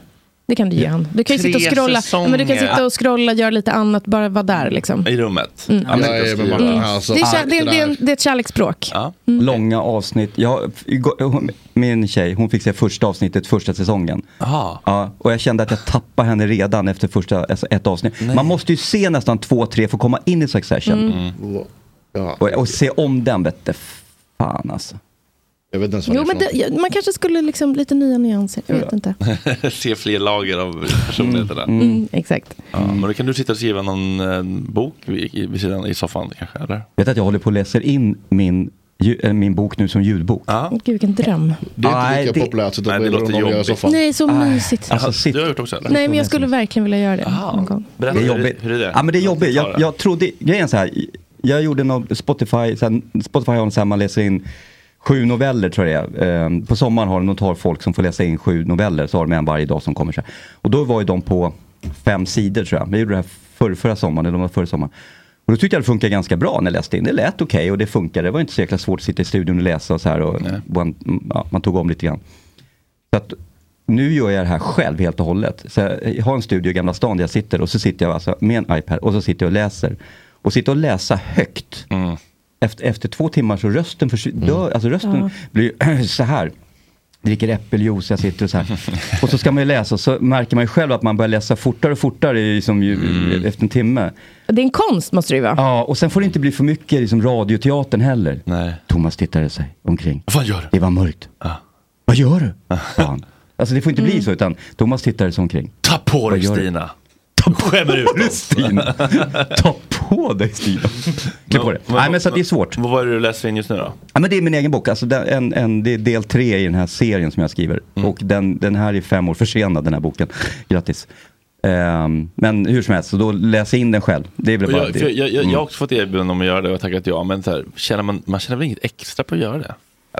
Det kan du ge han. Du kan ju Tre sitta och scrolla, säsonger. ja, men du kan sitta och scrolla, göra lite annat, bara vara där liksom. I rummet. Mm. Han Jag sitter och är med skriver. Martin här, alltså. Det är kär- det är- det är en- Mm. det är ett kärleksspråk. Långa avsnitt. Jag, igår- min tjej, hon fick se första avsnittet första säsongen. Ja, och jag kände att jag tappade henne redan efter första alltså ett avsnitt. Man måste ju se nästan två, tre för att komma in i Succession. Mm. Och, och se om den vette fan alltså. Jag vet inte ens Jo, men det, ja, man kanske skulle liksom lite nya nyanser. Jag vet inte. Se fler lager av personligheterna. Mm, exakt. Ja, men då kan du sitta och skriva någon eh, bok vid, i- vid sidan i soffan kanske? Eller? Vet du att jag håller på och läser in min, ju- äh, min bok nu som ljudbok? Gud, vilken dröm. Det är inte Nej, lika det- Alltså, populärt så att Nej, det låter jobbigt. Nej, så mysigt. Jaha, Du har gjort också eller? Nej, men jag skulle verkligen vilja göra det någon gång. Berätta, det är hur- jobbigt. hur är det? Ja, men det är jobbigt. Jag, jag trodde, grejen är så här, jag gjorde någon Spotify, så här, Spotify har en så här, man läser in sju noveller tror jag det är. Ehm, På sommaren har de, de tar folk som får läsa in sju noveller, så har de en varje dag som kommer. Så här. Och då var ju de på fem sidor tror jag. Jag gjorde det här förr, förra sommaren, eller om det var förra sommaren. Och då tyckte jag det funkade ganska bra när jag läste in. Det lät okej och det funkade. Det var inte så jäkla svårt att sitta i studion och läsa och så här. Och man, ja, man tog om lite grann. Så att, nu gör jag det här själv helt och hållet. Så jag har en studio i Gamla stan där jag sitter och så sitter jag alltså med en iPad och så sitter jag och läser. Och sitter och läsa högt. Efter, efter två timmar så rösten försvinner. Dör, alltså rösten Ja. blir så här. Dricker äppeljuice, jag sitter och så här. Och så ska man ju läsa och så märker man ju själv att man börjar läsa fortare och fortare i- som ju, Mm. efter en timme. Det är en konst måste det ju vara. Ja, och sen får det inte bli för mycket liksom, radioteatern heller. Thomas tittade sig omkring. Vad gör du? Ah. Det var mörkt. Vad gör du? sa han. Alltså det får inte Mm. bli så, utan Thomas tittade sig omkring. Ta på Vad dig gör du? Stina! Ta Skämmer ut oss! Stina. Ta på dig Stina. Klipp på det. Nej men så att det är svårt. Vad var det du läste in just nu då? Ja, men det är min egen bok. Alltså, den, en, en, det är del tre i den här serien som jag skriver. Mm. Och den, den här är fem år försenad, den här boken. Grattis. Ehm, men hur som helst, så då läser jag in den själv. Det är väl Och bara Jag, det. för jag, jag, jag Mm. jag har också fått erbjudande om att göra det och jag har tackat ja. Men så här, känner man, man känner väl inget extra på att göra det?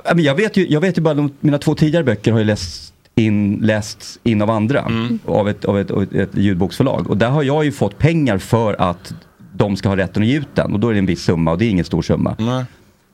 Ja, men jag, vet ju, jag vet ju bara, de, mina två tidigare böcker har ju lästs in, lästs in av andra, av, ett, av, ett, av ett, ett ljudboksförlag. Och där har jag ju fått pengar för att de ska ha rätten att ge ut den. Och då är det en viss summa och det är ingen stor summa.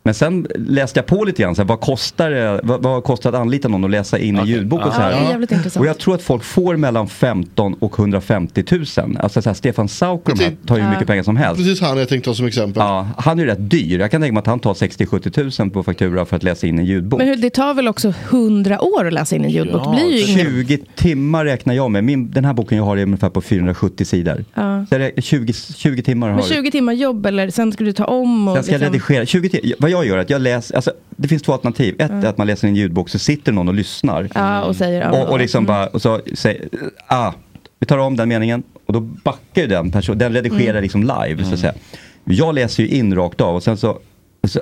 Men sen läste jag på lite grann, så här, vad kostar det vad, vad kostar det att anlita någon och läsa in en ljudbok och så här. Ja, det är jävligt intressant. Och jag tror att folk får mellan 15 och 150 000. Alltså så här, Stefan Sauk och de här tar ju hur Ja. mycket pengar som helst. Precis han jag tänkte ta som exempel. Ja, han är ju rätt dyr. Jag kan tänka mig att han tar 60-70 000 på faktura för att läsa in en ljudbok. Men hur, det tar väl också hundra år att läsa in en ljudbok? det blir ju ingen... 20 timmar räknar jag med. Min, den här boken jag har är ungefär på 470 sidor. Ja. Så jag räknar- 20, 20 timmar har Men jag. 20 timmar jobb eller sen ska du ta om och... liksom- Sen ska jag redigera. 20 tim- vad jag gör är att jag läser, alltså, det finns två alternativ. Ett Ja. är att man läser en ljudbok så sitter någon och lyssnar. Mm. Ja, och säger... ja, Och, och liksom mm. bara, och så säger, ah, vi tar om den meningen och då backar ju den personen, den redigerar Mm. liksom live så att säga. Jag läser ju in rakt av och sen så, så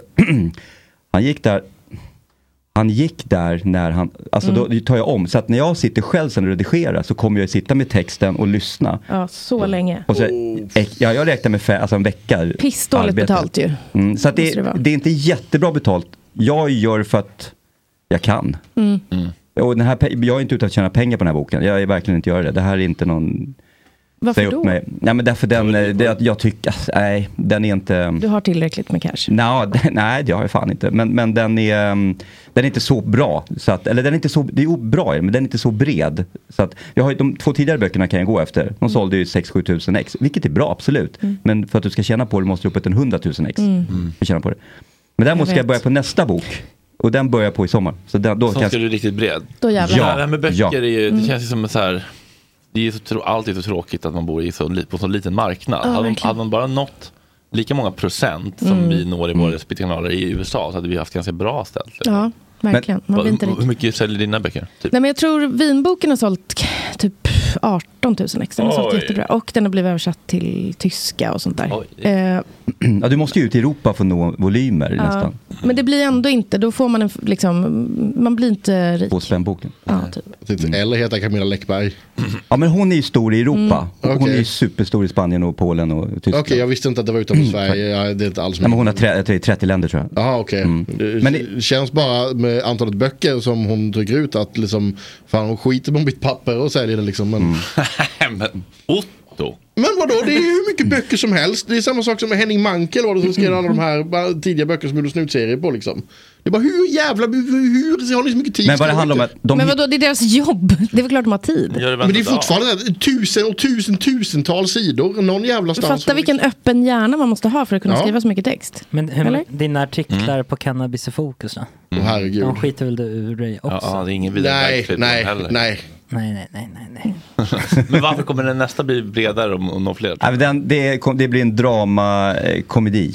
han gick där, han gick där när han, alltså Mm. då tar jag om. Så att när jag sitter själv sen och redigerar så kommer jag sitta med texten och lyssna. Ja, så länge. Och så, eh, ja, jag räknar med fem, alltså en vecka. Oh. Pissdåligt arbete. betalt ju. Mm, så att det, Måste det det, vara. är inte jättebra betalt. Jag gör för att jag kan. Mm. Och den här, pe- jag är inte ute att tjäna pengar på den här boken. Jag är verkligen inte göra det. Det här är inte någon... Varför säg upp då? Mig. Nej, men därför den, eh, det, jag tycker, alltså, nej, den är inte... Du har tillräckligt med cash. Nå, den- nej, det har jag fan inte. Men, men den, är, ehm, den är inte så bra. Så att, eller den är inte så, det är o- bra i den, men den är inte så bred. Så att, jag har, ju- de två tidigare böckerna kan jag gå efter. De sålde ju 6-7 tusen ex, vilket är bra, absolut. Mm. Men för att du ska tjäna på det måste du upp till en 100 000 ex. Mm. För att tjäna på det. Men däremot Jag ska jag vet. börja på nästa bok. Och den börjar jag på i sommar. Så den, då Som kan jag- ska du riktigt bred. Då jävlar. det här med böcker Ja. är ju, det Mm. känns ju som en så här, det är ju så, trå- allt är så tråkigt att man bor i så, li- på en så liten marknad. Ja, hade, man, verkligen. hade man bara nått lika många procent som Mm. vi når i våra respektive kanaler i USA så hade vi haft ganska bra ställt. Ja, verkligen. Man blir inte Vad- hur rik. mycket säljer dina böcker? Typ? Nej, men jag tror vinboken har sålt k- typ 18 000 ex. Den har sålt Oj. jättebra. Och den har blivit översatt till tyska och sånt där. Eh, ja, du måste ju ut i Europa för att nå volymer ja. nästan. Men det blir ändå inte, då får man en, f- liksom, man blir inte rik. På spännboken. Mm. Ja, typ. Eller heter Camilla Läckberg. Ja men hon är ju stor i Europa. Mm. Hon är ju Okej. superstor i Spanien och Polen och Tyskland. Okej, jag visste inte att det var utanför Sverige. Ja, det är inte alls Nej, men hon har tre, jag tror det är 30 länder tror jag. Jaha, okej. Det Men känns bara med antalet böcker som hon trycker ut att liksom, fan hon skiter på mitt papper och säljer det liksom. Men, men Otto. men vadå, det är ju hur mycket böcker som helst. Det är samma sak som med Henning Mankell var det som skrev alla de här bara tidiga böcker som gjorde snutserier på liksom. Det är bara hur jävla, hur, hur har ni så mycket tid? Men vad det handlar om att de Men vadå, det är deras jobb. Det är väl klart de har tid. men det är fortfarande tusen och tusen tusentals sidor. Någon jävla stans. Fatta vilken liksom- öppen hjärna man måste ha för att kunna Ja. skriva så mycket text. Men hur, Eller? dina artiklar Mm. på cannabis i fokus då? Åh, herregud. De skiter väl du ur dig också? Ja, ja, det är ingen vidare Nej, verklighet nej, heller. nej. Nej, nej, nej, nej, nej. men varför kommer den nästa bli bredare om, om någon fler? Nej, men den, det, kom- det blir en dramakomedi.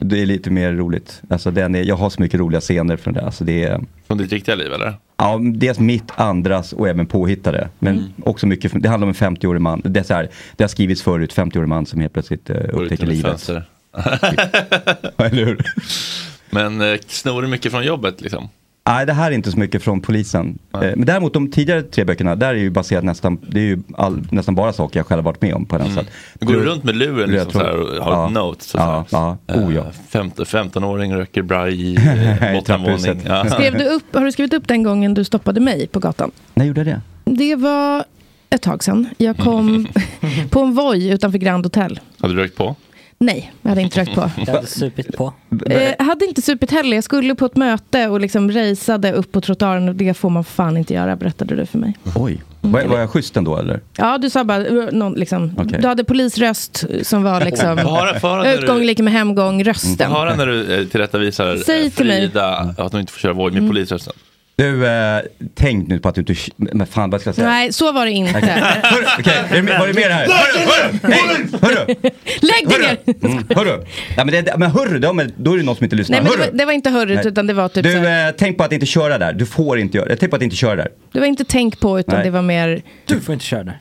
Det är lite mer roligt. Alltså, den är, jag har så mycket roliga scener från det. Alltså, det är, Från ditt riktiga liv eller? Ja, dels mitt, andras och även påhittade. Men också mycket, det handlar om en 50-årig man. Det, är så här, det har skrivits förut, 50-årig man som helt plötsligt eh, upptäcker genom ett livet. fönster. Eller hur? Men eh, snor du mycket från jobbet liksom? Nej, det här är inte så mycket från polisen. Eh, Men däremot de tidigare tre böckerna, där är ju baserat nästan, det är ju all, nästan bara saker jag själv har varit med om på något Mm. sätt. Går du runt med luren liksom, Röd tråd. så här, och har Ja. ett notes? Så Ja, så här. ja. Oh, ja. Eh, femte- 15-åring röker braj i I eh, bottenvåning. trapphuset. Ja. Skrev du upp, har du skrivit upp den gången du stoppade mig på gatan? När gjorde jag det? Det var ett tag sedan. Jag kom på en voj utanför Grand Hotel. Hade du rökt på? Nej, jag hade inte rökt på. Jag hade supit på. Eh, Jag hade inte supit heller. Jag skulle på ett möte och liksom raceade upp på trottoaren och det får man fan inte göra, berättade du för mig. Oj, var, Mm. var jag schysst ändå eller? Ja, du sa bara, eh, någon, liksom, Okej. du hade polisröst som var liksom, Bara för när du- utgång lika med hemgång, rösten. Höra när du eh, tillrättavisar Säg eh, till mig. Frida att hon inte får köra voj med Mm. polisrösten. Du, eh, tänk nu på att du inte, men fan vad ska jag säga? Nej, så var det inte. Okej. Okej, är det med- var det mer här? Hörru, hörru, hej, hörru, Lägg dig ner! mm, hörru. Ja, men, det, men hörru, då, men, då är det någon som inte lyssnar. Nej, men det Hörru. var, det var inte hörrigt, Nej. utan det var typ så här- Du, eh, tänk på att inte köra där. Du får inte göra det. Tänk på att inte köra där. Det var inte tänk på, utan Nej. det var mer... Du får inte köra där.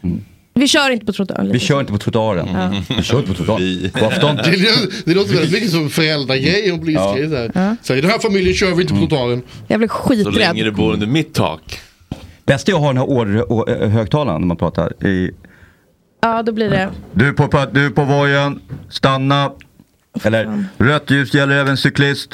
Vi kör inte på trottoaren. Vi kör inte på trottoaren. Ja. Mm. Vi kör inte på trottoaren. På afton. Det, det, det låter väldigt mycket som föräldragrej och polisgrej. Ja. Ja. Så i den här familjen kör vi inte Mm. på trottoaren. Jag blev Så länge skiträdd. du bor under mitt tak. Bästa jag har den här år, å- ö- högtalaren när man pratar. I... Ja, då blir det... Du på, pa- du på vojen, stanna. Eller rött ljus gäller även cyklist.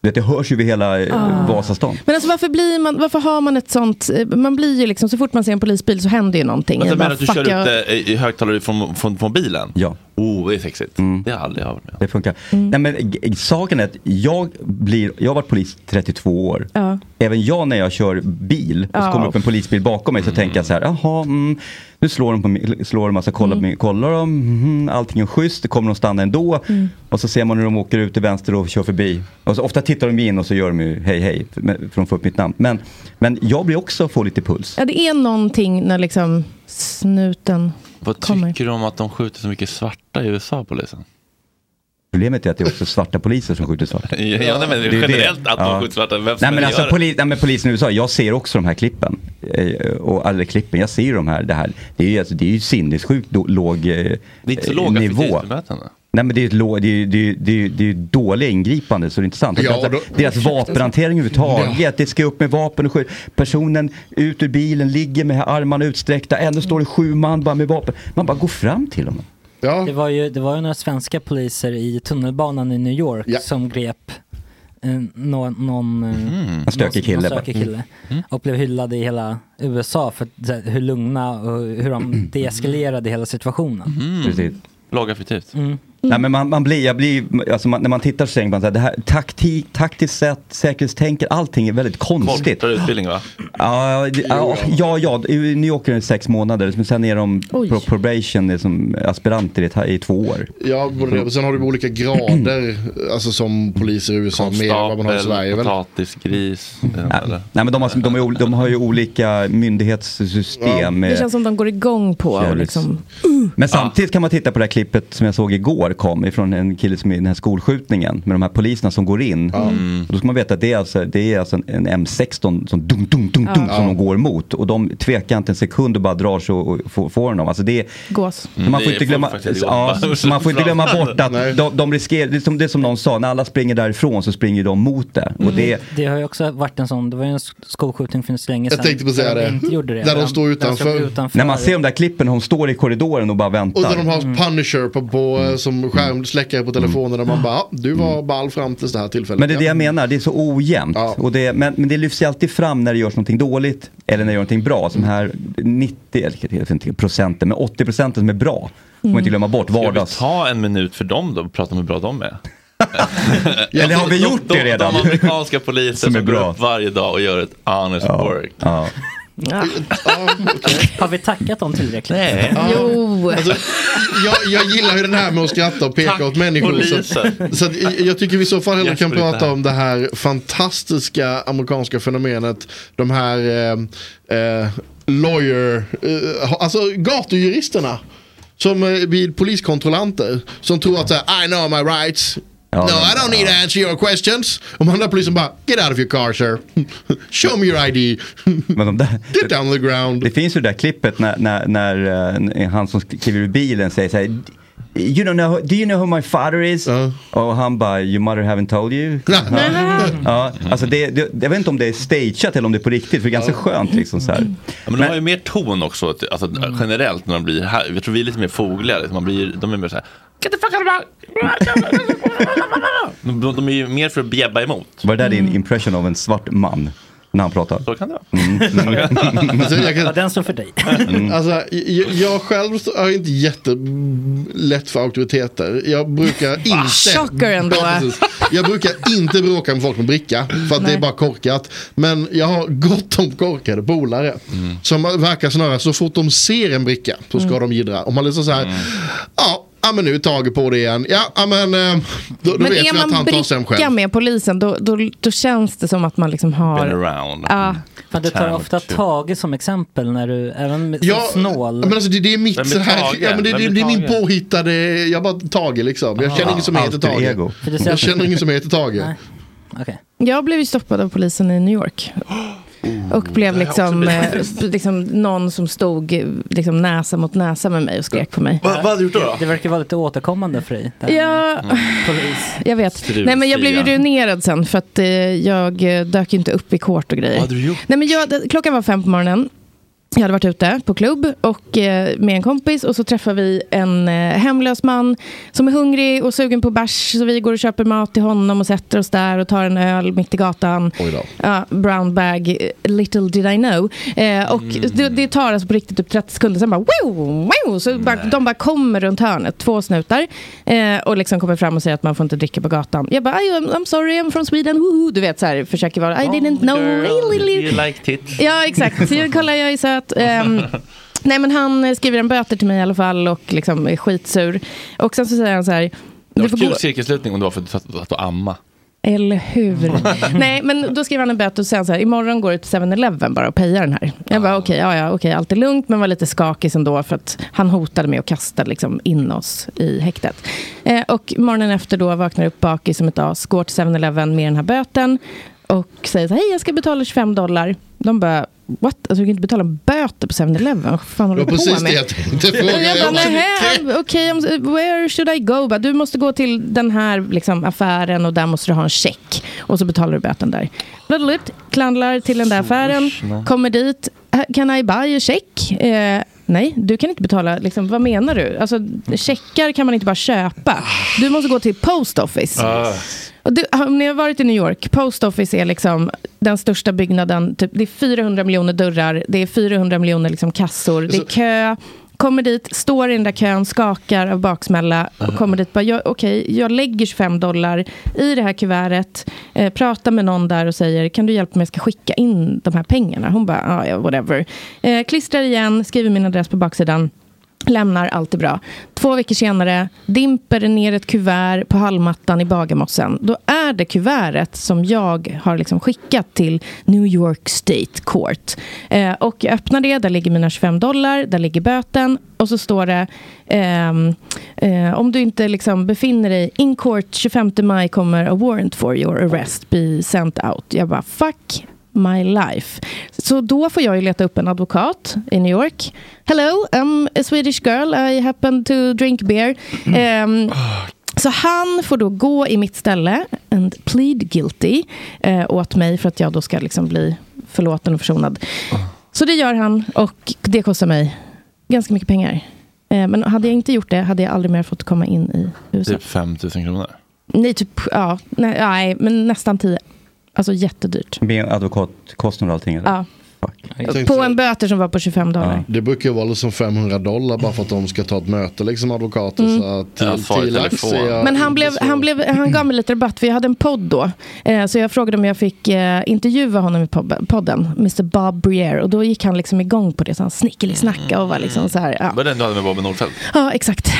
Du vet, det hörs ju över hela eh, Ah. Vasastan. Men alltså varför, blir man, varför har man ett sånt... eh, Man blir ju liksom, så fort man ser en polisbil så händer ju någonting. Vänta, Jag Alltså, menar bara, att du fuck, kör jag- ut det i högtalare från, från, från bilen? Ja. Oh, det är sexigt. Det har jag aldrig hört med Mm. Det funkar. Mm. Nej, men, g- saken är att jag, blir, jag har varit polis 32 år. Ja. Även jag när jag kör bil och så Ja. kommer upp en polisbil bakom mig så tänker jag så här, jaha, mm, nu slår de på mig, slår de, alltså, kollar, på Mm. mig, kollar de, mhm, allting är schysst, kommer de stanna ändå? Mm. Och så ser man hur de åker ut till vänster och kör förbi. Och så, ofta tittar de in och så gör de ju hej hej, för men- för de får upp mitt namn. Men, men jag blir också, får lite puls. Ja, det är någonting när liksom snuten... Vad tycker du om att de skjuter så mycket svarta i USA, polisen? Problemet är att det är också svarta poliser som skjuter svarta. Ja, ja, nej, men Det är det. generellt att de Ja. skjuter svarta, vem Nej som men, helst alltså, gör det. poli, nej men polisen i USA, jag ser också de här klippen. Eh, Och alla klippen, jag ser ju de här. Det här, det är ju, alltså, det är ju sinnessjukt då- låg eh, Det är inte så eh, låga nivå. fritidsbemötanden. Nej men det är ju ett lå- det är ju det är, ju- det är, ju- det är ju dåliga ingripande så det är intressant. Ja, Ja, och då- Deras vapenhantering överhuvudtaget, det ska upp med vapen och skjut. Personen ut ur bilen, ligger med armarna utsträckta, ändå står det sju man bara med vapen. Man bara går fram till dem. Det, var ju, det var ju några svenska poliser i tunnelbanan i New York som grep eh, nå- någon, eh, någon Mhm. En stökig kille någon bara. stökig kille. Mm. Och blev hyllade i hela USA för så här, hur lugna och hur Mm. de deeskalerade hela situationen. Precis. Lagaffektivt. Mm. Nej, men man, man blir, jag blir, alltså man, när man tittar så tänker man så här, det här taktik, taktiskt sätt, säkerhetstänket, allting är väldigt konstigt. Kortare utbildning va? Ja, det- ja, ja, ja, i New York är det sex månader, men sen är de pro probation, det är som aspiranter i, ta- i två år. Ja, både det. Och sen har du olika grader, alltså som poliser i USA, mer än vad man har i Sverige väl? potatisgris. Nej, nej, men de har, de, är, ol- de har ju olika myndighetssystem. Det eh, känns som de går igång på och Kärleks- liksom... Men samtidigt kan man titta på det här klippet som jag såg igår kom ifrån en kille som är i den här skolskjutningen med de här poliserna som går in. Mm. Och då ska man veta att det är alltså, det är alltså en, en M16 som, dum, dum, dum, dum, Ja. som de går mot. Och de tvekar inte en sekund och bara drar sig och, och får, får dem. Alltså det, Gås. Mm. Man får Det inte är glömma, folk faktiskt ja, jobbar. så man får inte glömma bort att de, de riskerar, det är, som, det är som någon sa, när alla springer därifrån så springer de mot det. Mm. Och det Mm. Det har ju också varit en sån, det var ju en skolskjutning för inte så länge sedan. där de Inte gjorde det. stod När man ser de där klippen, hon står i korridoren och bara väntar. Och där de har Punisher på, på, eh, som skärmsläckare på telefonen. Och man bara, "Ja, du var ball fram tills det här tillfället. Mm. Men det är det jag menar, det är så ojämnt. Och det, men, men det lyfts ju alltid fram när det görs någonting dåligt eller när det görs någonting bra. Mm. Som här 90, eller inte procenten, men 80 procenten som är bra. Får man inte glömma bort. Vardags... Mm. Ska vi ta en minut för dem då och prata om hur bra de är? Eller har vi gjort de, det redan? De amerikanska poliser som, Som är går bra. upp varje dag och gör ett honest work. Har vi tackat dem tillräckligt? Nej. Jo. Alltså, jag, jag gillar ju den här med att skratta och peka åt människor. polisen. Så, så att, jag- jag tycker vi i så fall hellre kan Jesper är prata där. om det här fantastiska amerikanska fenomenet. De här eh, eh, lawyer, eh, alltså gatujuristerna. Som eh, blir poliskontrollanter. Som tror att så här, I know my rights. no, I don't need to answer your questions. Och de andra polisen bara, get out of your car sir. Show me your ID. Men de där, Get down on the ground. Det finns ju det där klippet när, när, när eh, han som kliver ur bilen säger så här. You don't know, do you know who my father is? Och han bara, your mother haven't told you? Ja. ja, alltså det, det, jag vet inte om det är stageat eller om det är på riktigt, för det är ganska skönt liksom så här. Ja, men de har ju mer ton också, ty- alltså, Mm. generellt när de blir här. Jag tror vi är lite mer fogliga. liksom. Man blir, de är mer så här, Get the fuck out of my... de, de är ju mer för att bjäbba emot. Var det där din impression av en svart man? När han pratar. Mm. Så Mm. kan det Alltså, jag kan- Ja, den som för dig. Alltså, jag, jag själv är inte jättelätt för auktoriteter. Jag brukar inte... Chocker ändå. Ja, precis. Jag brukar inte bråka med folk med bricka, för att det är bara korkat. Men jag har gott om korkade polare. Som verkar snarare, så fort de ser en bricka så Mm. ska de jiddra. Om man liksom så här, ja, ja, men nu är Tage på det igen. Ja, ja, men eh, då, då Men vet vi är att man han tar sig hem bricka själv. med polisen, då, då, då känns det som att man liksom har... Ja. Men du tar ofta typ. Tage som exempel när du, även med Ja, snål. Men alltså det, det är mitt så här, ja, men det, det, det är min påhittade, jag bara Tage liksom. Jag känner Ah, ingen som heter alter Tage. ego. För det ser- Jag känner ingen som heter Tage. Jag blev ju stoppad av polisen i New York. Och blev det har jag också liksom, blivit. eh, liksom någon som stod eh, liksom näsa mot näsa med mig och skrek på mig. vad hade du gjort då? Det verkar vara lite återkommande för dig. det här Ja, med Polis. jag vet. Strul, Nej, men jag blev ju Fia. ruinerad sen för att eh, jag eh, dök ju inte upp i kort och grejer. Vad hade du gjort? Nej, men jag, det- klockan var fem på morgonen. Jag hade varit ute på klubb och eh, med en kompis och så träffar vi en eh, hemlös man som är hungrig och sugen på bärs. Så vi går och köper mat till honom och sätter oss där och tar en öl mitt i gatan. Oj då. Ja, brown bag, eh, little did I know. Eh, och Mm. det, det tar alltså på riktigt typ 30 sekunder, sen bara wow, wow, så bara, de bara kommer runt hörnet, två snutar. Eh, och liksom kommer fram och säger att man får inte dricka på gatan. Jag bara, "I- I'm, I'm sorry, I'm from Sweden, woohoo, du vet så här, försöker vara, I didn't know. You like tits. Ja, exakt. Så jag kollar, jag är söt. Ehm, nej, men han eh, skriver en böter till mig i alla fall och liksom är skitsur. Och sen så säger han så här, Det du var får kul gå... cirkelslutning om det var för att, för att, för att amma. Eller hur? Mm. Nej, men då skriver han en böter och säger så här, imorgon går du till 7-Eleven bara och payar den här. Jag bara, okej, ja, ja, okej, allt är lugnt, men var lite skakig ändå för att han hotade med att kasta liksom, in oss i häktet. Eh, och morgonen efter då vaknar jag upp bakis som ett as, går till 7-Eleven med den här böten och säger så här, hej, jag ska betala 25 dollar. De bara, what? Alltså, du kan inte betala böter på 7-Eleven. Vad fan håller Det du på var precis med? det jag tänkte fråga. Jag bara, Jag också. nähä, okej, okay, where should I go? Bara, Du måste gå till den här liksom, affären och där måste du ha en check. Och så betalar du böten där. Bladelut, klandlar till den där affären, nej. kommer dit. "Här, Can I buy a check? Eh, nej, du kan inte betala. Liksom, vad menar du? Alltså, checkar kan man inte bara köpa. Du måste gå till post office. Ah. Och du, om ni har varit i New York, Post Office är liksom den största byggnaden. Typ, det är 400 miljoner dörrar, det är 400 miljoner liksom kassor, det är kö. Kommer dit, står i den där kön, skakar av baksmälla och kommer dit bara, jag- okej, jag lägger 25 dollar i det här kuvertet, eh, pratar med någon där och säger, kan du hjälpa mig, jag ska skicka in de här pengarna. Hon bara, "Ja, ja, whatever. Eh, klistrar igen, skriver min adress på baksidan. Lämnar, allt är bra. Två veckor senare dimper det ner ett kuvert på hallmattan i Bagarmossen. Då är det kuvertet som jag har liksom skickat till New York State Court. Eh, och jag öppnar det, där ligger mina 25 dollar, där ligger böten. Och så står det, ehm, eh, om du inte liksom befinner dig in court 25 maj kommer a warrant for your arrest be sent out. Jag bara, fuck my life. Så då får jag ju leta upp en advokat i New York. Hello, I'm a Swedish girl. I happen to drink beer. Ehm, så han får då gå i mitt ställe and plead guilty eh, åt mig för att jag då ska liksom bli förlåten och försonad. Så det gör han och det kostar mig ganska mycket pengar. Eh, men hade jag inte gjort det hade jag aldrig mer fått komma in i USA. Typ 5 000 kronor. Nej, typ, ja, nej, nej, men nästan tio. Alltså jättedyrt. Med advokatkostnader och allting. eller? Ja. Jag tänkte På säga- en böter som var på 25 dollar. Det brukar ju vara liksom 500 dollar bara för att de ska ta ett möte, liksom advokater. Mm. Så att Ja, far i telefon. Men han, blev, han, blev, han gav mig lite rabatt, för jag hade en podd då. Eh, så jag frågade om jag fick eh, intervjua honom i pob- podden, Mr Bob Brier. Och då gick han liksom igång på det, så han snickelisnacka och var liksom så här. Ja, Var det den du hade med Mm. Bobby Nordfeldt? ja exakt.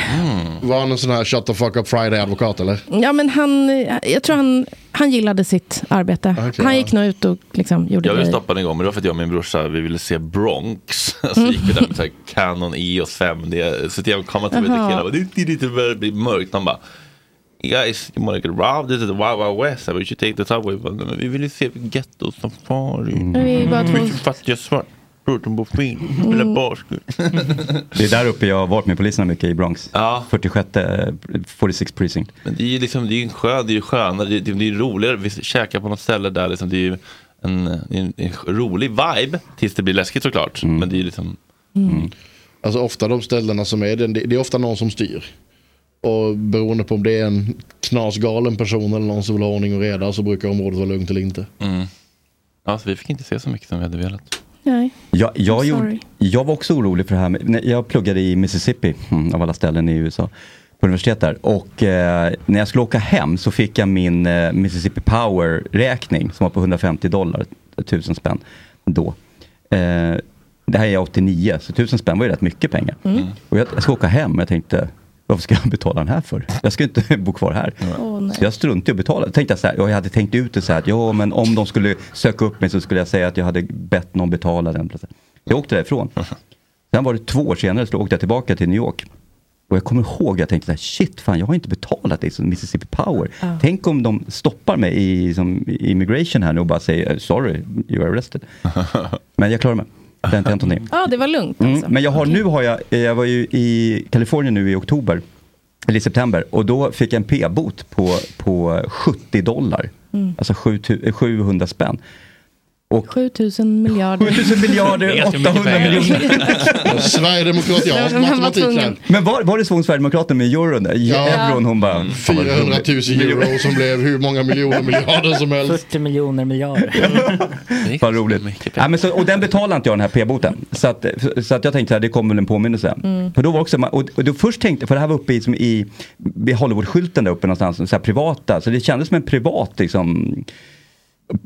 Var han en sån här shut the fuck up Friday advokat eller? Ja, men han, eh, jag tror han, han gillade sitt arbete. han gick nog ut och liksom gjorde Jag blev grejer. stoppad en gång, men det var för att jag och min brorsa vi ville se Bronx. Så gick vi där med så här Canon E EOS 5D. Systemkamera till Jaha. killar bara, det det- det börjar bli mörkt. De bara, guys, you wanna get robbed? This is the wild wild west. We should take the subway. Jag bara, "Nej, Men vi ville se Ghetto Safari. Mm. Vi var två- Mm. Mycket Mm. fattiga svartbror som bor fint. Spelar basket. Det är där uppe jag har varit med poliserna mycket i Bronx. 46, eh, 46 precinct. Men det är ju liksom, det är ju en skön, det är ju skönare, det, det, det är ju roligare. Vi käkar på något ställe där liksom, det är ju en, en, en rolig vibe. Tills det blir läskigt såklart. Men det är ju liksom Alltså ofta de ställena som är det, det det är ofta någon som styr. Och beroende på om det är en knasgalen person eller någon som vill ha ordning och reda så brukar området vara lugnt eller inte. Mm. Ja, så vi fick inte se så mycket som vi hade velat. Nej. Jag, jag, I'm gjorde, sorry. jag var också orolig för det här. Med, när jag pluggade i Mississippi, mm, av alla ställen i USA, på universitet där. Och eh, när jag skulle åka hem så fick jag min eh, Mississippi Power-räkning som var på 150 dollar, 1000 spänn då. Eh, det här är 89, så 1000 spänn var ju rätt mycket pengar. Mm. Och jag, jag ska åka hem och jag tänkte, varför ska jag betala den här för? Jag ska ju inte bo kvar här. Åh, nej. så jag struntade i att betala. Då Tänkte jag, så här, och jag hade tänkt ut det så här, att ja, men om de skulle söka upp mig så skulle jag säga att jag hade bett någon betala den. Jag åkte därifrån. Sen var det två år senare så åkte jag tillbaka till New York. Och jag kommer ihåg, jag tänkte så här, shit fan, jag har inte betalat det som Mississippi Power. Ja. Tänk om de stoppar mig i som i immigration här nu och bara säger, "Eh, sorry, you are arrested. Men jag klarar mig. Det har inte hänt någonting. Ja, det var lugnt. Mm, Alltså. men jag har, nu har jag, eh, jag var ju i Kalifornien nu i oktober, eller i september, och då fick jag en p-bot på, på 70 dollar. Mm. Alltså 7, 700 spänn. Och 7000 miljarder. 7000 miljarder, 800 miljoner. Sverigedemokrat, jag har Den var matematik här. tvungen. Men var, var det så hon Sverigedemokraterna med euron? där? Ja. Euron, hon bara... 400 000 euro som blev hur många miljoner miljarder som helst. 40 miljoner miljarder. Vad roligt. Ja, men så, och den betalade inte jag den här p-boten. Så, att, så att jag tänkte att det kommer väl en påminnelse. Mm. För då var också, ma- och, och då först tänkte, för det här var uppe i, som i vid Hollywoodskylten där uppe någonstans, så här privata. Så det kändes som en privat liksom,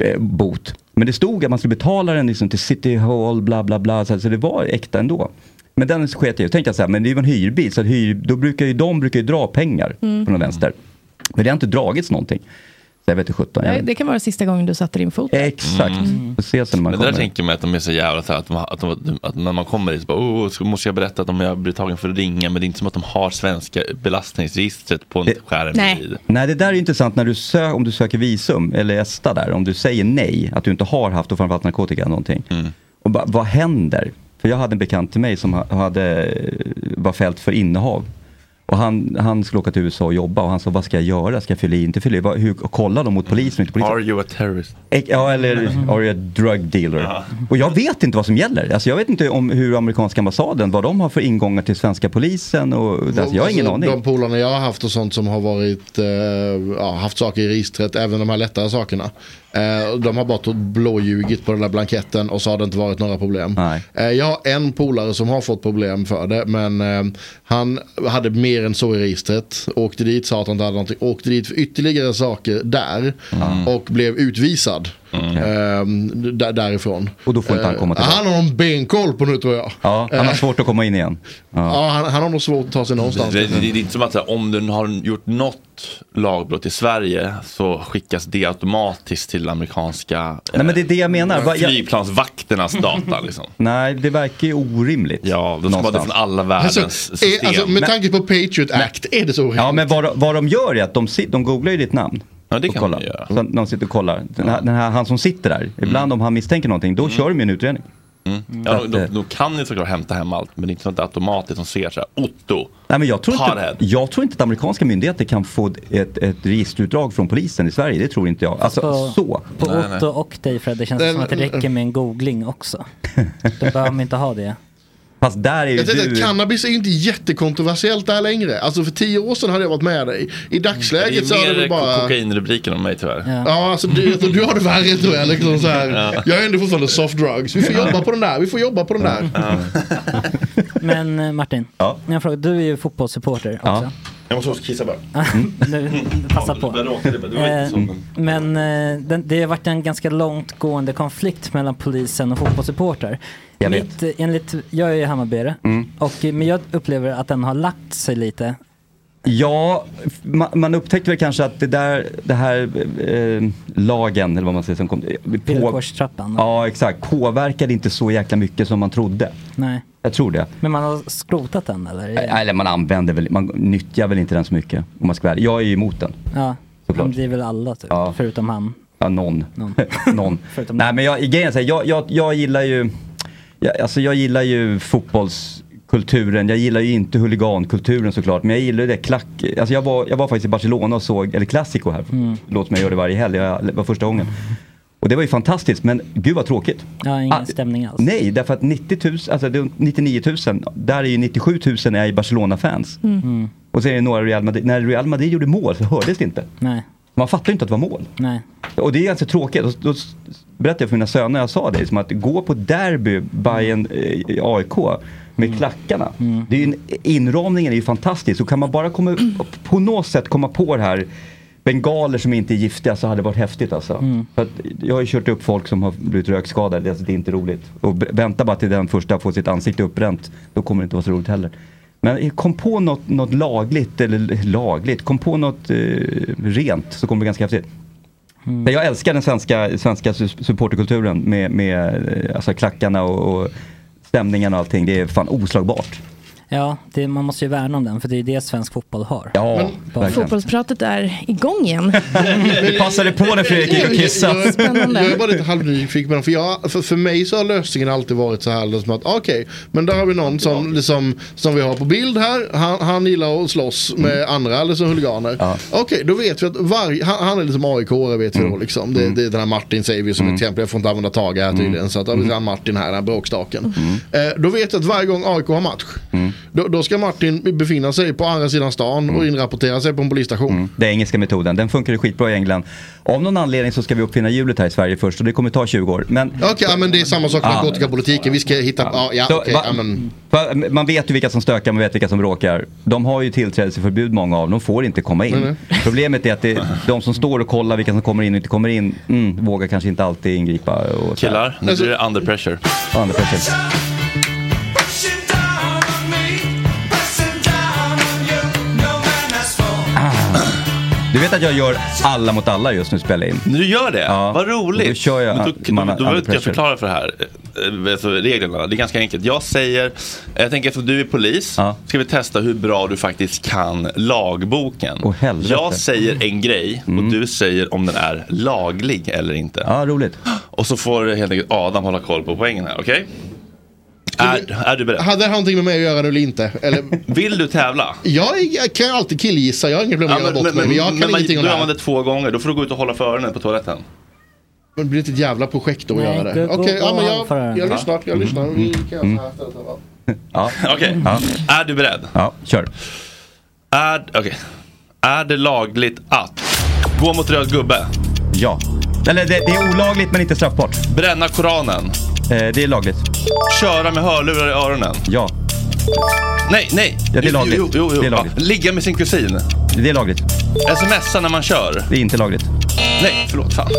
eh, bot. Men det stod att man skulle betala den liksom, till City Hall, bla bla bla. Så, här, så det var äkta ändå. Men den sket jag i. tänkte jag så här, men det är ju en hyrbil, så att hyr, då brukar ju, de brukar ju dra pengar Mm. på någon vänster. Men det har inte dragits någonting. Så jag vet inte sjutton. Nej, Jag, Det kan vara sista gången du satte din fot. Exakt. Mm. Får se sen när man Men det där kommer. tänker man att de är så jävla så här, att, de, att, de, att när man kommer dit så bara, oh, så måste jag berätta att de jag blir tagen för ringa men det är inte som att de har svenska belastningsregistret på en skärm. Eh. Nej. det där är intressant när du sö- om du Mm. söker visum eller ESTA där, om du säger nej, att du inte har haft och framförallt narkotika eller någonting. Och bara, vad händer? För jag hade en bekant till mig som ha- hade, var fällt för innehav. Och han, han skulle åka till USA och jobba och han sa, vad ska jag göra? Ska jag fylla i, inte fylla i? Vad- Hur, och kolla dem mot polisen, inte polisen. Are you a terrorist? Ek- Ja, eller are you a drug dealer? Och jag vet inte vad som gäller. Alltså, jag vet inte om hur amerikanska ambassaden, vad de har för ingångar till svenska polisen. Och, alltså, jag har ingen Alltså, aning. De polarna jag har haft och sånt som har varit, eh, ja, haft saker i registret, även de här lättare sakerna. Eh, de har bara tagit blåljugit på den där blanketten och så har det inte varit några problem. Eh, jag har en polare som har fått problem för det, men eh, han hade mer än så i registret. Åkte dit, sa att han inte hade någonting, åkte dit för ytterligare saker där Mm. och blev utvisad. eh, där, därifrån. Och då får inte han Eh, komma tillbaka. Han har någon benkoll på nu tror jag. Ja, han har Eh, svårt att komma in igen. Ja, han, han har nog svårt att ta sig Det, någonstans. det, det är inte som att så här, om du har gjort något lagbrott i Sverige så skickas det automatiskt till amerikanska eh, Nej, men det är det jag menar. Va- jag- flygplansvakternas data. Liksom. Nej, det verkar ju orimligt. Ja, De ska vara det från alla världens Alltså, är, alltså, med tanke på Patriot Act, är det så Ja, men vad, vad de gör är att de, sit- de googlar ju ditt namn. Ja, det och kan kollar. man göra. Så att de sitter och kollar. Den här, den här, han som sitter där, ibland om han misstänker någonting, då kör de ju en utredning. Mm. Så Ja, att, de, eh, de kan ju såklart hämta hem allt, men det är inte sånt där automatiskt som ser så här, Otto, Nej, men jag, tror Hardhead. inte, jag tror inte att amerikanska myndigheter kan få ett, ett registerutdrag från polisen i Sverige. Det tror inte jag. Alltså på, så. På Otto och dig Fred, det känns Den- som att det räcker med en googling också. Då behöver man inte ha det. Fast där är Jag tänkte att cannabis är ju inte jättekontroversiellt där längre. Alltså för tio år sedan hade jag varit med dig. I Mm. det dagsläget så är hade ju mer du bara... bara... kokainrubriker om mig tyvärr. Ja, alltså du, jag tror du har det värre tror jag. Liksom så här. Ja. Jag är ändå fortfarande soft drugs. Vi får jobba på den där, vi får jobba på den där. Men eh, Martin, ja. jag frågar, du är ju fotbollssupporter också. Jag måste också kissa bara. Mm. nu, passa på. Det råkade- det var inte så. Eh, Men eh, den, det har varit en ganska långtgående konflikt mellan polisen och fotbollssupportrar. Jag vet. Mitt, eh, enligt, jag är ju Hammarbyare, Mm. och, eh, men jag upplever att den har lagt sig lite. Ja, f- man, man upptäckte väl kanske att det där, det här eh, lagen, eller vad man säger, som kom... Villkorstrappan. Ja, exakt. Påverkade inte så jäkla mycket som man trodde. Nej. Jag tror det. Men man har skrotat den eller? Nej, Eller man använder väl, man nyttjar väl inte den så mycket. Om man ska vara ärlig. Jag är ju emot den. Ja, Såklart. det är väl alla typ, Ja. förutom han. Ja, någon. Någon. någon. Nej, men jag, grejen är så här, jag, jag, jag gillar ju, jag, alltså jag gillar ju fotbollskulturen. Jag gillar ju inte huligankulturen såklart, men jag gillar ju det klack. Alltså jag var, jag var faktiskt i Barcelona och såg, eller Clasico här, Mm. låt mig göra det varje helg, jag- det var första gången. Och det var ju fantastiskt, men gud vad tråkigt. Ja, ingen ah. stämning alls. Nej, därför att 90 000, alltså det är 99 000, där är ju 97 000 är ju Barcelona-fans. Mm. Och sen är det några Real Madrid, när Real Madrid gjorde mål så hördes det inte. Nej, Man fattar ju inte att det var mål. nej. Och det är ganska tråkigt. Och Då s- berättade jag för mina söner, jag sa det, liksom att gå på derby Bayern eh, AIK med klackarna. Det är ju en, inramningen är ju fantastisk. Så kan man bara komma, på något sätt komma på det här bengaler som inte är giftiga så hade det varit häftigt alltså. Mm. För att jag har ju kört upp folk som har blivit rökskadade, alltså det är inte roligt. Och b- vänta bara till den första får sitt ansikte uppbränt, då kommer det inte vara så roligt heller. Men eh, kom på något, något lagligt, eller lagligt, kom på något eh, rent så kommer det bli ganska häftigt. Men Jag älskar den svenska, svenska su- supporterkulturen med, med eh, alltså, klackarna och, och stämningarna och allting. Det är fan oslagbart. Ja, det, man måste ju värna om den för det är det svensk fotboll har. Ja, verkligen. Fotbollspratet är igång igen. Vi passade på när Fredrik gick och Jag, kissade. jag är bara lite halvnyfiken på den. För, jag, för, för mig så har lösningen alltid varit så här. Liksom att, Okej, men där har vi någon som, liksom, som vi har på bild här. Han, han gillar att slåss med andra eller som huliganer. Okej, då vet vi att varje, han, han är liksom aik vet vi då. Liksom. Det, det är den här Martin säger vi som ett exempel. Jag får inte använda Tage här tydligen. Så att, ja, det är han Martin här, den här bråkstaken. Eh, då vet jag att varje gång AIK har match. Då, då ska Martin befinna sig på andra sidan stan och inrapportera sig på en polisstation. Den engelska metoden, den funkar ju skitbra i England. Av någon anledning så ska vi uppfinna hjulet här i Sverige först och det kommer ta 20 år. Men Okej, ja, men det är samma sak med Ja. narkotikapolitiken. Vi ska hitta... Ja, ja, Ah. Så, okej, va- ja, men... va- Man vet ju vilka som stökar, man vet vilka som bråkar. De har ju tillträdesförbud många av dem, de får inte komma in. Nej, nej. Problemet är att det, de som står och kollar vilka som kommer in och inte kommer in, mm, vågar kanske inte alltid ingripa. Och så här. Killar, nu blir det under pressure. Under pressure. Du vet att jag gör alla mot alla just nu spelar in. Du gör det? Vad roligt! Då kör jag Men att då, man då, har då under behöver inte jag pressure. förklara för det här. eh, Alltså reglerna, det är ganska enkelt. Jag säger, jag tänker eftersom du är polis, ska vi testa hur bra du faktiskt kan lagboken. jag säger en grej och du säger om den är laglig eller inte. Mm. Ja, roligt. Och så får helt enkelt Adam hålla koll på poängen här, okej? Är, är du beredd? Hade det någonting med mig att göra eller inte? Eller, Vill du tävla? jag, jag kan alltid killgissa, jag har inga problem med att göra bort mig. Men jag kan man- ingenting om Du det här. använder två gånger, då får du gå ut och hålla för öronen på toaletten. Men det blir inte ett jävla projekt då att Nej, göra gå- det. gå- Okej, ja, gå men hand för öronen. jag, jag Va? lyssnar. Jag Mm. lyssnar. Vi kan göra Mm. så här istället. va? Ja. Okej, är du beredd? Ja, kör. Är, okej. är det lagligt att gå mot röd gubbe? Ja. Eller det, det är olagligt men inte straffbart. Bränna Koranen? Eh, det är lagligt. Köra med hörlurar i öronen? Ja. Nej, nej! Ja, det är lagligt. Jo, jo, jo, Det är lagligt. Ja, Ligga med sin kusin? Det är lagligt. Smsa när man kör? Det är inte lagligt. Nej, förlåt. Fan.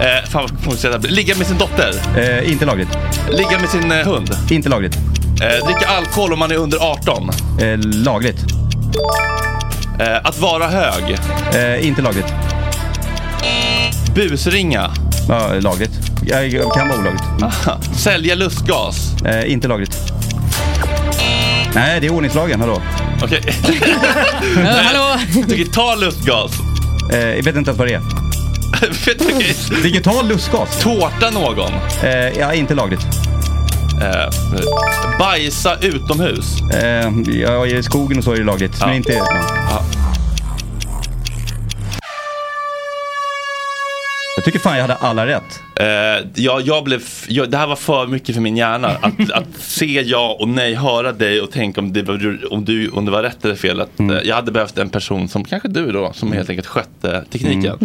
Eh, fan vad konstigt det här blir. Ligga med sin dotter? Eh, inte lagligt. Ligga med sin eh, hund? Inte lagligt. Eh, dricka alkohol om man är under 18? Eh, lagligt. Eh, att vara hög? Eh, inte lagligt. Busringa? Ja, lagligt. Ja, det kan vara olagligt. Sälja lustgas? Eh, inte lagligt. Nej, det är ordningslagen. Hallå? Okej. Hallå! Digital lustgas? Eh, jag vet inte ens vad det är. Digital lustgas? Tårta någon? Eh, ja, inte lagligt. Eh, bajsa utomhus? Eh, ja, I skogen och så är det lagligt. Men inte... Ja. Jag tycker fan jag hade alla rätt. Eh, jag, jag blev, f- jag, det här var för mycket för min hjärna. Att, att se ja och nej, höra dig och tänka om det, var- om du, om det var rätt eller fel. Att, Mm. eh, jag hade behövt en person som kanske du då, som helt enkelt skötte tekniken.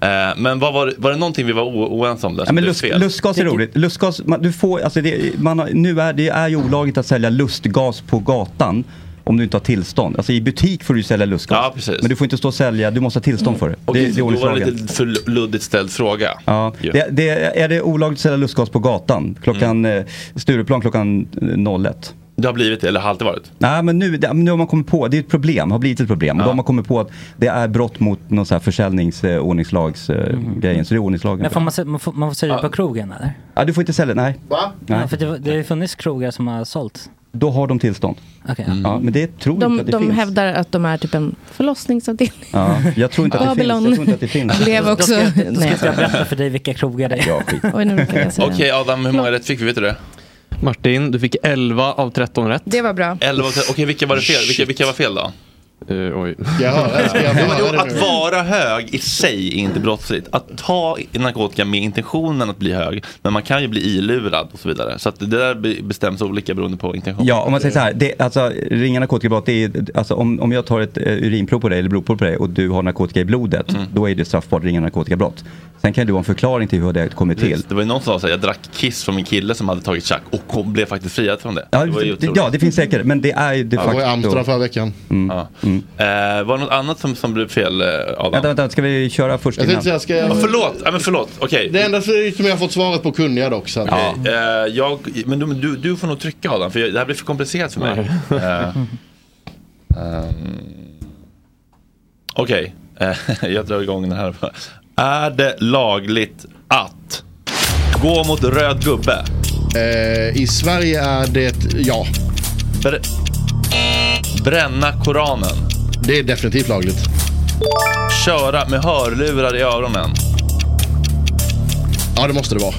Eh, men vad var, det- var det någonting vi var o, oense om där? Mm. Ja, som men blev lust, fel? lustgas är roligt. Lustgas, man, du får, alltså det, man har, nu är, det är ju olagligt att sälja lustgas på gatan om du inte har tillstånd. Alltså i butik får du ju sälja lustgas. Men du får inte stå och sälja, du måste ha tillstånd för det. Mm. Okej, det, det är så då var det ordningslagen. lite för luddigt ställd fråga. Ja, det, det, är det olagligt att sälja lustgas på gatan? Klockan, Mm. eh, Stureplan klockan eh, 01. Det har blivit det, eller har alltid varit. Nej men nu, det, nu har man kommit på, det är ett problem, har blivit ett problem. Och då har man kommit på att det är brott mot någon så här försäljnings, eh, ordningslagsgrejen. Eh, grejen. Så det är ordningslagen. Mm. Men får man, se- man, får, man får sälja på krogen eller? Ja, du får inte sälja, nej. Va? Nej, för det, var- det har ju funnits krogar som har sålt. Då har de tillstånd. Okej. Ja, men det tror jag De, inte att det de finns. hävdar att de är typ en förlossningsavdelning. Ja, jag tror inte att det finns. Babylon. Jag tror inte att det finns. Blev Då också... ska jag- då ska Nej. inte jag berätta för dig vilka krogar det är. Oj, nu råkade jag säga. Okej Adam, hur många rätt fick vi? Vet du det? Martin, du fick 11 av 13 rätt. Det var bra. 11 Okej, vilka var det fel? Vilka, vilka var fel då? Eh, oj. Jo, men jo, att vara hög i sig är inte brottsligt. Att ta narkotika med intentionen att bli hög, men man kan ju bli ilurad och så vidare. Så att det där be- bestäms olika beroende på intention. Ja, om man säger så här, det, alltså, ringa narkotikabrott, det är, alltså, om, om jag tar ett eh, urinprov på dig eller blodprov på dig och du har narkotika i blodet, Mm. då är det straffbart ringa narkotikabrott. Sen kan du ha en förklaring till hur det har kommit till. Precis. Det var ju någon som sa att jag drack kiss från min kille som hade tagit tjack och kom, blev faktiskt friad från det. Ja, det var ju det, otroligt. ja, det finns säkert, men det är ju de Ja, det var i facto... Mm. Amsterdam förra veckan. Ja. Eh, var det något annat som, som blev fel eh, Adam? Vänta, vänta, ska vi köra först Jag tänkte säga, ska jag- Ja, förlåt, ja, men förlåt. Okej. Det enda förutom jag har fått svaret på kunde jag dock. Så. att- Okej, eh, jag, men du, du, du får nog trycka Adam, för jag, det här blir för komplicerat för mig. Eh, ehm, Okej, eh, jag drar igång den här. Är det lagligt att gå mot röd gubbe? Eh, I Sverige är det ja. Br- bränna Koranen? Det är definitivt lagligt. Köra med hörlurar i öronen? Ja, det måste det vara.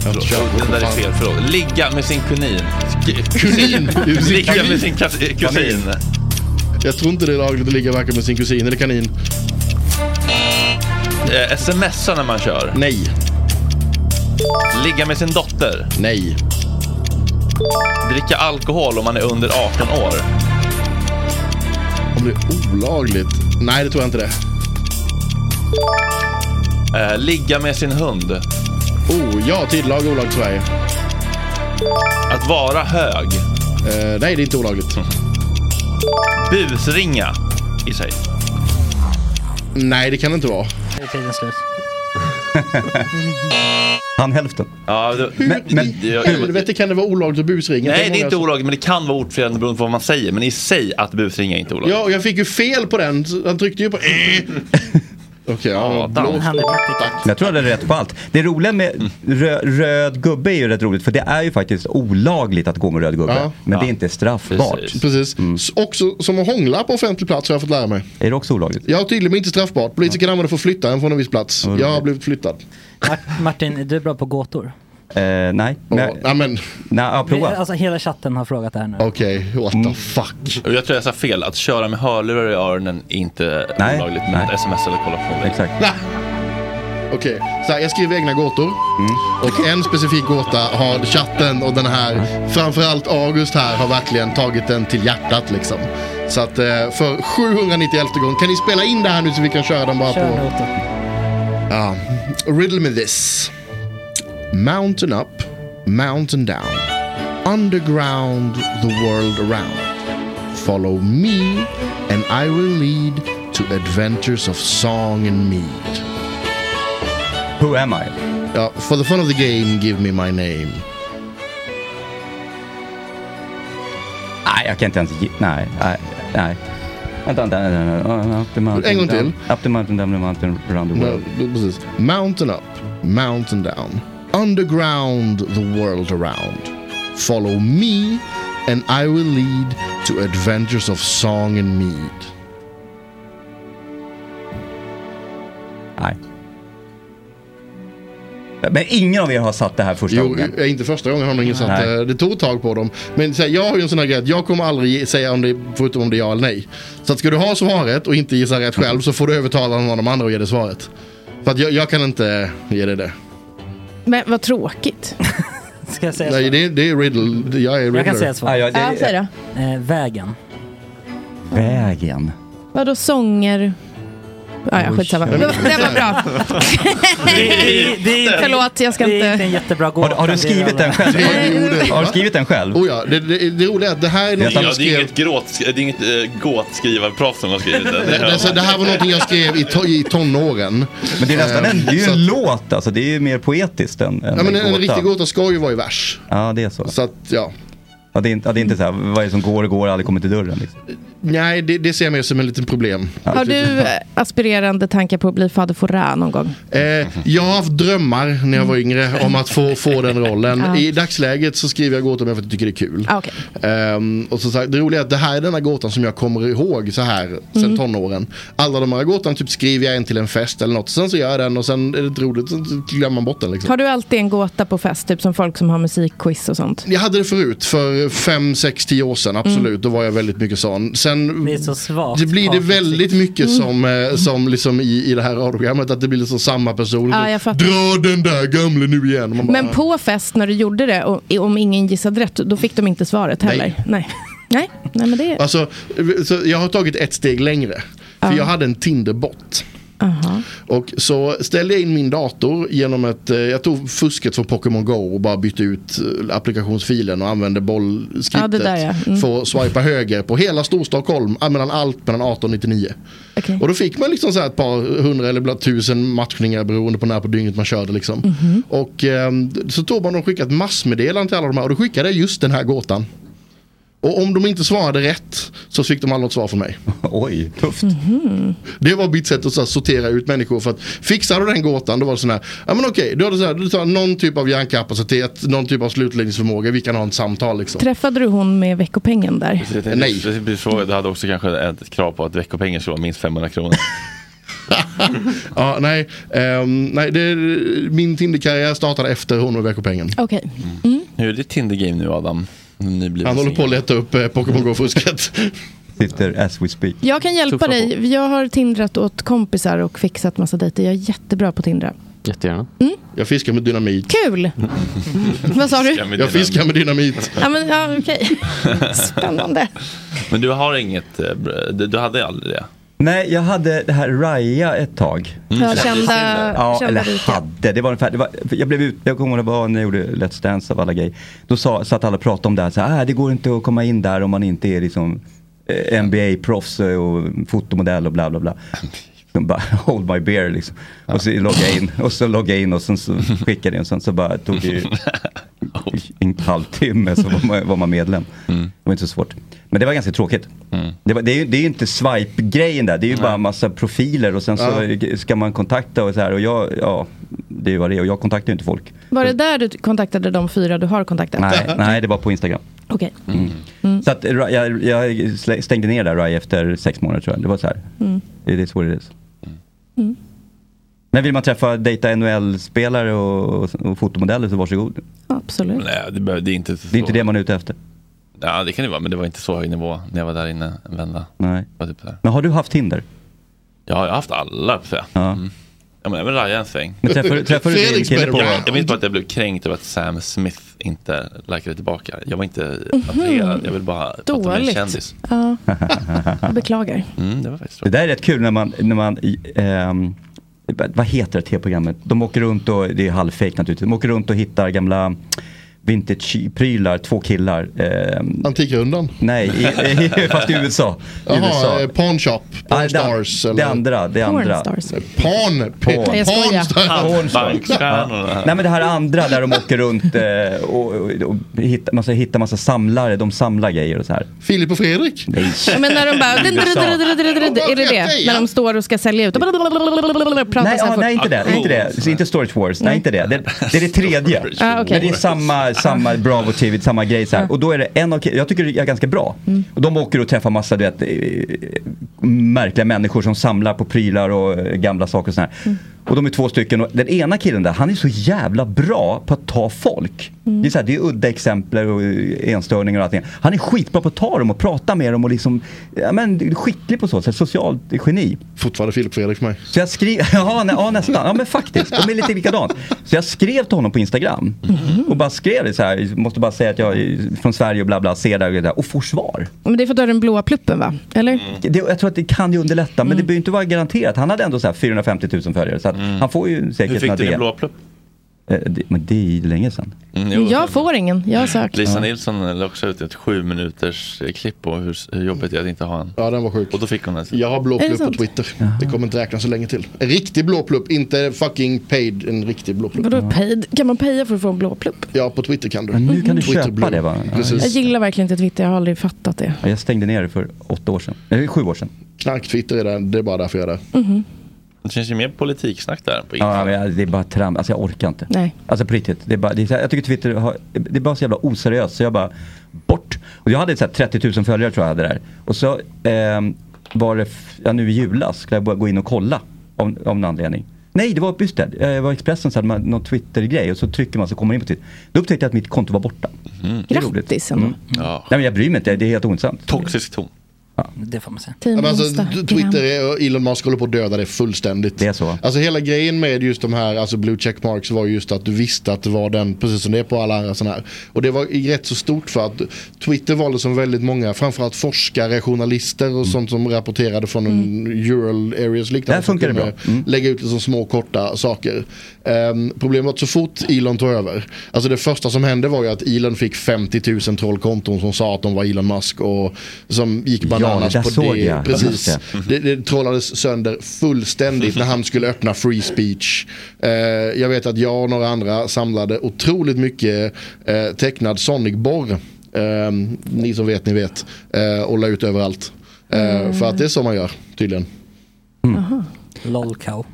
Förlåt, den där är fel. Förlåt. Ligga med sin kunin? Sk- Kunin? Ligga med sin kas- kusin? Jag tror inte det är lagligt att ligga och verka med sin kusin eller kanin. Eh, Smsa när man kör? Nej. Ligga med sin dotter? Nej. Dricka alkohol om man är under 18 år? Om det är olagligt? Nej, det tror jag inte det. Eh, ligga med sin hund? Oh, ja till lag och olagligt i Sverige. Att vara hög? Eh, nej, det är inte olagligt. Busringa i sig? Nej, det kan det inte vara. Nu är tiden slut. Han hälften. Ja, det, Hur i helvete kan det vara olagligt att busringa? nej, det är inte olagligt. olagligt, men det kan vara ordförande beroende på vad man säger. Men i sig att busringa är inte olagligt. Ja, och jag fick ju fel på den. så Han tryckte ju på... Eh. Okej, ja, Adam. blå Han stack. Men Jag tror jag hade rätt på allt. Det roliga med rö röd gubbe är ju rätt roligt för det är ju faktiskt olagligt att gå med röd gubbe. Ja. Men det är inte straffbart. Precis. S- Också som att hångla på offentlig plats har jag fått lära mig. Mm. Är det också olagligt? Ja, tydligen inte straffbart. Polisen kan använda för att flytta en från en viss plats. Jag har blivit flyttad. Mart- Martin, är du bra på gåtor? Eh, nej. Men, ja, men. Nej, ja, Mm. Vi- Alltså hela chatten har frågat det här nu. Okej, what the fuck. Och Jag tror jag sa fel, att köra med hörlurar i öronen är inte Nej. olagligt, men att sms eller kolla på det. Exakt. Okej, så här, jag skriver egna gåtor. Och en specifik gåta har chatten och den här, framförallt August här, har verkligen tagit den till hjärtat liksom. Så att eh, för 791 gång, kan ni spela in det här nu så vi kan köra den bara Kör på... noten. Ja, riddle me this. Mountain up, mountain down. Underground, the world around. Follow me and I will lead to adventures of song and mead. Who am I? Ja, for the fun of the game, give me my name. Nej, jag kan inte ens... ge- Nej, nej, nej. Vänta, vänta, vänta, vänta. Oh, Up the mountain, En gång till. down- Up the mountain, down the mountain, round the No, world. precis. Mountain up, mountain down. Underground, the world around. Follow me and I will lead to adventures of song and mead. Nej. Men ingen av er har satt det här första Jo, gången. eh, inte första gången har nog ingen satt eh, Nej. det. Det tog ett tag på dem. Men så här, jag har ju en sån här grej att jag kommer aldrig ge- säga om det, förutom om det är ja eller nej. Så att ska du ha svaret och inte gissa rätt själv så får du övertala någon av de andra att ge dig svaret. För att jag, jag kan inte ge dig det. Men vad tråkigt. Ska jag säga Nej, det, är- det är riddle. Jag är riddler. Jag kan säga ett svar. Ja, säg då. Eh, vägen. Vägen. Vadå sånger? Ah, ja, skitsamma. Det var, det var bra. Förlåt, jag ska inte... en jättebra Har, du- har du skrivit den själv? Har du skrivit den själv? Oh ja, det, det, det roliga är att det här är Ja, något det jag är skrev... inget gråt, det är inget äh, gåtskrivarproffs som har skrivit det. Det, det, så det här var någonting jag skrev i, to, i tonåren. Eh, Men det är nästan en, det är ju Så att- en låt alltså. Det är ju mer poetiskt än, än Ja, men en, en gåta. riktig gåta ska ju vara i vers. Ja, det är så. Så att, ja. Ja, det är inte, ja, det är inte så här, vad är det som går och går och aldrig kommer till dörren? Liksom. Nej, det, det ser jag mer som en liten problem. Har du eh, aspirerande tankar på att bli fader Fouras någon gång? Mm. Eh, jag har haft drömmar när jag var yngre om att få, få den rollen. Ja. I dagsläget så skriver jag gåtor med för att jag tycker det är kul. Ah, okej. Ehm, och så sagt, det roliga är att det här är den här gåtan som jag kommer ihåg så här sen Mm. tonåren. Alla de här gåtan typ skriver jag en till en fest eller något. Sen så gör jag den och sen är det inte roligt. Sen glömmer man bort den liksom. Har du alltid en gåta på fest, typ som folk som har musikquiz och sånt? Jag hade det förut, för 5, 6, 10 år sedan, absolut. Mm. Då var jag väldigt mycket sån. Sen Det är så svagt. det blir det hatiskt. väldigt mycket Mm. som, eh, som liksom i, i det här radioprogrammet, att det blir liksom samma person. Ja, jag fattar. Dra den där gamle nu igen. Mm. Och Man bara, Men på fest när du gjorde det, och, om ingen gissade rätt, då fick de inte svaret heller? Nej. Nej, Nej men det är... Alltså, så jag har tagit ett steg längre. För Ja. jag hade en Tinderbot. Aha. Och så ställde jag in min dator genom att eh, jag tog fusket från Pokémon Go och bara bytte ut eh, applikationsfilen och använde Ja, det bollskriptet där, ja. Mm. för att swipa höger på hela Storstockholm, eh, mellan allt mellan 18 och 99. Och då fick man liksom så här ett par hundra eller ibland tusen matchningar beroende på när på dygnet man körde. Liksom. Mhm. Och eh, så tog man och skickade ett massmeddelande till alla de här och då skickade jag just den här gåtan. Och om de inte svarade rätt så fick de aldrig något svar från mig. Mhm. Oj, tufft. Det var mitt sätt att så här, sortera ut människor. För att fixar du den gåtan då var det sån här, ja men okej, du, hade så här, du tar någon typ av hjärnkapacitet, någon typ av slutledningsförmåga, vi kan ha ett samtal liksom. Träffade du hon med veckopengen där? Nej. Du hade också kanske ett krav på att veckopengen skulle vara minst 500 kronor. Ja, nej, ehm, nej det, min Tinder-karriär startade efter hon och veckopengen. Okej. Hur är ditt Tinder-game nu Adam? Nybliven Han håller på att leta upp eh, Pokémon Go-fusket. Sitter as we speak. Jag kan hjälpa Tuffa på. dig. Jag har tindrat åt kompisar och fixat massa dejter. Jag är jättebra på att tindra. Jättegärna. Jag fiskar med dynamit. Kul! Mm. Vad sa du? Jag fiskar med dynamit. Ja, men ja, okej. Spännande. Men du har inget, eh, br- du du hade aldrig det? Nej, jag hade det här Raya ett tag. Mm. Ja, kända- Ja, kända eller rika. hade. Det var ungefär, det var, för jag blev ut, jag kommer ihåg det var när jag gjorde Let's Dance av alla grejer. Då sa, satt alla och pratade om det här, så här, ah, det går inte att komma in där om man inte är liksom eh, NBA-proffs och fotomodell och bla bla bla. De Bara, hold my beer liksom. Och så loggade jag in och så loggade jag in och sen så skickade jag in och sen så bara tog det ju en halvtimme så var man, var man medlem. Mm. Det var inte så svårt. Men det var ganska tråkigt. Det, var, det, är ju, det är ju inte swipe-grejen där, det är ju bara en massa profiler och sen så ska man kontakta och så här. Och jag, ja, det är ju vad det är. Och jag kontaktar ju inte folk. Var det där du kontaktade de fyra du har kontaktat? Nej, nej det var på Instagram. Mm. Okej. Mm. Mm. Så att, ra- jag, jag slä- stängde ner där Rai efter sex månader tror jag. Det var så här. Mm. It is what it is. Mm. När vill man träffa, dejta NHL-spelare och, och fotomodeller så varsågod. Absolut. Nej, det, behöver- det är inte så. Det är inte det man är ute efter. Ja, det kan det vara, men det var inte så hög nivå när jag var där inne en vända. Nej. Det var typ där. Men har du haft Tinder? Jag har jag har haft alla, så jag. Mm. Ja. Ja, men även Raja en sväng. Men träffar- träffar du Felix din kille på- Jag, jag minns bara att jag blev kränkt över att Sam Smith inte likade tillbaka. Jag var inte attraherad, jag ville bara prata med en Mhm. Dåligt. kändis. Ja, jag beklagar. Mm, det, var faktiskt det där är rätt kul när man, när man ehm, vad heter det tv-programmet? De åker runt och, det är halvfejk naturligtvis, de åker runt och hittar gamla vintage-prylar, två killar. ehm, Antikrundan? Nej, i, i, fast i USA. I Jaha, USA. eh, Pawn Shop, Pawn Nej, det- Stars. det eller? andra, det Porn andra. Stars. Pawn, Porn. Nej, jag skojar. Porn Stars. Bankstjärnorna. Nej men det här andra där de åker runt eh, och, och, och hittar, massa, hittar massa samlare, de samlar grejer och så här. Filip och Fredrik? Nej. Ja, men när de bara... Är det det? När de står och ska sälja ut. och Pratar Nej, så här ja, fort. nej, inte det. Inte det. Så inte Storage Wars. Nej, inte det. Det, det är det tredje. Ah, okej. Men det är samma, samma Bravo TV, samma grej. Så här. Och då är det en av ki- Jag tycker det är ganska bra. Mm. Och de åker och träffar massa du vet, eh, märkliga människor som samlar på prylar och eh, gamla saker och sådär. Mm. Och de är två stycken och den ena killen där, han är så jävla bra på att ta folk. Mm. Det, är så här, det är udda exempel och eh, enstörningar och allting. Han är skitbra på att ta dem och prata med dem och liksom, ja men skicklig på så sätt, socialt geni. Fortfarande Filip Fredrik för mig. Så jag skrev, ja, nä, ja nästan, ja men faktiskt, de är lite likadant. Så jag skrev till honom på Instagram Mhm. och bara skrev det så här, måste bara säga att jag är från Sverige och bla bla, ser där och, där, och får svar. Men det är för att du har den blåa pluppen va? Eller? Det, jag tror att det kan ju underlätta, men det Mm. behöver ju inte vara garanterat. Han hade ändå så här 450 000 följare, så att han får ju säkert Hur fick några du DM. din blåa plupp? Eh, det, Men det är ju länge sedan. Mm, Jag får ingen. Jag har sökt. Lisa Nilsson la också ut ett sju minuters eh, klipp på hur, hur jobbigt det är att inte ha en. Ja, den var sjuk. Och då fick hon en. Jag har blå Är det plupp på sant? Twitter. Det kommer inte räknas så länge till. En riktig blå plupp, inte fucking paid, en riktig blå plupp. Vadå paid? Kan man paya för att få en blå plupp? Ja, på Twitter kan du. Men nu kan du Twitter köpa blå. det, va? Ja, Precis. Jag gillar verkligen inte Twitter. Jag har aldrig fattat det. Ja, Jag stängde ner det för åtta år sedan, eller sju år sedan. Knarktwitter är det, det är bara därför jag är där. Det känns ju mer politiksnack där. På Ja, men jag- det är bara trams. Alltså jag orkar inte. Nej. Alltså på riktigt. Det är bara, det är, så här- jag tycker Twitter har, det är bara så jävla oseriöst. Så jag bara, bort. Och jag hade så här 30 000 följare tror jag hade där. Och så ehm, var det, f- ja, nu i julas, skulle jag bara gå in och kolla. Om, om någon anledning. Nej, det var just det. Eh, Det var Expressen som hade man någon Twitter-grej och så trycker man så kommer man in på Twitter. Då upptäckte jag att mitt konto var borta. Det är roligt. Mm. Grattis ändå. Ja. Nej men jag bryr mig inte, det är helt ointressant. Toxisk ton. Det får man säga. Ja, men alltså, Twitter är- och Elon Musk håller på att döda det fullständigt. Det är så. Alltså hela grejen med just de här alltså blue check marks var just att du visste att det var den, precis som det är på alla andra sådana här. Och det var i- rätt så stort för att Twitter valde som väldigt många, framförallt forskare, journalister och sånt som rapporterade från en Ural areas liknande. Där funkar Mm. det som bra. Mm. kunde Lägga ut liksom små korta saker. Ehm, problemet var att så fort Elon tog över, alltså det första som hände var ju att Elon fick 50 000 trollkonton som sa att de var Elon Musk och som gick Ja, bananas det där på såg det. jag. Precis. Just Mm-hmm. Det, det trollades sönder fullständigt Mm-hmm. när han skulle öppna free speech. Eh, jag vet att jag och några andra samlade otroligt mycket eh, tecknad Sonic-borr. Eh, ni som vet, ni vet. Eh, och la ut överallt. Eh, För att det är så man gör, tydligen. Mm. Lolcow.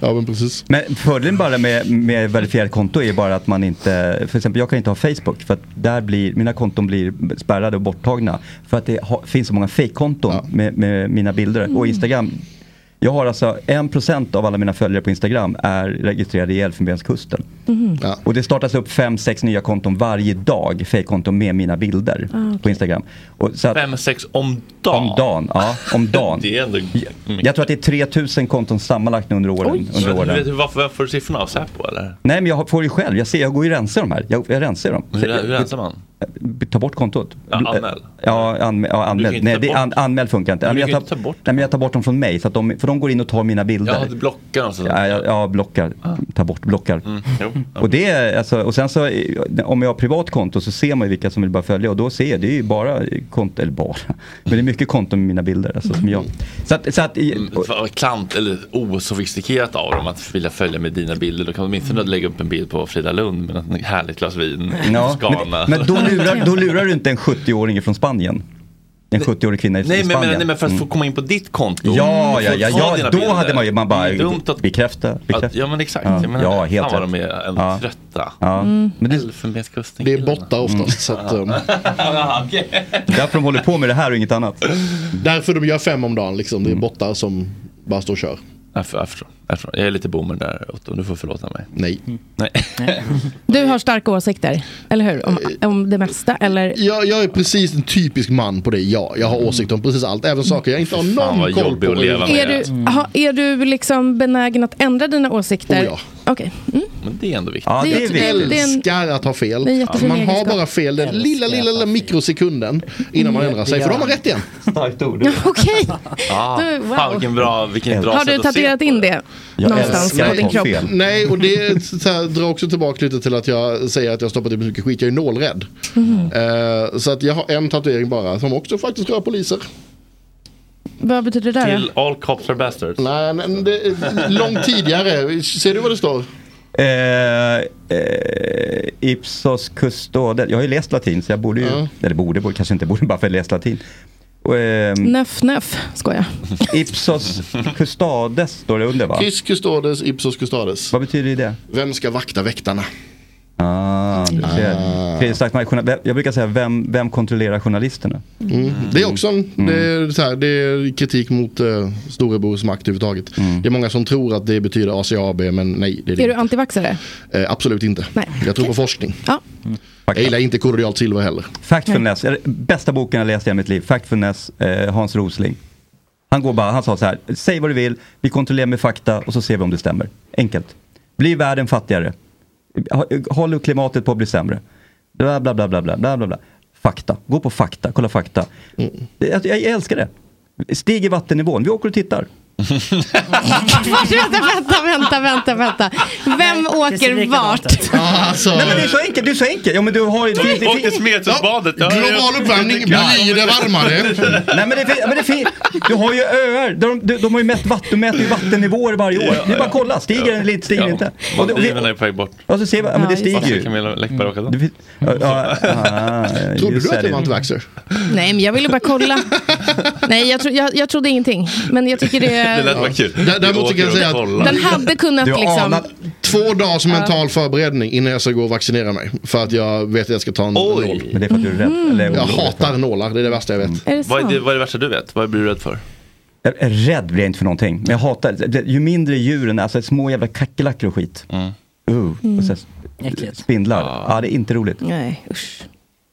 ja men precis. Men fördelen bara med, med verifierat konto är ju bara att man inte, för exempel jag kan inte ha Facebook för att där blir, mina konton blir spärrade och borttagna. För att det ha, finns så många fejkkonton med, med mina bilder. Och Instagram, jag har alltså 1% av alla mina följare på Instagram är registrerade i Elfenbenskusten. Mm. Mm. Och det startas upp 5-6 nya konton varje dag, fejkkonton med mina bilder Ah, okej. på Instagram. Och så att, Fem, sex om dagen. om dagen, ja, om dagen. Det är ändå... Jag tror att det är 3000 konton sammanlagt under åren. under Men åren. Vet du varför jag får siffrorna av Säpo eller? Nej men jag får ju själv, jag, ser, jag går ju och rensar de här. Jag, jag rensar dem. eh, Hur, hur rensar man? ta bort kontot. Ja, anmäl. Ja, anmä- ja Du kan anmäl. inte Nej, ta det, an, anmäl funkar inte. Men du jag kan tar, inte ta bort nej, men jag tar bort dem från mig, så att de, för de går in och tar mina bilder. Ja, du blockar och sådär. Ja, jag, jag blockar. Ta bort, blockar. alltså. Mm. Jo. Och, det är, alltså, och sen så, eh, om jag har privat konto så ser man ju vilka som vill bara följa och då ser jag, det är ju bara konto, eller bara, men det är mycket konton med mina bilder. Alltså, som jag. Mm. Så att, så att, i- Vad Mm, Klant eller osofistikerat av dem att vilja följa med dina bilder. Då kan de Mm. åtminstone lägga upp en bild på Frida Lund med ett härligt glas vin i ja, Toscana. men, men då, lurar, då lurar du inte en 70-åring från Spanien. En 70-årig kvinna i- Nej i men, Spanien. men, nej, men för att få Mm. komma in på ditt konto. Mm. Ja, Få ja, ja, ta ja dina då bilder. hade man ju, man Det bara är dumt att, bekräfta. att, bekräfta. ja men exakt. Ja, Jag menar, ja, helt fan vad rätt. de är ändå Ja. trötta. Ja. Men det, Elfenbenskusten. Det är bottar oftast, så att, eh, um. därför de håller på med det här och inget annat. Mm. Därför de gör fem om dagen liksom. Det är bottar som bara står och kör. Jag, för, jag, förstår, jag, förstår. jag är lite boomer där Otto, du får förlåta mig. Nej. Nej. Du har starka åsikter, eller hur? Om, om det mesta, eller? Jag, jag är precis en typisk man på det, ja. Jag har åsikter om precis allt, även saker jag inte har Mm. Fan, någon vad koll jobbig på. att leva alltså. Är du, ha, är du liksom benägen att ändra dina åsikter? Oh, ja. Okej. Mm. Men det är ändå viktigt. Ja, det är jag viktigt. Det är en- älskar att ha fel. det är en jättefin Man har egenskap. bara fel den lilla, lilla, lilla mikrosekunden innan man ändrar sig. För då har man rätt igen. Starkt ord. Okej. Ah, Du, wow. Fan vilken bra, vilken bra Har sätt du att se tatuerat in det någonstans på din kropp? Nej, och det så här, drar också tillbaka lite till att jag säger att jag stoppat i mig så mycket skit. Jag är nålrädd. Mhm. Eh, så att jag har en tatuering bara som också faktiskt rör poliser. Vad betyder det där? då? Till all cops are bastards. Nej, nej det är långt tidigare. Ser du vad det står? Eh, eh, ipsos custode. Jag har ju läst latin så jag borde ju, Ja. eller borde, borde, kanske inte borde bara för att jag läst latin. Och, Mm. ehm, Nöff, nöff. Skoja. ipsos custades står det under va? Quis custades, ipsos custades. Vad betyder det? Vem ska vakta väktarna? Ah, du ser. Fredrik Starkman, journal- jag brukar säga vem, vem kontrollerar journalisterna? Mm. Det är också en, det är så här, det är kritik mot eh, storebrors makt överhuvudtaget. Mm. Det är många som tror att det betyder ACAB, men nej. Det är det. Är du antivaxxare? Eh, absolut inte. Jag tror på forskning. Ja. Mm. Jag gillar inte kordialt silver heller. Factfulness, är det bästa boken jag läst i hela mitt liv. Factfulness, eh, Hans Rosling. Han går bara, han sa så här, säg vad du vill, vi kontrollerar med fakta och så ser vi om det stämmer. Enkelt. Blir världen fattigare? Ha- Håller klimatet på att bli sämre? Bla, bla, bla, bla, bla, bla, bla, bla. Fakta, gå på fakta, kolla fakta. Mm. Jag, jag älskar det. Stiger vattennivån, vi åker och tittar. Vänta, vänta, vänta, vänta, vänta. Vem åker vart? alltså. Nej men det är så enkelt, det är så enkelt. Ja, men du har ju... det- det- Åkte Smedshusbadet. Ja, global ja. uppvärmning, blir det varmare? Nej men det är fin- men det är fint. Du har ju öar. De, de, de har ju mätt vatten, de mäter ju vattennivåer varje år. Det är bara att kolla, stiger den eller inte, stiger den inte? Och det, och vi, Maldiverna är på väg bort. och så ser man, ja, men det stiger ju. Camilla Läckberg åka då? Ja, ja, ja, Trodde just du att det. jag var antivaxxer? Nej, men jag ville bara kolla. Nej, jag, tro, jag, jag trodde ingenting. Men jag tycker det... bara kul. Dä- Däremot så kan jag säga att Den hade kunnat liksom... två dagars Ja. mental förberedning innan jag ska gå och vaccinera mig. För att jag vet att jag ska ta en nål. Men det är för att du är rädd. Mm. Eller Jag orolig. hatar nålar, det är det värsta jag vet. Vad är, det, vad är det värsta du vet? Vad blir du rädd för? Jag är rädd blir jag inte för någonting. Men jag hatar, det- ju mindre djuren, alltså små jävla kackerlackor och skit. Uh, och så här, Äckligt. spindlar. Ja. det är inte roligt. Nej, usch.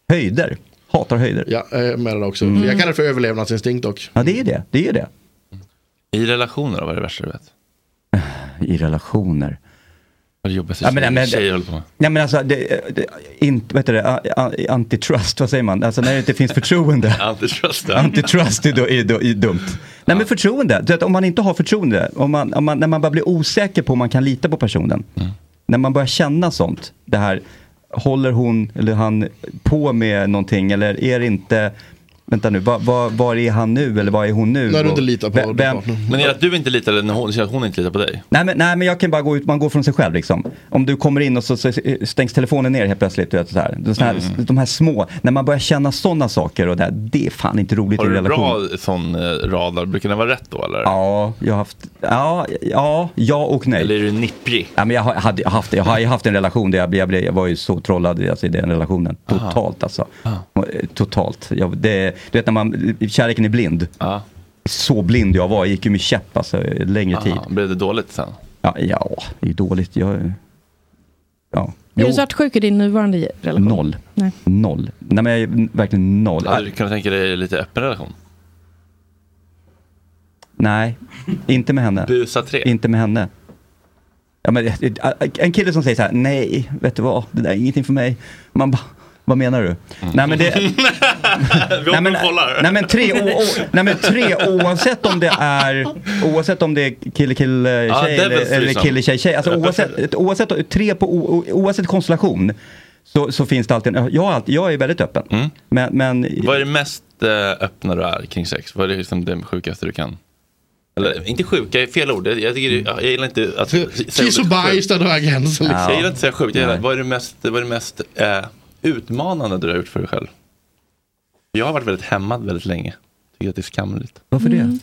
Höjder. Hatar höjder. Ja, jag är Eh, med det också. Mm. Jag kallar det för överlevnadsinstinkt dock. Ja, det är det. Det är det. I relationer då, vad är det värsta du vet? I relationer. Vad är det jobbigaste Ja, men- tjejer- men- tjejer håller på med? Nej men alltså, det, det, inte, vad heter det, A- a- antitrust, vad säger man? Alltså när det inte finns förtroende. Antitrust. ja. Antitrust är, då, är, då, är dumt. Nej men förtroende, du vet, om man inte har förtroende, om man, om man, när man bara blir osäker på om man kan lita på personen. När man börjar känna sånt, det här, håller hon eller han på med någonting eller är det inte, vänta nu, vad- vad- var är han nu eller var är hon nu? När du Och inte litar på vem- din vem, Mm. partner. Men är det att du inte litar eller när hon, att hon inte litar på dig? Nej men, nej men jag kan bara gå ut, man går från sig själv liksom. Om du kommer in och så, så eh, stängs telefonen ner helt plötsligt. Du vet, så här. De, såna här, Mm. de här små, när man börjar känna sådana saker och det, här, det är fan inte roligt Har i en du relation. bra sån eh, radar? Brukar den vara rätt då eller? Ja, jag har haft, ja, ja, ja och nej. Eller är du nipprig? Ja, men jag, har, hade, jag, haft, jag har ju haft en relation där jag, blev- jag, blev, jag var ju så trollad alltså, i den relationen. Aha. Totalt alltså. Totalt. Jag, det, du vet när man, eh, kärleken är blind. Så blind jag var, jag gick ju med käpp alltså längre tid. Aha, Blev det dåligt sen? Ja, ja, det är dåligt. Jag, ja. Är du svartsjuk i din nuvarande relation? Noll. Nej. Noll. Nej men jag är verkligen noll. Hade du kunnat tänka dig lite öppen relation? Nej, inte med henne. Busa tre. Inte med henne. eh, Ja, men, en kille som säger så här, nej, vet du vad, det där är ingenting för mig. Man bara, Vad menar du? Mm. Nej men det... Vi åker och kollar. Nej men, tre, o, o, nej men tre, oavsett om det är oavsett om det är kille, kille, Ja, liksom. tjej det är väl eller, eller threesome. kille, tjej, tjej. Alltså oavsett, oavsett, tre på, o, o- oavsett konstellation så, så finns det alltid en, jag, har alltid, jag är väldigt öppen. Mm. Men, men Vad är det mest eh, öppna du är kring sex? Vad är det, liksom det sjukaste du kan? Eller inte sjuka, är fel ord. Jag, jag, tycker, det- jag gillar inte att säga Eh. Kiss och ordet bajs sjuk. där drar gränsen liksom. Jag gillar inte att säga sjukt. Jag gillar, vad är det mest, vad är det mest eh, utmanande du har gjort för dig själv? Jag har varit väldigt hämmad väldigt länge. Tycker att det är skamligt. Varför det? Mm.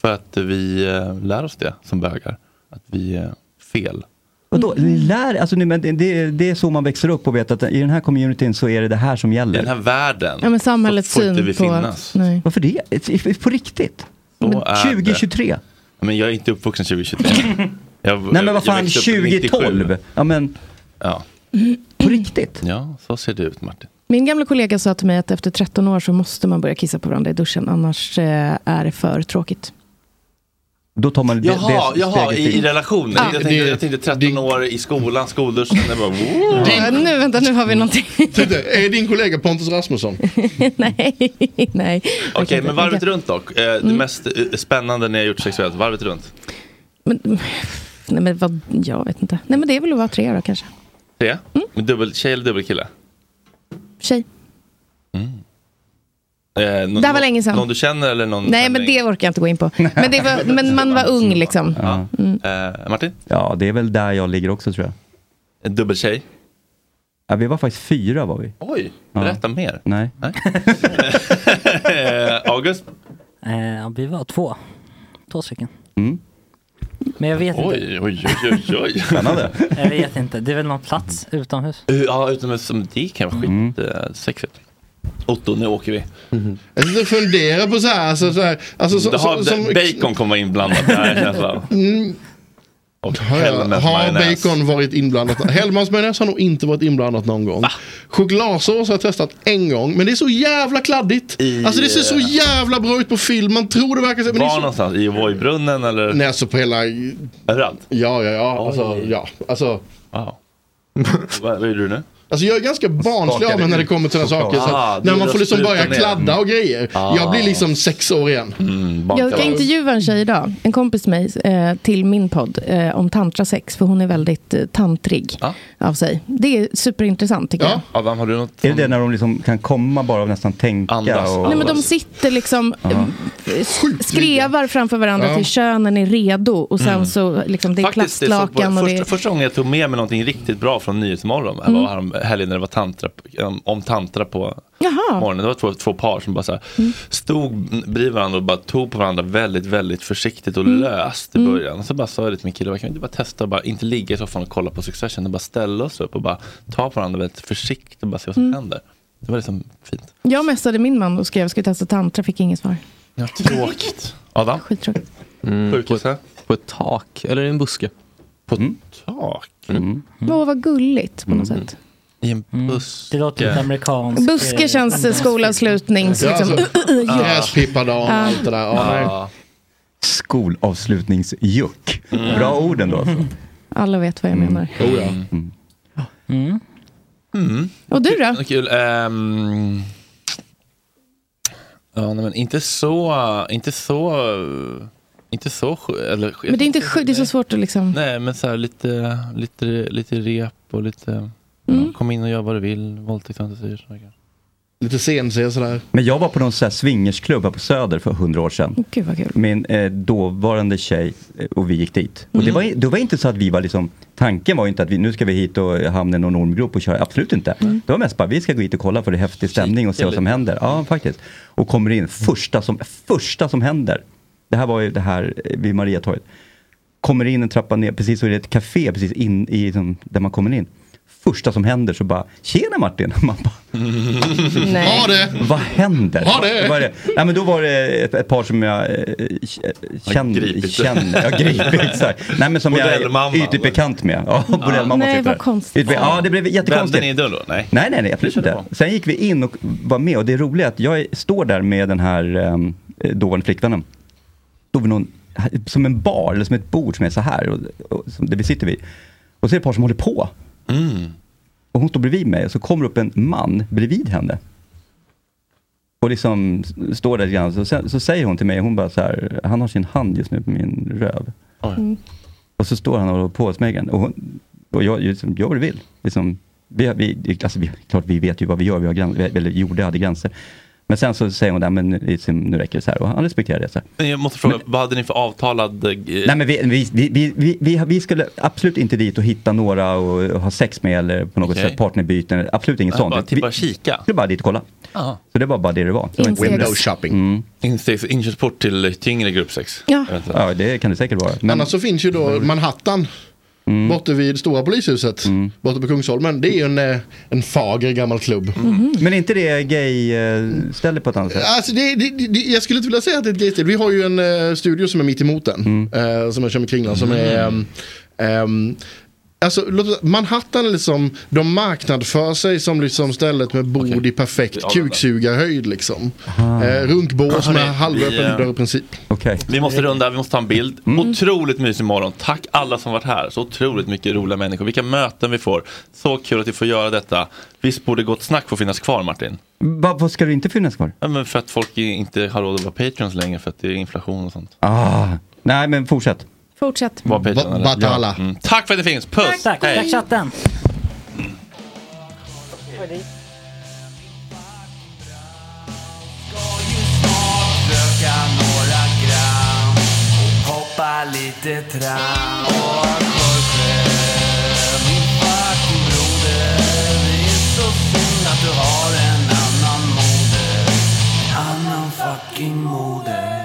För att vi eh, lär oss det som bögar. Att vi är fel. Vadå, Mm. lär, alltså, nu, men det, det, det är så man växer upp och vet att i den här communityn så är det det här som I gäller. den här världen. Ja, men samhällets så får inte syn vi på att- finnas. nej. Varför det? På riktigt? Så är det. 2023? Men jag är inte uppvuxen 2023. Jag, Nej men vad jag fan, växte upp 97. 2012? Ja men, Ja. på riktigt? ja, så ser det ut Martin. Min gamla kollega sa till mig att efter 13 år så måste man börja kissa på varandra i duschen, annars eh, är det för tråkigt. då tar man det, Jaha, det jaha i, i relationen. Ja. Jag, tänkte, jag tänkte 13 år i skolan, skolduschen. Jag bara, wow. Ja, nu, vänta, nu har vi någonting. Titta, är din kollega Pontus Rasmusson? nej, nej. Okej, men varvet runt dock. Eh, Det Mm. mest eh, spännande ni har gjort sexuellt, varvet runt. Men, nej, men vad, jag vet inte. Nej, men det är väl att vara tre då kanske. Det? Mm. Med dubbel, tjej eller dubbelkille? Tjej. Eh, nå- Det här var nå- länge sedan. Någon du känner eller någon Nej, men det orkar jag inte gå in på. Men, det var, men man var ung liksom. Mm. Ja. Eh, Martin? Ja, det är väl där jag ligger också tror jag. En dubbeltjej? Ja, vi var faktiskt fyra var vi. Oj, Ja. berätta mer. Nej. Eh, August? Eh, vi var två. Två stycken. Mm. Men jag vet inte. Oj, oj, oj, oj, oj. Spännande. Jag vet inte. Det är väl någon plats utomhus. ja, utomhus som det kan vara skitsexigt. Otto, nu åker vi. Jag sitter och funderar på så här, alltså, så här Mm-hmm. alltså, så, det har, så, som, bacon kommer vara inblandat. Det här känns bra. Mm, Och har, Hellmans har majonnäs. bacon varit inblandat? Hellmans majonnäs har nog inte varit inblandat någon gång. Chokladsås har jag testat en gång, men det är så jävla kladdigt. Alltså det ser så eh, jävla bra ut på film, man tror det verkar så. Men det är Var så någonstans? I Voi-brunnen eller? Nej, alltså på hela... Överallt? Ja, ja, ja. Alltså, ja. Alltså, Wow. Vad vad gjorde du nu? alltså jag är ganska barnslig av mig när det kommer till den här saker. choklad. Så Ah, att du när man har får liksom sprutat börja ner. kladda och grejer. Ah. Jag blir liksom sex år igen. Jag ska intervjua en tjej idag, en kompis till mig, eh, till min podd eh, om tantrasex, för hon är väldigt eh, tantrig av sig. Det är superintressant tycker jag. Adam, har du något? Är det det när de liksom kan komma bara av nästan tänka? Och... Nej, men de sitter liksom, Ja. eh, skrevar framför varandra Ja. till könen är redo och sen Mm. så liksom, det är Faktiskt, det är så- plastlakan och det första, första gången jag tog med mig någonting riktigt bra från Nyhetsmorgon mm. Mm. var härom- helgen när det var tantra, om- om tantra på Jaha. morgonen. Det var två, två par som bara så här, Mm. stod bredvid varandra och bara tog på varandra väldigt, väldigt försiktigt Mm. och löst i början. Och så bara sa jag det till min kille, "Bara, kan vi inte bara testa och bara inte ligga i soffan och kolla på Succession, utan bara ställa oss upp och bara ta på varandra väldigt försiktigt och bara se vad som Mm. händer. Det var liksom fint. Jag mässade min man och skrev, ska vi testa tantra? Fick inget svar. Ja, tråkigt. Adam? Mm. Skittråkigt. på, ett, på ett tak, eller i en buske. På tak? Åh, vad gulligt Mm. på något sätt. Mm. I en buss. Mm. Det låter lite Mm. amerikanskt. Buske känns eh, skolavslutnings... Ja, Liksom, alltså, ja. Gräspippadan och Ja. allt det där. Ja, nej. Skolavslutningsjuck. Bra ord ändå. Alltså. Mm. Alla vet vad jag menar. Oh, ja. Mm. Och du då? Kul. ehm, ja, nej, men inte så, inte så, inte så, sj- eller, Men det är inte sjukt, det är så svårt att liksom... Nej, men så här lite, lite, lite rep och lite, Mm. ja, kom in och gör vad du vill, våldtäktsfantasier. sådana grejer. Lite CNC sådär. Men jag var på någon så här swingersklubb här på Söder för hundra år sedan. Gud vad kul. Min eh, dåvarande tjej eh, och vi gick dit. Och det Mm. var, det var inte så att vi var liksom, tanken var ju inte att vi, nu ska vi hit och hamna i någon ormgrop och köra, absolut inte. Mm. Det var mest bara, vi ska gå hit och kolla för det är häftig stämning och se vad som händer. Ja, faktiskt. Och kommer in, första som, första som händer, det här var ju det här eh, vid Mariatorget. Kommer in en trappa ner, precis så är det ett café precis in i, som, där man kommer in. Första som händer så bara, tjena Martin! Man bara, Nej. Ha det! vad händer? Ha det! Var det? Nej, men då var det ett, ett par som jag eh, k- kände. gripit. kände ja, gripit. Exakt. Nej, men som jag Bordellmamman. är ytligt bekant med. Ja, bordellmamman Nej, sitter vad där. konstigt. Ytligt be- Ja, det blev Vände ni jättekonstigt. dörren då? Nej. Nej, nej, nej, absolut körde inte. Sen gick vi in och var med och det roliga är att jag är- står där med den här ehm, dåvarande flickvännen. Då var någon, som en bar, eller som ett bord som är så här, och, och, som, där vi sitter vid. Och så är det ett par som håller på. och hon står bredvid mig och så kommer upp en man bredvid henne. Och liksom s- står där lite grann. Så, sen, så säger hon till mig, hon bara så här, han har sin hand just nu på min röv. Mm. Och så står han och håller på åt mig igen. och, hon, och jag liksom, gör vad du vill. Liksom, vi, vi, alltså, vi, klart vi vet ju vad vi gör, vi har gränser, eller gjorde, hade gränser. Men sen så säger hon, där, men liksom, nu räcker det så här. Och han respekterar det. Så här. Jag måste fråga, vad hade ni för avtalad... eh, Nej, men vi, vi, vi- vi, vi, vi, vi skulle absolut inte dit och hitta några och, och ha sex med eller på något Okej. sätt partnerbyten. Absolut inget Jag sånt. bara Vi- tippar kika. Vi skulle bara dit och kolla. Ah. Så det var bara det det var. Mm. Instegs. Window shopping. Instegs, inkörsport till tyngre gruppsex. Ja. ja, det kan det säkert vara. Mm. Men- Annars så finns ju då Manhattan. Borta vid stora polishuset. Borta på Kungsholmen. Det är ju en, eh, en fager gammal klubb. Mm. Men är inte det gay-ställe på ett annat sätt? Alltså det, det, det, jag skulle inte vilja säga att det är ett litet. Vi har ju en eh, studio som är mitt emot den. Mm. eh, som jag kör med kringlan. Som är... ehm, ehm, Alltså, låt oss- Manhattan är liksom, de marknadsför sig som liksom stället med bord i perfekt Ja, men- kuksugarhöjd. Liksom. Ah. Eh, runkbås Hörni, med halvöppen vi, eh, dörr i princip. Vi måste runda, vi måste ta en bild. Mm. Otroligt mysig morgon. Tack alla som varit här. Så otroligt mycket roliga människor. Vilka möten vi får. Så kul att vi får göra detta. Visst borde Gott Snack få finnas kvar Martin? Va, vad ska du inte finnas kvar? Ja, men för att folk inte har råd att vara patrons längre för att det är inflation och sånt. Ah, nej, men fortsätt. Fortsätt. Var patron, Ba- eller? Batala. Mm. Tack för att det finns. Puss! Tack, Hej. tack chatten. Röka några gram och poppa lite tram. Och Jorge, min fucking broder, det är så synd att du har en annan moder. En annan fucking moder.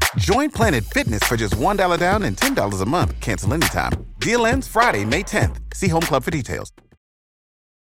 Join Planet Fitness for just $1 down and $10 a month. Cancel anytime. Deal ends Friday, May 10th. See Home Club for details.